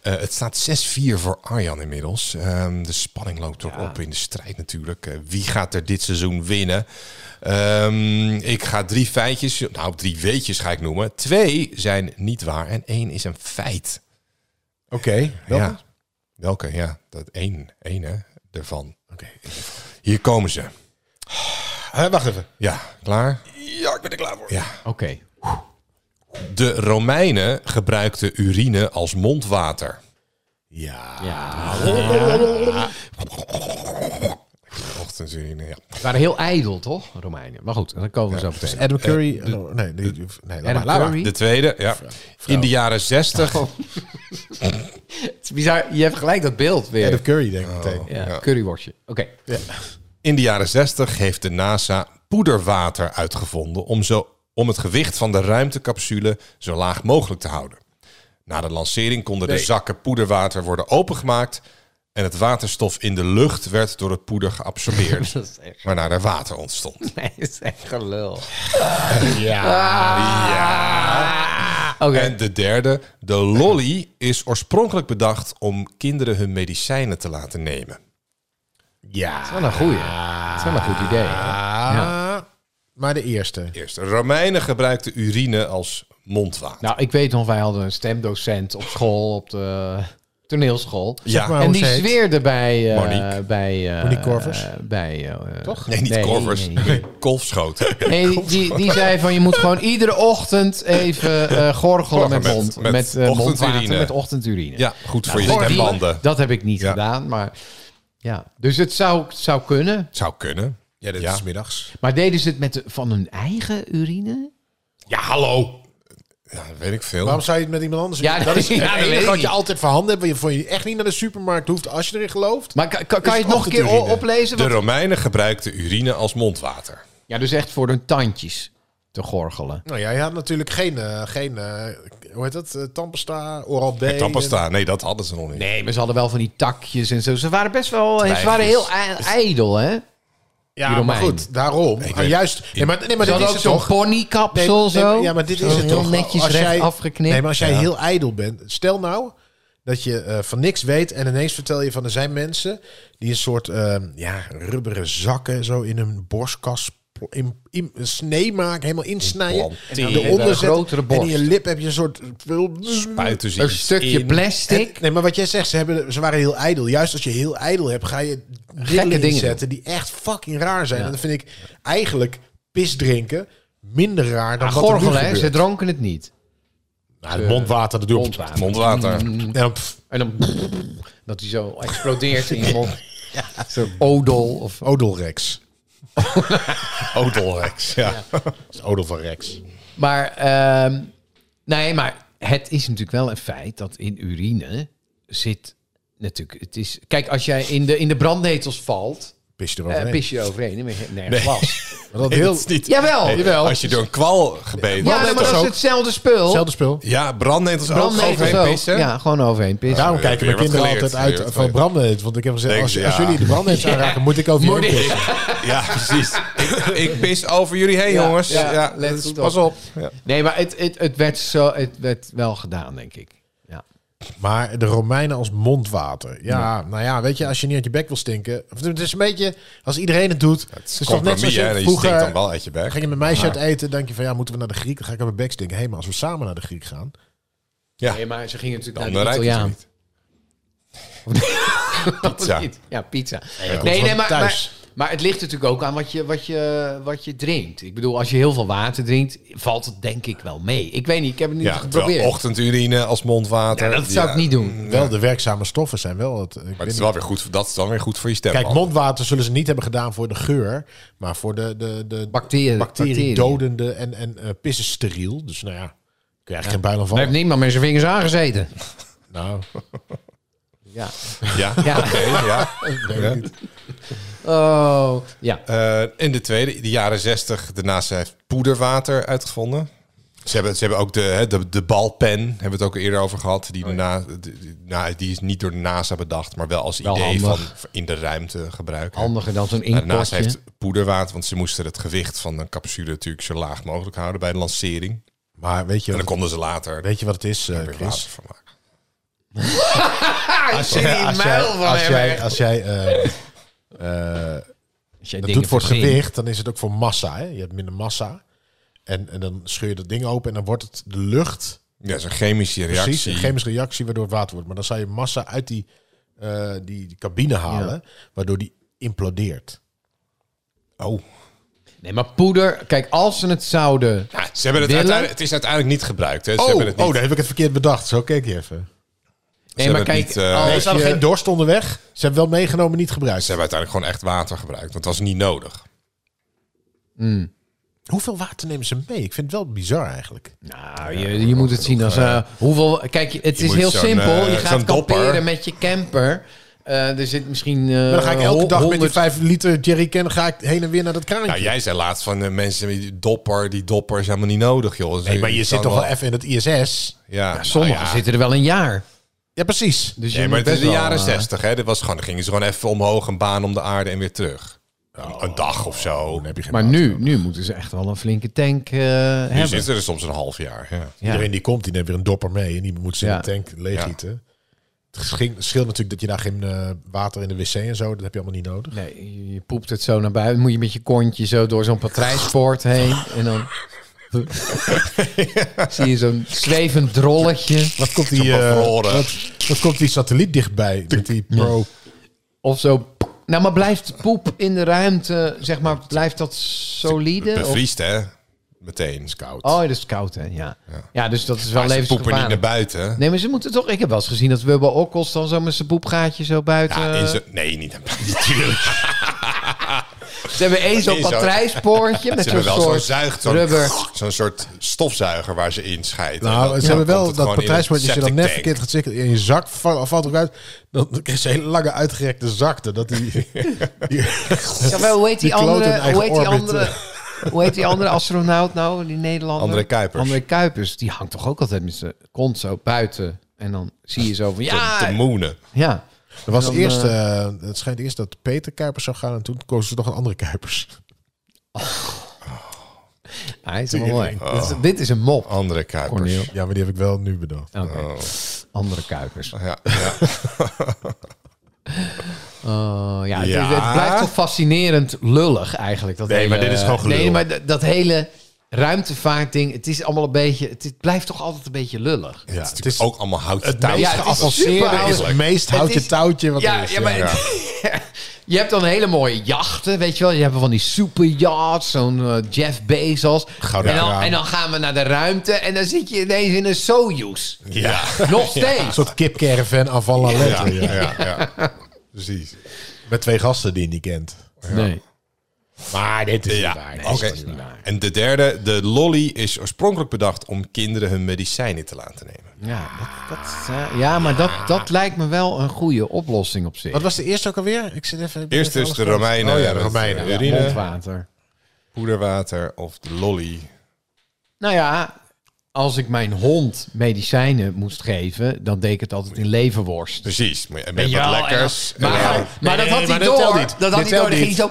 Speaker 2: Eh, het staat 6-4 voor Arjan inmiddels. Ehm, de spanning loopt erop op in de strijd natuurlijk. Eh, wie gaat er dit seizoen winnen? Ehm, ik ga drie feitjes, nou drie weetjes ga ik noemen. Twee zijn niet waar en één is een feit.
Speaker 3: Oké. welke?
Speaker 2: Ja. Welke? Ja, dat één, één hè, ervan. Oké. Hier komen ze.
Speaker 3: Hè, wacht even.
Speaker 2: Ja, klaar? Ja, ik ben er klaar voor. Ja.
Speaker 4: Oké.
Speaker 2: De Romeinen gebruikten urine als mondwater.
Speaker 3: Ja.
Speaker 2: Ochtendurine, ja.
Speaker 4: We waren heel ijdel, toch? Romeinen. Maar goed, dan komen we zo meteen.
Speaker 3: Adam Curry. oh, nee, nee, nee, laat maar,
Speaker 4: Adam
Speaker 3: laat maar.
Speaker 4: Curry.
Speaker 2: Ah, De tweede, ja. In de jaren zestig.
Speaker 4: Het is bizar, je hebt gelijk dat beeld weer.
Speaker 3: Adam Curry, denk ik meteen.
Speaker 4: Ja, curryworstje. Oké.
Speaker 2: In de jaren 60 heeft de NASA poederwater uitgevonden om, zo, om het gewicht van de ruimtecapsule zo laag mogelijk te houden. Na de lancering konden de zakken poederwater worden opengemaakt en het waterstof in de lucht werd door het poeder geabsorbeerd,
Speaker 4: [laughs] Dat is echt,
Speaker 2: waarna er water ontstond.
Speaker 4: nee, dat is echt gelul. Oké. Ah.
Speaker 2: En de derde, de lolly is oorspronkelijk bedacht om kinderen hun medicijnen te laten nemen.
Speaker 3: Ja.
Speaker 4: Wel een goeie. Dat is wel een goed idee. hè?
Speaker 3: Ah, Maar de eerste.
Speaker 2: Eerst, de Romeinen gebruikten urine als mondwater.
Speaker 4: Nou, ik weet nog, wij hadden een stemdocent op school, op de toneelschool.
Speaker 2: ja,
Speaker 3: maar-
Speaker 4: En
Speaker 3: hoe
Speaker 4: die
Speaker 3: ze heet?
Speaker 4: zweerde bij... eh
Speaker 2: Monique.
Speaker 4: Bij, eh,
Speaker 3: Monique Korvers?
Speaker 4: eh, bij, eh, Toch?
Speaker 2: Nee, niet korvers. [laughs]
Speaker 4: Nee,
Speaker 2: Nee, Kolfschoten.
Speaker 4: Nee, die, die zei van je moet gewoon iedere ochtend even eh, gorgelen met,
Speaker 2: Met-
Speaker 4: mond,
Speaker 2: met
Speaker 4: met, eh,
Speaker 2: ochtendurine.
Speaker 4: mondwater, met ochtendurine.
Speaker 2: Ja, goed voor
Speaker 4: Nou,
Speaker 2: je
Speaker 4: die-
Speaker 2: stembanden.
Speaker 4: Dat heb ik niet
Speaker 2: Ja.
Speaker 4: gedaan, maar ja. Dus het zou, het zou kunnen.
Speaker 2: Zou kunnen.
Speaker 3: Ja, dit
Speaker 2: Ja.
Speaker 3: is middags.
Speaker 4: Maar deden ze het met de- van hun eigen urine?
Speaker 2: Ja, hallo. Ja, dat weet ik veel.
Speaker 3: Waarom zou je het met iemand anders
Speaker 4: Ja,
Speaker 3: doen? Dat is
Speaker 4: ja, dat
Speaker 3: het
Speaker 4: weet ik
Speaker 3: enige wat je
Speaker 4: niet.
Speaker 3: altijd voorhanden hebt. want je- Voor je echt niet naar de supermarkt hoeft als je erin gelooft.
Speaker 4: Maar kan, kan, kan
Speaker 3: Is
Speaker 4: je het nog een keer o-
Speaker 3: ochtendurine.
Speaker 4: oplezen?
Speaker 2: de
Speaker 4: Want-
Speaker 2: Romeinen gebruikten urine als mondwater.
Speaker 4: ja, dus echt voor hun tandjes te gorgelen.
Speaker 3: Nou ja, je had natuurlijk geen, eh, geen eh, hoe heet dat, Eh, tandpasta, oral B.
Speaker 2: Tampasta, nee, dat hadden ze nog niet.
Speaker 4: Nee, maar ze hadden wel van die takjes en zo. Ze waren best wel... Ze
Speaker 2: Twijfels.
Speaker 4: waren heel i- ijdel, hè?
Speaker 3: Ja,
Speaker 4: die
Speaker 3: maar
Speaker 4: Romein.
Speaker 3: goed, daarom.
Speaker 2: Ik
Speaker 3: Ah,
Speaker 2: weet-
Speaker 3: juist. Nee, maar, nee, maar
Speaker 4: Ze
Speaker 3: dit
Speaker 4: hadden
Speaker 3: is
Speaker 4: ook
Speaker 3: het
Speaker 4: zo'n
Speaker 3: toch.
Speaker 4: ponykapsel
Speaker 3: nee,
Speaker 4: zo.
Speaker 3: Ja, maar dit
Speaker 4: Zo
Speaker 3: is het
Speaker 4: heel
Speaker 3: toch.
Speaker 4: netjes
Speaker 3: Als
Speaker 4: recht
Speaker 3: jij-
Speaker 4: afgeknipt.
Speaker 3: Nee, maar als jij heel ijdel bent. Stel nou dat je eh, van niks weet en ineens vertel je van ehm, er zijn mensen die een soort eh, ja, rubberen zakken zo in hun borstkas impl- im- im- een snee maken, helemaal insnijden.
Speaker 2: Implanteren.
Speaker 3: De
Speaker 4: Een
Speaker 3: onderzet.
Speaker 4: grotere
Speaker 3: En in je
Speaker 4: borst.
Speaker 3: lip heb je een soort...
Speaker 2: Buiten zit
Speaker 4: Een
Speaker 2: iets
Speaker 4: stukje
Speaker 2: in.
Speaker 4: plastic.
Speaker 3: Nee, maar wat jij zegt, ze, hebben, ze waren heel ijdel. Juist als je heel ijdel hebt, ga je dingen
Speaker 4: dingen
Speaker 3: inzetten die echt fucking raar zijn. En dat vind ik eigenlijk pis drinken minder raar dan wat er nu
Speaker 4: Gorgelen, hè? ze
Speaker 3: gebeurt.
Speaker 4: dronken het niet.
Speaker 3: Nou, het mondwater, Mm. dat doe je op-
Speaker 4: Mondwater.
Speaker 2: Mondwater. [laughs]
Speaker 3: Ja, pff,
Speaker 4: En dan [laughs] dat hij zo explodeert in je mond. Zo'n odol. Of,
Speaker 3: Odol Rex.
Speaker 2: Odol Rex, ja. [laughs]
Speaker 3: Dat is Odol van Rex.
Speaker 4: maar, ehm, nee, maar het is natuurlijk wel een feit dat in urine zit natuurlijk... Het is, kijk, als jij in de, in de brandnetels valt,
Speaker 3: Pis
Speaker 4: eh,
Speaker 3: eroverheen.
Speaker 4: pis je overheen. Dan ben je nergens
Speaker 2: Nee.
Speaker 4: last.
Speaker 3: Maar
Speaker 2: [laughs]
Speaker 3: dat
Speaker 2: Nee,
Speaker 3: heel,
Speaker 2: dat is niet...
Speaker 4: Jawel,
Speaker 2: Nee,
Speaker 4: jawel.
Speaker 2: Als je door een kwal gebeten
Speaker 4: ja, maar
Speaker 2: Brandnetels
Speaker 4: dat is
Speaker 2: ook.
Speaker 4: hetzelfde spul.
Speaker 3: hetzelfde spul.
Speaker 2: Ja, brandnetels ook. Gewoon
Speaker 4: Brandnetels
Speaker 2: geen
Speaker 4: ook.
Speaker 2: pissen.
Speaker 4: Ja, gewoon overheen pissen.
Speaker 3: Daarom
Speaker 2: Ja,
Speaker 3: kijken
Speaker 2: weer
Speaker 3: mijn
Speaker 2: wat
Speaker 3: kinderen
Speaker 2: geleerd,
Speaker 3: altijd uit
Speaker 2: weer wat
Speaker 3: van
Speaker 2: geleerd.
Speaker 3: brandnet. Want ik heb gezegd,
Speaker 2: Denk
Speaker 3: als,
Speaker 2: ze, [laughs]
Speaker 3: als
Speaker 2: ja.
Speaker 3: jullie de brandnet aanraken, moet ik over
Speaker 4: Moet
Speaker 3: je
Speaker 4: ik.
Speaker 3: heen pissen.
Speaker 2: Ja, precies. ik, ik pis over jullie heen,
Speaker 4: Ja,
Speaker 2: jongens.
Speaker 4: ja,
Speaker 2: Ja,
Speaker 4: let
Speaker 2: dus
Speaker 4: goed op.
Speaker 2: pas op. Ja.
Speaker 4: Nee, maar het, het, het, werd zo, het werd wel gedaan, denk ik. Ja.
Speaker 3: Maar de Romeinen als mondwater. Ja, nou ja, weet je, als je niet uit je bek wil stinken. of Het is een beetje, als iedereen het doet. Het
Speaker 2: Het
Speaker 3: is,
Speaker 2: is
Speaker 3: toch net
Speaker 2: compromis,
Speaker 3: zoals
Speaker 2: hè.
Speaker 3: je
Speaker 2: Je
Speaker 3: vroeger...
Speaker 2: stinkt dan wel uit je bek.
Speaker 3: Dan ging je met meisje uit eten, denk je van ja, moeten we naar de Griek? Dan ga ik aan mijn bek stinken. Hé, maar als we samen naar de Griek gaan...
Speaker 2: Ja,
Speaker 4: Nee, maar ze gingen natuurlijk
Speaker 2: dan
Speaker 4: naar de
Speaker 2: ruikt het
Speaker 4: Italiaan.
Speaker 2: niet.
Speaker 4: [laughs] Of
Speaker 2: Pizza.
Speaker 4: niet? Ja, pizza.
Speaker 3: komt
Speaker 4: Nee, nee,
Speaker 3: gewoon
Speaker 4: maar, maar,
Speaker 3: thuis.
Speaker 4: maar het ligt natuurlijk ook aan wat je, wat, je, wat je drinkt. Ik bedoel, als je heel veel water drinkt, valt het denk ik wel mee. Ik weet niet, ik heb het niet
Speaker 2: Ja, terwijl
Speaker 4: geprobeerd.
Speaker 2: ochtendurine als mondwater.
Speaker 4: Ja, dat zou
Speaker 2: Ja.
Speaker 4: ik niet doen.
Speaker 3: Wel, de werkzame stoffen zijn wel... Het, ik weet
Speaker 2: Maar het is
Speaker 3: niet.
Speaker 2: wel weer goed, voor- dat is dan weer goed voor je stem.
Speaker 3: Kijk, mondwater zullen ze niet hebben gedaan voor de geur, maar voor de, de, de bacterie
Speaker 4: Bacteriën. bacteriën.
Speaker 3: dodende en, en eh, pissen steriel. Dus nou ja, kun je eigenlijk geen buil aan
Speaker 4: Daar
Speaker 3: vallen.
Speaker 4: heeft niemand met zijn vingers aangezeten.
Speaker 3: Nou,
Speaker 4: Ja.
Speaker 2: Ja,
Speaker 4: Ja.
Speaker 2: oké.
Speaker 4: [laughs]
Speaker 2: ja. Ja.
Speaker 4: Oh, ja.
Speaker 2: Eh, en de tweede, de jaren zestig, daarnaast heeft poederwater uitgevonden. Ze hebben, ze hebben ook de, hè, de, de balpen, hebben we het ook eerder over gehad.
Speaker 4: Oh,
Speaker 2: Die, daarna, de- de- nou, die is niet door de NASA bedacht, maar wel als
Speaker 4: Wel
Speaker 2: idee van
Speaker 4: handig.
Speaker 2: in de ruimte gebruiken.
Speaker 4: Handiger dan zo'n
Speaker 2: Maar Daarnaast
Speaker 4: inktpotje.
Speaker 2: heeft poederwater, want ze moesten het gewicht van een capsule natuurlijk zo laag mogelijk houden bij de lancering. En
Speaker 3: maar weet je,
Speaker 2: dan
Speaker 3: wat,
Speaker 2: konden ze later
Speaker 3: weet je wat het is, eh,
Speaker 2: weer
Speaker 3: Chris?
Speaker 2: water van maken.
Speaker 4: Ah, zie die
Speaker 3: Als jij,
Speaker 4: muil van
Speaker 3: als
Speaker 4: hem,
Speaker 3: jij,
Speaker 4: hè.
Speaker 3: [laughs] als jij eh, eh,
Speaker 4: Als jij
Speaker 3: dat
Speaker 4: dingen
Speaker 3: doet voor het
Speaker 4: verzint.
Speaker 3: gewicht, dan is het ook voor massa. Hè? Je hebt minder massa. En, en dan scheur je dat ding open en dan wordt het de lucht.
Speaker 2: Ja, dat is een chemische reactie.
Speaker 3: Precies, een chemische reactie waardoor het water wordt. Maar dan zou je massa uit die, eh, die, die cabine halen, waardoor die implodeert.
Speaker 2: Oh.
Speaker 4: Nee, maar poeder... Kijk, als ze het zouden...
Speaker 2: Ja, ze hebben het,
Speaker 4: Willen?
Speaker 2: uiteindelijk, het is uiteindelijk niet gebruikt. Hè. Ze
Speaker 3: Oh,
Speaker 2: hebben het
Speaker 3: oh,
Speaker 2: niet,
Speaker 3: dan heb ik het verkeerd bedacht. Zo keek je even.
Speaker 4: Nee, maar
Speaker 2: hebben
Speaker 4: kijk,
Speaker 2: het niet, eh,
Speaker 4: als
Speaker 2: Nee,
Speaker 3: Nee, ze hadden
Speaker 4: je-
Speaker 3: geen dorst onderweg. Ze hebben wel meegenomen, niet gebruikt.
Speaker 2: ze hebben uiteindelijk gewoon echt water gebruikt, want dat was niet nodig.
Speaker 3: Hoeveel water nemen ze mee? Ik vind het wel bizar eigenlijk.
Speaker 4: Nou, je, je moet het zien als eh, hoeveel. Kijk, het is
Speaker 2: moet
Speaker 4: heel
Speaker 2: zo'n,
Speaker 4: simpel.
Speaker 2: eh,
Speaker 4: je gaat
Speaker 2: zo'n dopper.
Speaker 4: kamperen met je camper. Eh, er zit misschien. eh,
Speaker 3: Maar dan ga ik elke
Speaker 4: hon-
Speaker 3: dag met die
Speaker 4: honderd-
Speaker 3: 5 liter jerrycan ga ik heen en weer naar dat kraantje.
Speaker 2: Nou, jij zei laatst van eh, mensen met die dopper, die dopper is helemaal niet nodig, joh. Dus
Speaker 3: nee, maar
Speaker 2: je
Speaker 3: je
Speaker 2: kan
Speaker 3: zit toch wel even in het ISS?
Speaker 2: Ja, nou
Speaker 4: Sommigen
Speaker 2: ja.
Speaker 4: zitten er wel een jaar.
Speaker 3: Ja, precies.
Speaker 4: Dus
Speaker 2: Nee,
Speaker 4: je
Speaker 2: maar
Speaker 4: moet
Speaker 2: het is de
Speaker 4: best wel,
Speaker 2: jaren
Speaker 4: eh,
Speaker 2: zestig, hè? Dit was gewoon, dan gingen ze gewoon even omhoog, een baan om de aarde en weer terug. Een- een dag of zo.
Speaker 3: oh, Dan heb je geen
Speaker 4: Maar
Speaker 3: water.
Speaker 4: nu, nu moeten ze echt wel een flinke tank eh,
Speaker 2: nu
Speaker 4: hebben.
Speaker 2: zitten er soms een half jaar. Ja.
Speaker 4: Ja.
Speaker 3: Iedereen die komt, die neemt weer een dopper mee. En die moet ze
Speaker 4: Ja.
Speaker 3: in de tank leegieten. Het sching- het scheelt natuurlijk dat je daar geen eh, water in de wc en zo. Dat heb je allemaal niet nodig.
Speaker 4: Nee, je- je poept het zo naar buiten. Dan moet je met je kontje zo door zo'n patrijspoort heen. En dan. [laughs] Zie je zo'n zwevend drolletje.
Speaker 3: Wat komt die,
Speaker 2: Zo'n
Speaker 3: eh,
Speaker 2: bevroren.
Speaker 3: wat, wat komt die satelliet dichtbij? Met die pro.
Speaker 4: Of zo. Nou, maar blijft poep in de ruimte, zeg maar, blijft dat solide? Of-
Speaker 2: Bevriest, hè? Meteen. Is koud.
Speaker 4: Oh, dat is koud, hè? Ja. Ja, dus dat is
Speaker 2: ze poepen
Speaker 4: wel
Speaker 2: niet naar
Speaker 4: levensgevaarlijk.
Speaker 2: buiten. hè?
Speaker 4: Nee, maar ze moeten toch... Ik heb wel eens gezien dat Wubba Okkels dan zo met zijn poepgaatje zo buiten...
Speaker 2: Ja, Ah, in zo- nee, niet naar buiten. Natuurlijk.
Speaker 4: ze hebben één zo'n
Speaker 2: in zo'n-
Speaker 4: patrijspoortje
Speaker 2: [laughs]
Speaker 4: met
Speaker 2: Ze
Speaker 4: zo'n
Speaker 2: hebben wel zo'n
Speaker 4: soort
Speaker 2: zuigt, zo'n
Speaker 4: rubber.
Speaker 2: zo'n soort stofzuiger waar ze in scheiden. En
Speaker 3: Nou,
Speaker 2: dan-
Speaker 3: ze
Speaker 2: dan
Speaker 3: hebben wel
Speaker 2: komt het
Speaker 3: dat
Speaker 2: gewoon in een
Speaker 3: partijsport. Als je dan net
Speaker 2: septic tank.
Speaker 3: verkeerd gaat zitten in je zak, va- valt ook uit. Dan [laughs] krijg je een hele lange uitgerekte zakte.
Speaker 2: [laughs]
Speaker 3: Dat die, die-
Speaker 4: Ja, wel, hoe heet die,
Speaker 3: Die kloot in
Speaker 4: andere...
Speaker 3: eigen
Speaker 4: Hoe heet die
Speaker 3: orbit.
Speaker 4: [laughs] andere... Hoe heet die andere astronaut nou, die Nederlander?
Speaker 2: André Kuipers.
Speaker 4: André Kuipers, die hangt toch ook altijd met zijn kont zo buiten. En dan zie je zo van, ja,
Speaker 2: Te moenen.
Speaker 4: ja.
Speaker 3: Er was
Speaker 4: Dan,
Speaker 3: eerst,
Speaker 4: eh,
Speaker 3: eh, het schijnt eerst dat Peter Kuipers zou gaan en toen kozen ze toch een andere Kuipers.
Speaker 4: eh, Hij is
Speaker 2: [laughs]
Speaker 4: wel
Speaker 2: Oh.
Speaker 4: mooi. Dit, is, dit is een mop,
Speaker 2: Andere Kuipers.
Speaker 4: Corneel.
Speaker 3: Ja, maar die heb ik wel nu bedacht.
Speaker 2: Oh,
Speaker 4: Oké. Andere Kuipers.
Speaker 2: Ja, ja.
Speaker 4: Oh, ja, ja, het,
Speaker 2: Ja.
Speaker 4: het blijft toch fascinerend lullig eigenlijk. Dat
Speaker 2: Nee,
Speaker 4: hele- eh,
Speaker 2: maar dit is gewoon gelul.
Speaker 4: Nee, maar d- dat hele ruimtevaartding, het is allemaal een beetje... Het, het blijft toch altijd een beetje lullig.
Speaker 2: het is natuurlijk ook allemaal houten touw.
Speaker 4: meest
Speaker 2: Ja,
Speaker 4: geavanceerde
Speaker 2: is
Speaker 3: Het meest
Speaker 4: Het
Speaker 3: houten
Speaker 4: is-
Speaker 3: touwtje wat
Speaker 4: Ja,
Speaker 3: er is.
Speaker 4: ja, maar het- [laughs] je hebt dan hele mooie jachten, weet je wel. Je hebt van die superjachts, zo'n eh, Jeff Bezos.
Speaker 2: Gouden
Speaker 4: en, dan,
Speaker 2: kraan.
Speaker 4: en dan gaan we naar de ruimte en dan zit je ineens in een
Speaker 2: [laughs]
Speaker 4: Soyuz.
Speaker 2: ja.
Speaker 4: Nog steeds.
Speaker 3: Een soort kipcaravan aan Van La
Speaker 2: Ja,
Speaker 3: Lettre, ja.
Speaker 2: ja, ja, ja. Precies.
Speaker 3: Met twee gasten die je niet kent.
Speaker 4: Nee.
Speaker 3: Maar dit is
Speaker 2: Ja,
Speaker 3: niet waar.
Speaker 2: oké. En de derde, de lolly, is oorspronkelijk bedacht om kinderen hun medicijnen te laten nemen.
Speaker 4: Ja, dat, dat, eh, ja maar dat, dat lijkt me wel een goede oplossing op zich.
Speaker 3: Wat was de eerste ook alweer? Ik zit even... ik ben
Speaker 2: Eerst
Speaker 3: even
Speaker 2: is de
Speaker 3: alles kwijt.
Speaker 2: Romeinen,
Speaker 3: Oh ja, de
Speaker 2: met
Speaker 3: Romeinen. ja.
Speaker 2: eh, urine,
Speaker 4: Mondwater.
Speaker 2: poederwater of de lolly.
Speaker 4: Nou ja, als ik mijn hond medicijnen moest geven, dan deed ik het altijd in leverworst.
Speaker 2: Precies. Maar je hebt
Speaker 4: Weet je
Speaker 2: wat
Speaker 4: wel, en
Speaker 2: lekkers.
Speaker 4: dan- maar,
Speaker 2: En dan-
Speaker 4: maar dat
Speaker 3: nee,
Speaker 4: had hij
Speaker 3: maar dit
Speaker 4: door.
Speaker 3: telt niet.
Speaker 4: Dat had
Speaker 3: Dit
Speaker 4: hij door.
Speaker 3: telt
Speaker 4: Die ging zo...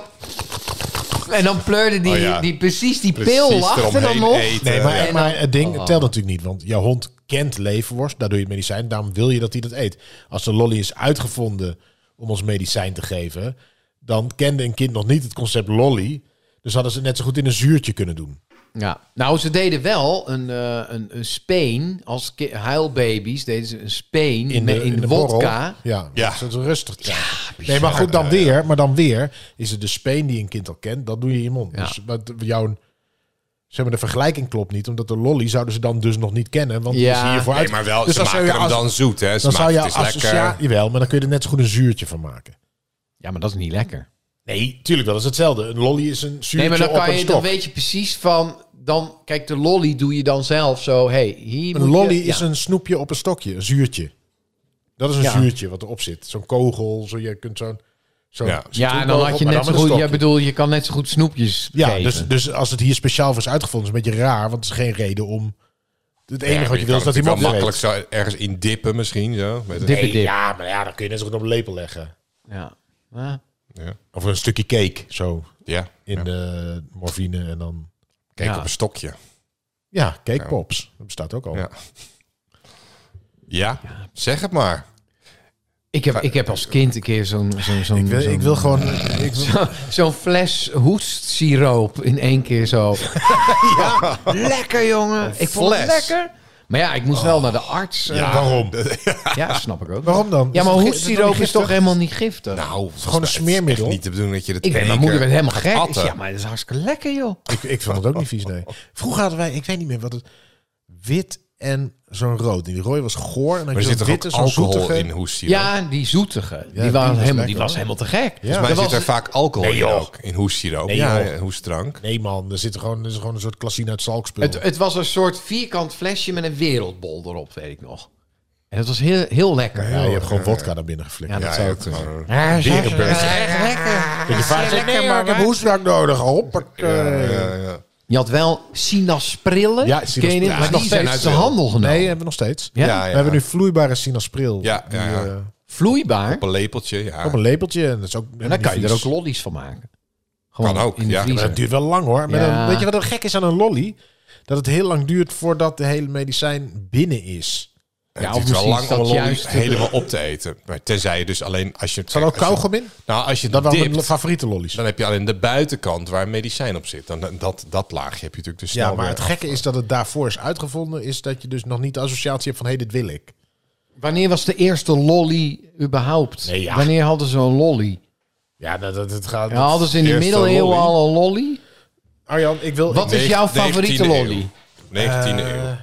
Speaker 4: En dan pleurde die,
Speaker 2: Oh ja.
Speaker 4: die precies die
Speaker 2: Precies
Speaker 4: pil lachter dan
Speaker 2: eromheen
Speaker 4: nog.
Speaker 2: eten.
Speaker 3: Nee, maar,
Speaker 4: Ja.
Speaker 3: maar het
Speaker 4: Oh.
Speaker 3: ding telt natuurlijk niet. Want jouw hond kent leverworst. Daar doe je het medicijn. Daarom wil je dat hij dat eet. Als de lolly is uitgevonden om ons medicijn te geven... dan kende een kind nog niet het concept lolly. Dus hadden ze net zo goed in een zuurtje kunnen doen.
Speaker 4: Ja. Nou, ze deden wel een, eh, een, een speen. Als ki- huilbabies deden ze een speen in, in, wodka.
Speaker 3: borrel. Ja,
Speaker 2: Ja.
Speaker 3: ja. zodat het rustig krijgt. nee, maar goed, dan weer. Maar dan weer is het de speen die een kind al kent. Dat doe je in je mond.
Speaker 4: Ja.
Speaker 3: Dus wat jouw... Zeg maar, de vergelijking klopt niet, omdat de lolly zouden ze dan dus nog niet kennen. Want die
Speaker 4: Ja.
Speaker 3: is hiervoor
Speaker 2: Nee,
Speaker 3: uit.
Speaker 2: maar wel,
Speaker 3: Dus
Speaker 2: ze
Speaker 3: dan zou
Speaker 2: maken
Speaker 3: je
Speaker 2: hem
Speaker 3: als-
Speaker 2: dan zoet, hè? Ze
Speaker 3: Dan zou
Speaker 2: maken
Speaker 3: je
Speaker 2: het is lekker.
Speaker 3: associatie... Jawel, maar dan kun je er net zo goed een zuurtje van maken.
Speaker 4: Ja, maar dat is niet lekker.
Speaker 3: Nee, tuurlijk, dat is hetzelfde. Een lolly is een zuurtje
Speaker 4: Nee, maar dan,
Speaker 3: op
Speaker 4: kan
Speaker 3: een
Speaker 4: je,
Speaker 3: stok.
Speaker 4: dan weet je precies van... Dan, kijk, de lolly doe je dan zelf zo. Hey, hier
Speaker 3: Een
Speaker 4: moet
Speaker 3: lolly
Speaker 4: je-
Speaker 3: is
Speaker 4: ja.
Speaker 3: een snoepje op een stokje, een zuurtje. Dat is een zuurtje wat erop zit. Zo'n kogel, zo, je kunt zo'n... zo'n
Speaker 2: Ja.
Speaker 4: Ja, dan had je net zo goed... Ja, bedoel, je kan net zo goed snoepjes
Speaker 3: Ja,
Speaker 4: geven.
Speaker 3: dus, dus als het hier speciaal voor is uitgevonden, is het een beetje raar, want het is geen reden om... Het enige wat je wil is dat hij
Speaker 2: wel
Speaker 3: makkelijk
Speaker 2: makkelijk zo ergens in dippen misschien. Zo, met een-
Speaker 4: Dippen, dip.
Speaker 3: Ja, maar ja, dan kun je net zo goed op een lepel leggen.
Speaker 4: Ja. Ah.
Speaker 2: Ja.
Speaker 3: Of een stukje cake, zo,
Speaker 2: Ja.
Speaker 3: in
Speaker 2: Ja.
Speaker 3: de morfine en dan...
Speaker 2: Kijk
Speaker 4: Ja.
Speaker 2: op een stokje.
Speaker 3: Ja, cake pops. Dat bestaat ook al.
Speaker 2: Ja. Ja, zeg het maar.
Speaker 4: Ik heb, ik heb als kind een keer zo'n zo'n zo'n
Speaker 3: Ik, wil, ik wil gewoon... Ik wil-
Speaker 4: zo'n- zo'n fles hoestsiroop in één keer zo. ja, lekker jongen. Ik vond het
Speaker 2: fles.
Speaker 4: lekker. Maar ja, ik moest wel naar de arts. eh,
Speaker 2: [laughs]
Speaker 4: Ja,
Speaker 2: waarom? Nou,
Speaker 4: snap ik ook.
Speaker 3: Waarom dan?
Speaker 4: Ja, maar
Speaker 3: Is het-
Speaker 4: hoestsiroop is toch helemaal niet giftig?
Speaker 2: nou, het is
Speaker 3: gewoon een
Speaker 2: echt
Speaker 3: smeermiddel.
Speaker 2: Niet te bedoelen dat je dat
Speaker 4: ik weet,
Speaker 2: in
Speaker 4: mijn
Speaker 2: één
Speaker 4: moeder werd
Speaker 2: keer
Speaker 4: helemaal
Speaker 2: gaat
Speaker 4: gek. Ik
Speaker 2: atten.
Speaker 4: zei, ja, maar dat is hartstikke lekker joh.
Speaker 3: Ik, ik vond het ook niet vies, [laughs] nee. Vroeger hadden wij, ik weet niet meer wat het... Wit en zo'n rood. En die rode was goor. En dan
Speaker 2: Maar
Speaker 3: had
Speaker 2: er zit
Speaker 3: je zo'n
Speaker 2: toch ook
Speaker 3: witte, zo'n
Speaker 2: alcohol
Speaker 3: zoetige...
Speaker 2: in hoessiroop?
Speaker 4: Ja, die zoetige. die,
Speaker 3: die
Speaker 4: was
Speaker 3: was
Speaker 4: helemaal, die
Speaker 3: lekker,
Speaker 4: was
Speaker 3: hoor.
Speaker 4: helemaal te gek.
Speaker 2: Volgens mij zit
Speaker 4: Dat was-
Speaker 2: er vaak alcohol in
Speaker 3: joh.
Speaker 2: ook. In hoessiroop.
Speaker 3: Nee,
Speaker 2: ja,
Speaker 3: joh.
Speaker 2: hoestdrank.
Speaker 3: Nee man, er zit gewoon, er is gewoon een soort klassine uit zalkspul.
Speaker 4: Het, het was een soort vierkant flesje met een wereldbol erop, weet ik nog. En dat was heel, heel lekker.
Speaker 3: ja, je hebt gewoon vodka naar binnen geflikkerd.
Speaker 4: Ja,
Speaker 3: Ja,
Speaker 4: dat-
Speaker 2: Ja,
Speaker 4: zou
Speaker 2: ja,
Speaker 4: ik doen.
Speaker 2: gewoon-
Speaker 3: je vader zegt, nee, maar ik heb hoestdrank nodig. Hoppakee. Nou.
Speaker 2: ja, ja.
Speaker 4: Je had wel sinaasprillen.
Speaker 3: Ja,
Speaker 4: Ken je
Speaker 3: sinaasprillen.
Speaker 4: die?
Speaker 3: Ja,
Speaker 4: maar
Speaker 3: nog
Speaker 4: die zijn
Speaker 2: steeds.
Speaker 4: uit de handel genomen.
Speaker 3: Nee, eh, hebben we nog steeds.
Speaker 4: Ja?
Speaker 2: Ja,
Speaker 3: We
Speaker 2: ja.
Speaker 3: hebben nu vloeibare sinaaspil.
Speaker 2: Ja, ja, ja.
Speaker 3: Die, eh,
Speaker 4: Vloeibaar.
Speaker 2: Op een lepeltje, ja.
Speaker 3: op een lepeltje. En, dat is ook,
Speaker 4: En dan kan je er ook
Speaker 3: Maar
Speaker 4: lollies van maken. Gewoon
Speaker 2: Kan ook,
Speaker 4: in de
Speaker 2: ja.
Speaker 4: vriezer.
Speaker 3: dat duurt wel lang hoor. Maar
Speaker 4: Ja.
Speaker 3: dan- weet je wat er gek is aan een lolly? Dat het heel lang duurt voordat de hele medicijn binnen is.
Speaker 2: Het
Speaker 4: Ja, of
Speaker 2: duurt wel
Speaker 4: misschien
Speaker 2: lang
Speaker 4: is
Speaker 2: om
Speaker 4: dat
Speaker 2: een lolly
Speaker 4: juist te-
Speaker 2: helemaal op te eten. Maar tenzij je dus alleen als je...
Speaker 3: Kan ook
Speaker 2: als je-
Speaker 3: kauwgom in?
Speaker 2: Nou, als je
Speaker 3: Dat
Speaker 2: dat
Speaker 3: waren mijn
Speaker 2: dipt,
Speaker 3: favoriete lollies.
Speaker 2: dan heb je alleen de buitenkant waar een medicijn op zit. Dan, dat, dat laagje heb je natuurlijk dus
Speaker 3: Ja,
Speaker 2: snel
Speaker 3: maar
Speaker 2: weer
Speaker 3: het gekke is dat het daarvoor is uitgevonden. Is dat je dus nog niet de associatie hebt van hé, dit wil ik.
Speaker 4: Wanneer was de eerste lolly überhaupt?
Speaker 3: Nee, ja.
Speaker 4: Wanneer hadden ze een lolly?
Speaker 3: Ja, dat, dat, het gaat.
Speaker 4: Ja, hadden ze in de
Speaker 2: Eerste
Speaker 4: middeleeuwen
Speaker 2: lolly?
Speaker 4: al een lolly?
Speaker 3: Arjan, ik wil.
Speaker 4: Wat
Speaker 3: ik-
Speaker 4: is jouw favoriete
Speaker 2: 19e
Speaker 4: lolly?
Speaker 2: Eeuw. 19e
Speaker 3: Eh,
Speaker 2: eeuw.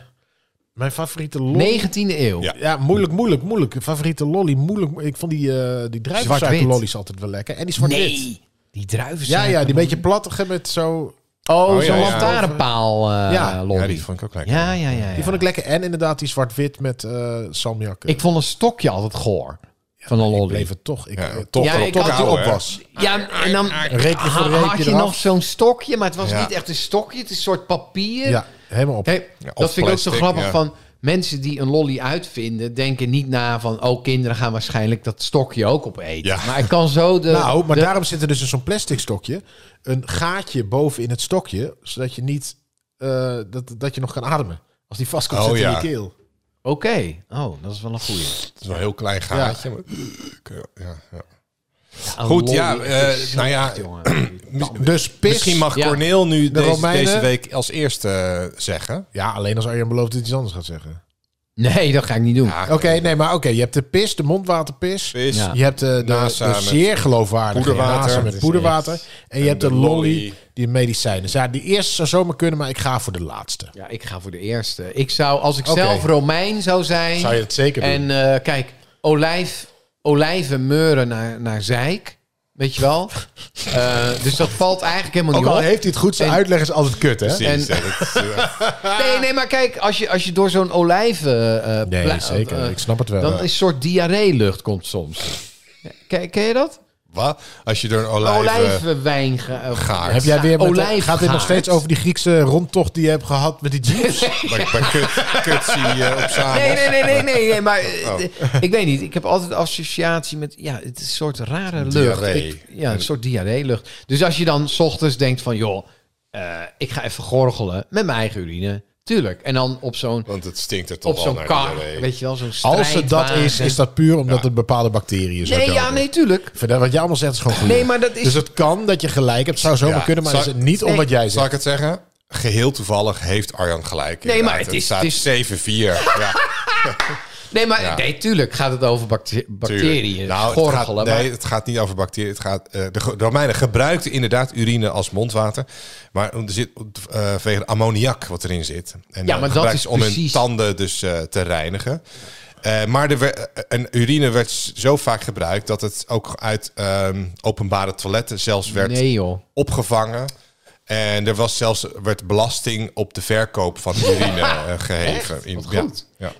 Speaker 3: Mijn favoriete lolly.
Speaker 4: 19e eeuw.
Speaker 2: Ja.
Speaker 3: Ja, moeilijk, moeilijk, moeilijk. Favoriete lolly, moeilijk. mo- Ik vond die, eh die druivensuiker
Speaker 4: Zwart-wit.
Speaker 3: lollies altijd wel lekker. En die zwart-wit.
Speaker 4: Nee. Die druiven
Speaker 3: Ja, ja, die beetje plattige met zo...
Speaker 4: Oh,
Speaker 2: Oh, ja,
Speaker 4: zo'n
Speaker 2: ja.
Speaker 4: lantaarnpaal eh,
Speaker 3: Ja.
Speaker 4: lolly.
Speaker 2: Ja, die vond ik ook lekker.
Speaker 4: ja, ja, ja, ja.
Speaker 3: Die vond ik lekker. En inderdaad die zwart-wit met eh salmiak.
Speaker 4: Ik vond een stokje altijd goor. van een lolly.
Speaker 3: bleef het toch. Ik,
Speaker 2: Ja,
Speaker 3: eh,
Speaker 2: toch
Speaker 3: toch
Speaker 4: Ja,
Speaker 3: wel-
Speaker 4: ik
Speaker 3: toch
Speaker 4: had
Speaker 3: wel
Speaker 2: ook,
Speaker 3: op
Speaker 2: hè.
Speaker 3: was.
Speaker 4: Ja, en dan
Speaker 3: Reepje voor
Speaker 4: ha-
Speaker 3: reepje
Speaker 4: had je
Speaker 3: eraf.
Speaker 4: nog zo'n stokje, maar het was
Speaker 2: Ja.
Speaker 4: niet echt een stokje. Het is een soort papier.
Speaker 3: Ja, helemaal op.
Speaker 4: Hé,
Speaker 2: Ja, of
Speaker 4: dat vind ik ook zo
Speaker 2: plastic,
Speaker 4: grappig
Speaker 2: ja.
Speaker 4: van... Mensen die een lolly uitvinden, denken niet na van... oh, kinderen gaan waarschijnlijk dat stokje ook opeten.
Speaker 2: Ja.
Speaker 4: Maar ik kan zo de...
Speaker 3: nou, maar
Speaker 4: eh, de-
Speaker 3: daarom zit er dus in zo'n plastic stokje een gaatje boven in het stokje, zodat je niet eh, dat, dat je nog kan ademen. Als die vast komt
Speaker 2: Oh,
Speaker 3: zitten
Speaker 2: ja.
Speaker 3: in je keel.
Speaker 4: Oké. Oh, dat is wel een goeie.
Speaker 2: Ah, Het is wel een heel klein gaatje. maar- Ja, ja. Goed, ja,
Speaker 4: lol,
Speaker 2: eh,
Speaker 4: dit is zo
Speaker 2: nou ja,
Speaker 4: echt, jongen.
Speaker 3: Dus pis.
Speaker 2: Misschien mag
Speaker 4: Ja.
Speaker 2: Corneel nu deze,
Speaker 3: Romeinen.
Speaker 2: deze week als eerste eh, zeggen.
Speaker 3: Ja, alleen als Arjen belooft dat hij iets anders gaat zeggen.
Speaker 4: Nee, dat ga ik niet doen.
Speaker 3: Oké, Ah, nee, maar oké. je hebt de pis, de mondwaterpis.
Speaker 2: Vis.
Speaker 4: Ja.
Speaker 3: Je hebt eh, de, de,
Speaker 2: Nasa
Speaker 3: de
Speaker 2: met
Speaker 3: zeer geloofwaardige
Speaker 2: poederwater.
Speaker 3: Nasa
Speaker 2: Het
Speaker 3: met
Speaker 2: is
Speaker 3: poederwater. En je hebt de,
Speaker 2: de
Speaker 3: lolly,
Speaker 2: lolly.
Speaker 3: die medicijnen. Dus ja, die eerste zou zomaar kunnen, maar ik ga voor de laatste.
Speaker 4: Ja, ik ga voor de eerste. Ik zou, als ik
Speaker 3: Oké.
Speaker 4: zelf Romein zou zijn.
Speaker 3: Zou je het zeker doen?
Speaker 4: en eh, kijk, olijf, olijven meuren naar, naar zeik. Weet je
Speaker 3: [laughs]
Speaker 4: wel? Eh, dus dat valt eigenlijk helemaal
Speaker 3: Ook
Speaker 4: niet
Speaker 3: al
Speaker 4: op.
Speaker 3: heeft hij het goed, zijn
Speaker 4: En-
Speaker 3: uitleg is altijd kut, hè?
Speaker 2: Precies,
Speaker 4: En-
Speaker 2: ja, dat is, eh,
Speaker 3: Ah.
Speaker 4: Nee, nee, maar kijk, als je, als je door zo'n olijven. eh, eh, pla-
Speaker 3: Nee, zeker.
Speaker 4: eh,
Speaker 3: Ik snap het wel.
Speaker 4: dan is een soort diarree-lucht komt soms. Ken, ken je dat?
Speaker 2: wat? Als je door
Speaker 4: [laughs]
Speaker 2: een olijf... eh,
Speaker 4: Olijvenwijn ga- eh,
Speaker 2: gaart.
Speaker 3: Heb jij weer met,
Speaker 4: Olijfgaard.
Speaker 3: gaat dit nog steeds over die Griekse rondtocht die je hebt gehad
Speaker 4: [laughs]
Speaker 3: met die jeeps?
Speaker 2: Maar, maar kut, kut zie je op samen.
Speaker 4: [laughs] Nee, nee, nee, nee, nee, nee, maar eh,
Speaker 3: Oh.
Speaker 4: d- ik weet niet. Ik heb altijd associatie met, ja, het is een soort rare lucht.
Speaker 2: Diarree.
Speaker 4: Ik- ja, een soort diarree-lucht. Dus als je dan 's ochtends denkt van, joh, eh, ik ga even gorgelen met mijn eigen urine. Tuurlijk. En dan op zo'n
Speaker 2: Want het stinkt er toch
Speaker 4: op
Speaker 2: al
Speaker 4: zo'n
Speaker 2: naar
Speaker 4: kar,
Speaker 2: diarree.
Speaker 4: weet je wel, zo'n
Speaker 3: Als het dat is,
Speaker 4: strijdwagen.
Speaker 3: is dat puur omdat het bepaalde bacteriën zijn.
Speaker 4: Nee, ja, nee, tuurlijk.
Speaker 3: Wat jij allemaal zegt is gewoon goed.
Speaker 4: Nee, maar dat is...
Speaker 3: Dus het kan dat je gelijk hebt. Zou zomaar
Speaker 2: Ja,
Speaker 3: kunnen, maar
Speaker 2: zou-
Speaker 3: is het niet om
Speaker 4: Nee.
Speaker 3: wat jij
Speaker 2: Zal
Speaker 3: zegt.
Speaker 2: ik het zeggen? Geheel toevallig heeft Arjan gelijk.
Speaker 4: Nee,
Speaker 2: inderdaad.
Speaker 4: maar het is-
Speaker 2: staat
Speaker 4: het is-
Speaker 2: 7-4.
Speaker 4: [laughs]
Speaker 2: Ja,
Speaker 4: nee, maar
Speaker 2: Ja.
Speaker 4: nee, tuurlijk gaat het over bacte- bacteriën,
Speaker 2: tuurlijk. Nou, het
Speaker 4: gorgelen.
Speaker 2: gaat,
Speaker 4: maar-
Speaker 2: nee, het gaat niet over bacteriën. Het gaat, eh, de Go- Romeinen gebruikten inderdaad urine als mondwater. Maar er zit, eh, vanwege de ammoniak wat erin zit. En
Speaker 4: Ja,
Speaker 2: eh,
Speaker 4: maar dat
Speaker 2: gebruikten
Speaker 4: is
Speaker 2: ze om hun
Speaker 4: precies-
Speaker 2: tanden dus eh, te reinigen. Eh, maar de, en urine werd s- zo vaak gebruikt dat het ook uit ehm, openbare toiletten zelfs werd
Speaker 4: nee, joh.
Speaker 2: opgevangen. En er was zelfs werd belasting op de verkoop van urine eh, geheven. In, ja, Ja,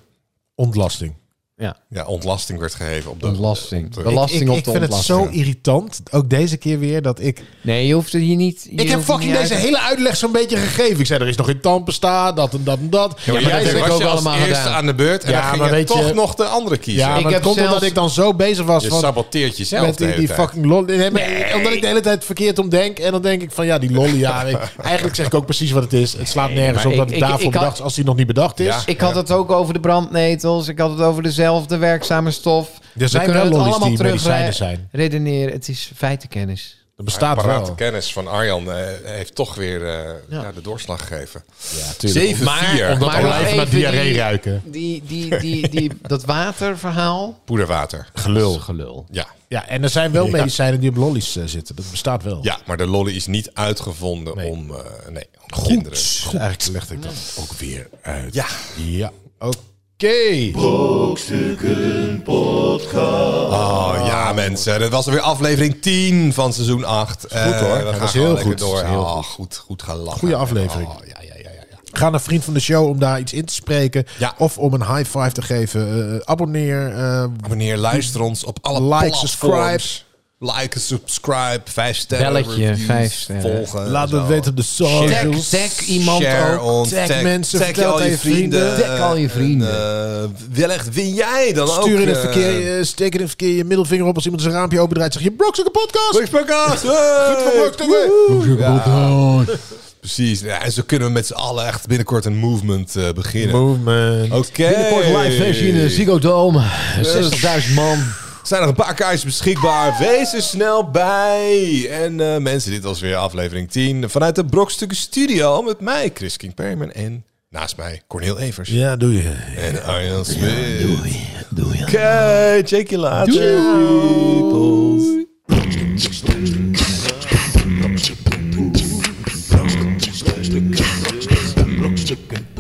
Speaker 3: Ontlasting.
Speaker 4: Ja,
Speaker 2: ja, ontlasting werd geheven op de
Speaker 4: belasting.
Speaker 2: de-
Speaker 4: Belasting
Speaker 3: ik,
Speaker 4: op
Speaker 3: ik
Speaker 4: de
Speaker 3: vind het
Speaker 4: ontlasting.
Speaker 3: zo irritant, ook deze keer weer, dat ik...
Speaker 4: Nee, je hoeft het hier niet... je
Speaker 3: Ik heb
Speaker 4: hoeft het
Speaker 3: fucking
Speaker 4: niet
Speaker 3: deze
Speaker 4: uit-
Speaker 3: hele uitleg zo'n beetje gegeven. Ik zei, er is nog in tandpasta, dat en dat en dat.
Speaker 2: Ja, maar
Speaker 4: Ja, maar dat
Speaker 2: jij was
Speaker 4: heb ik ook
Speaker 2: je als
Speaker 4: allemaal
Speaker 2: eerste
Speaker 4: gedaan.
Speaker 2: aan de beurt en
Speaker 3: Ja,
Speaker 2: dan ging
Speaker 3: maar
Speaker 2: je
Speaker 3: weet je-
Speaker 2: toch nog de andere kiezen.
Speaker 3: Ja,
Speaker 4: Ik
Speaker 3: maar
Speaker 4: heb
Speaker 3: het komt
Speaker 4: zelfs-
Speaker 3: omdat ik dan zo bezig was
Speaker 2: je
Speaker 3: van...
Speaker 2: saboteert jezelf
Speaker 3: met
Speaker 2: de
Speaker 3: die,
Speaker 2: hele
Speaker 3: die
Speaker 2: tijd.
Speaker 3: fucking lolly. Nee, maar Omdat ik de hele tijd verkeerd om denk. En dan denk ik van ja, die lolly. Ja, ik- eigenlijk zeg ik ook precies wat het is. Het slaat nergens
Speaker 4: maar
Speaker 3: op dat
Speaker 4: ik-
Speaker 3: het
Speaker 4: ik-
Speaker 3: daarvoor
Speaker 4: ik had-
Speaker 3: bedacht is als die nog niet bedacht is.
Speaker 2: Ja.
Speaker 4: Ik had het ook over de brandnetels. Ik had het over dezelfde werkzame stof.
Speaker 3: Er zijn wel
Speaker 4: het
Speaker 3: lollies die
Speaker 4: terugre-
Speaker 3: medicijnen zijn.
Speaker 4: redeneren. Het is feitenkennis.
Speaker 3: Dat bestaat
Speaker 2: Parate
Speaker 3: wel.
Speaker 2: kennis van Arjan eh, heeft toch weer eh, ja, de doorslag gegeven.
Speaker 3: Ja, tuurlijk.
Speaker 2: 7-4.
Speaker 3: Omdat
Speaker 4: Maar nog
Speaker 3: olijven naar
Speaker 4: even
Speaker 3: diarree
Speaker 4: die-
Speaker 3: ruiken.
Speaker 4: Die,
Speaker 3: [laughs]
Speaker 4: die, die, die, dat waterverhaal.
Speaker 2: Poederwater.
Speaker 3: Gelul.
Speaker 4: Gelul.
Speaker 2: Ja.
Speaker 3: Ja, en er zijn wel medicijnen die op lollies eh, zitten. Dat bestaat wel.
Speaker 2: ja, maar de lolly is niet uitgevonden om, eh, nee, om kinderen.
Speaker 3: Goed. Dus Eigenlijk legde ik dat ook weer uit.
Speaker 2: Ja.
Speaker 3: Ja. Oké.
Speaker 1: Brokstukken Podcast.
Speaker 2: Oh ja, mensen. Dat was alweer aflevering 10 van seizoen 8. Goed
Speaker 3: hoor. Ja,
Speaker 2: we
Speaker 3: dat
Speaker 2: gaan
Speaker 3: is
Speaker 2: heel
Speaker 3: heel
Speaker 2: goed.
Speaker 3: goed.
Speaker 2: door.
Speaker 3: Dat is heel
Speaker 2: oh, goed. Goed gelachen.
Speaker 3: Goeie aflevering.
Speaker 2: Oh, ja, ja, ja, ja. ja.
Speaker 3: Ga naar vriend van de show om daar iets in te spreken.
Speaker 2: Ja.
Speaker 3: Of om een high five te geven. Eh, abonneer. eh,
Speaker 2: Abonneer, luister ons op alle
Speaker 3: Like,
Speaker 2: platforms.
Speaker 3: subscribe.
Speaker 2: Like en subscribe. Vijf sterren.
Speaker 4: Belletje,
Speaker 2: reviews,
Speaker 4: vijf sterren.
Speaker 2: Volgen.
Speaker 3: laat
Speaker 2: zo.
Speaker 3: het weten op de socials.
Speaker 4: Tag- tag iemand
Speaker 2: Share
Speaker 4: ook.
Speaker 2: ons,
Speaker 3: Tag mensen,
Speaker 2: tag
Speaker 3: vertel
Speaker 2: al
Speaker 3: het
Speaker 2: je
Speaker 3: aan je vrienden.
Speaker 2: vrienden.
Speaker 4: Tag al je vrienden.
Speaker 2: En, eh, wellicht win jij dan ook.
Speaker 3: Stuur in het
Speaker 2: eh,
Speaker 3: verkeer, eh steek in het verkeer je middelvinger op als iemand zijn raampje opendraait. Zeg je Brokstukken podcast.
Speaker 2: Brooks Podcast, hey!
Speaker 3: Goed voor Brokstukken.
Speaker 2: Woehoe. Ja, Precies. Ja, en zo kunnen we met z'n allen echt binnenkort een movement eh, beginnen.
Speaker 3: Movement. Eh.
Speaker 2: Oké.
Speaker 4: Binnenkort live versie in de Ziggo Dome. 60.000 man.
Speaker 2: Zijn er een paar kaartjes beschikbaar? Wees er snel bij. En eh, mensen, dit was weer aflevering 10 vanuit de Brokstukken Studio met mij, Chris King Perman en naast mij Cornel Evers
Speaker 3: Ja, doe je.
Speaker 2: en Arjan Smit. doei, doei. Oké, check je later. peoples.
Speaker 1: Brokstukken. Brokstukken.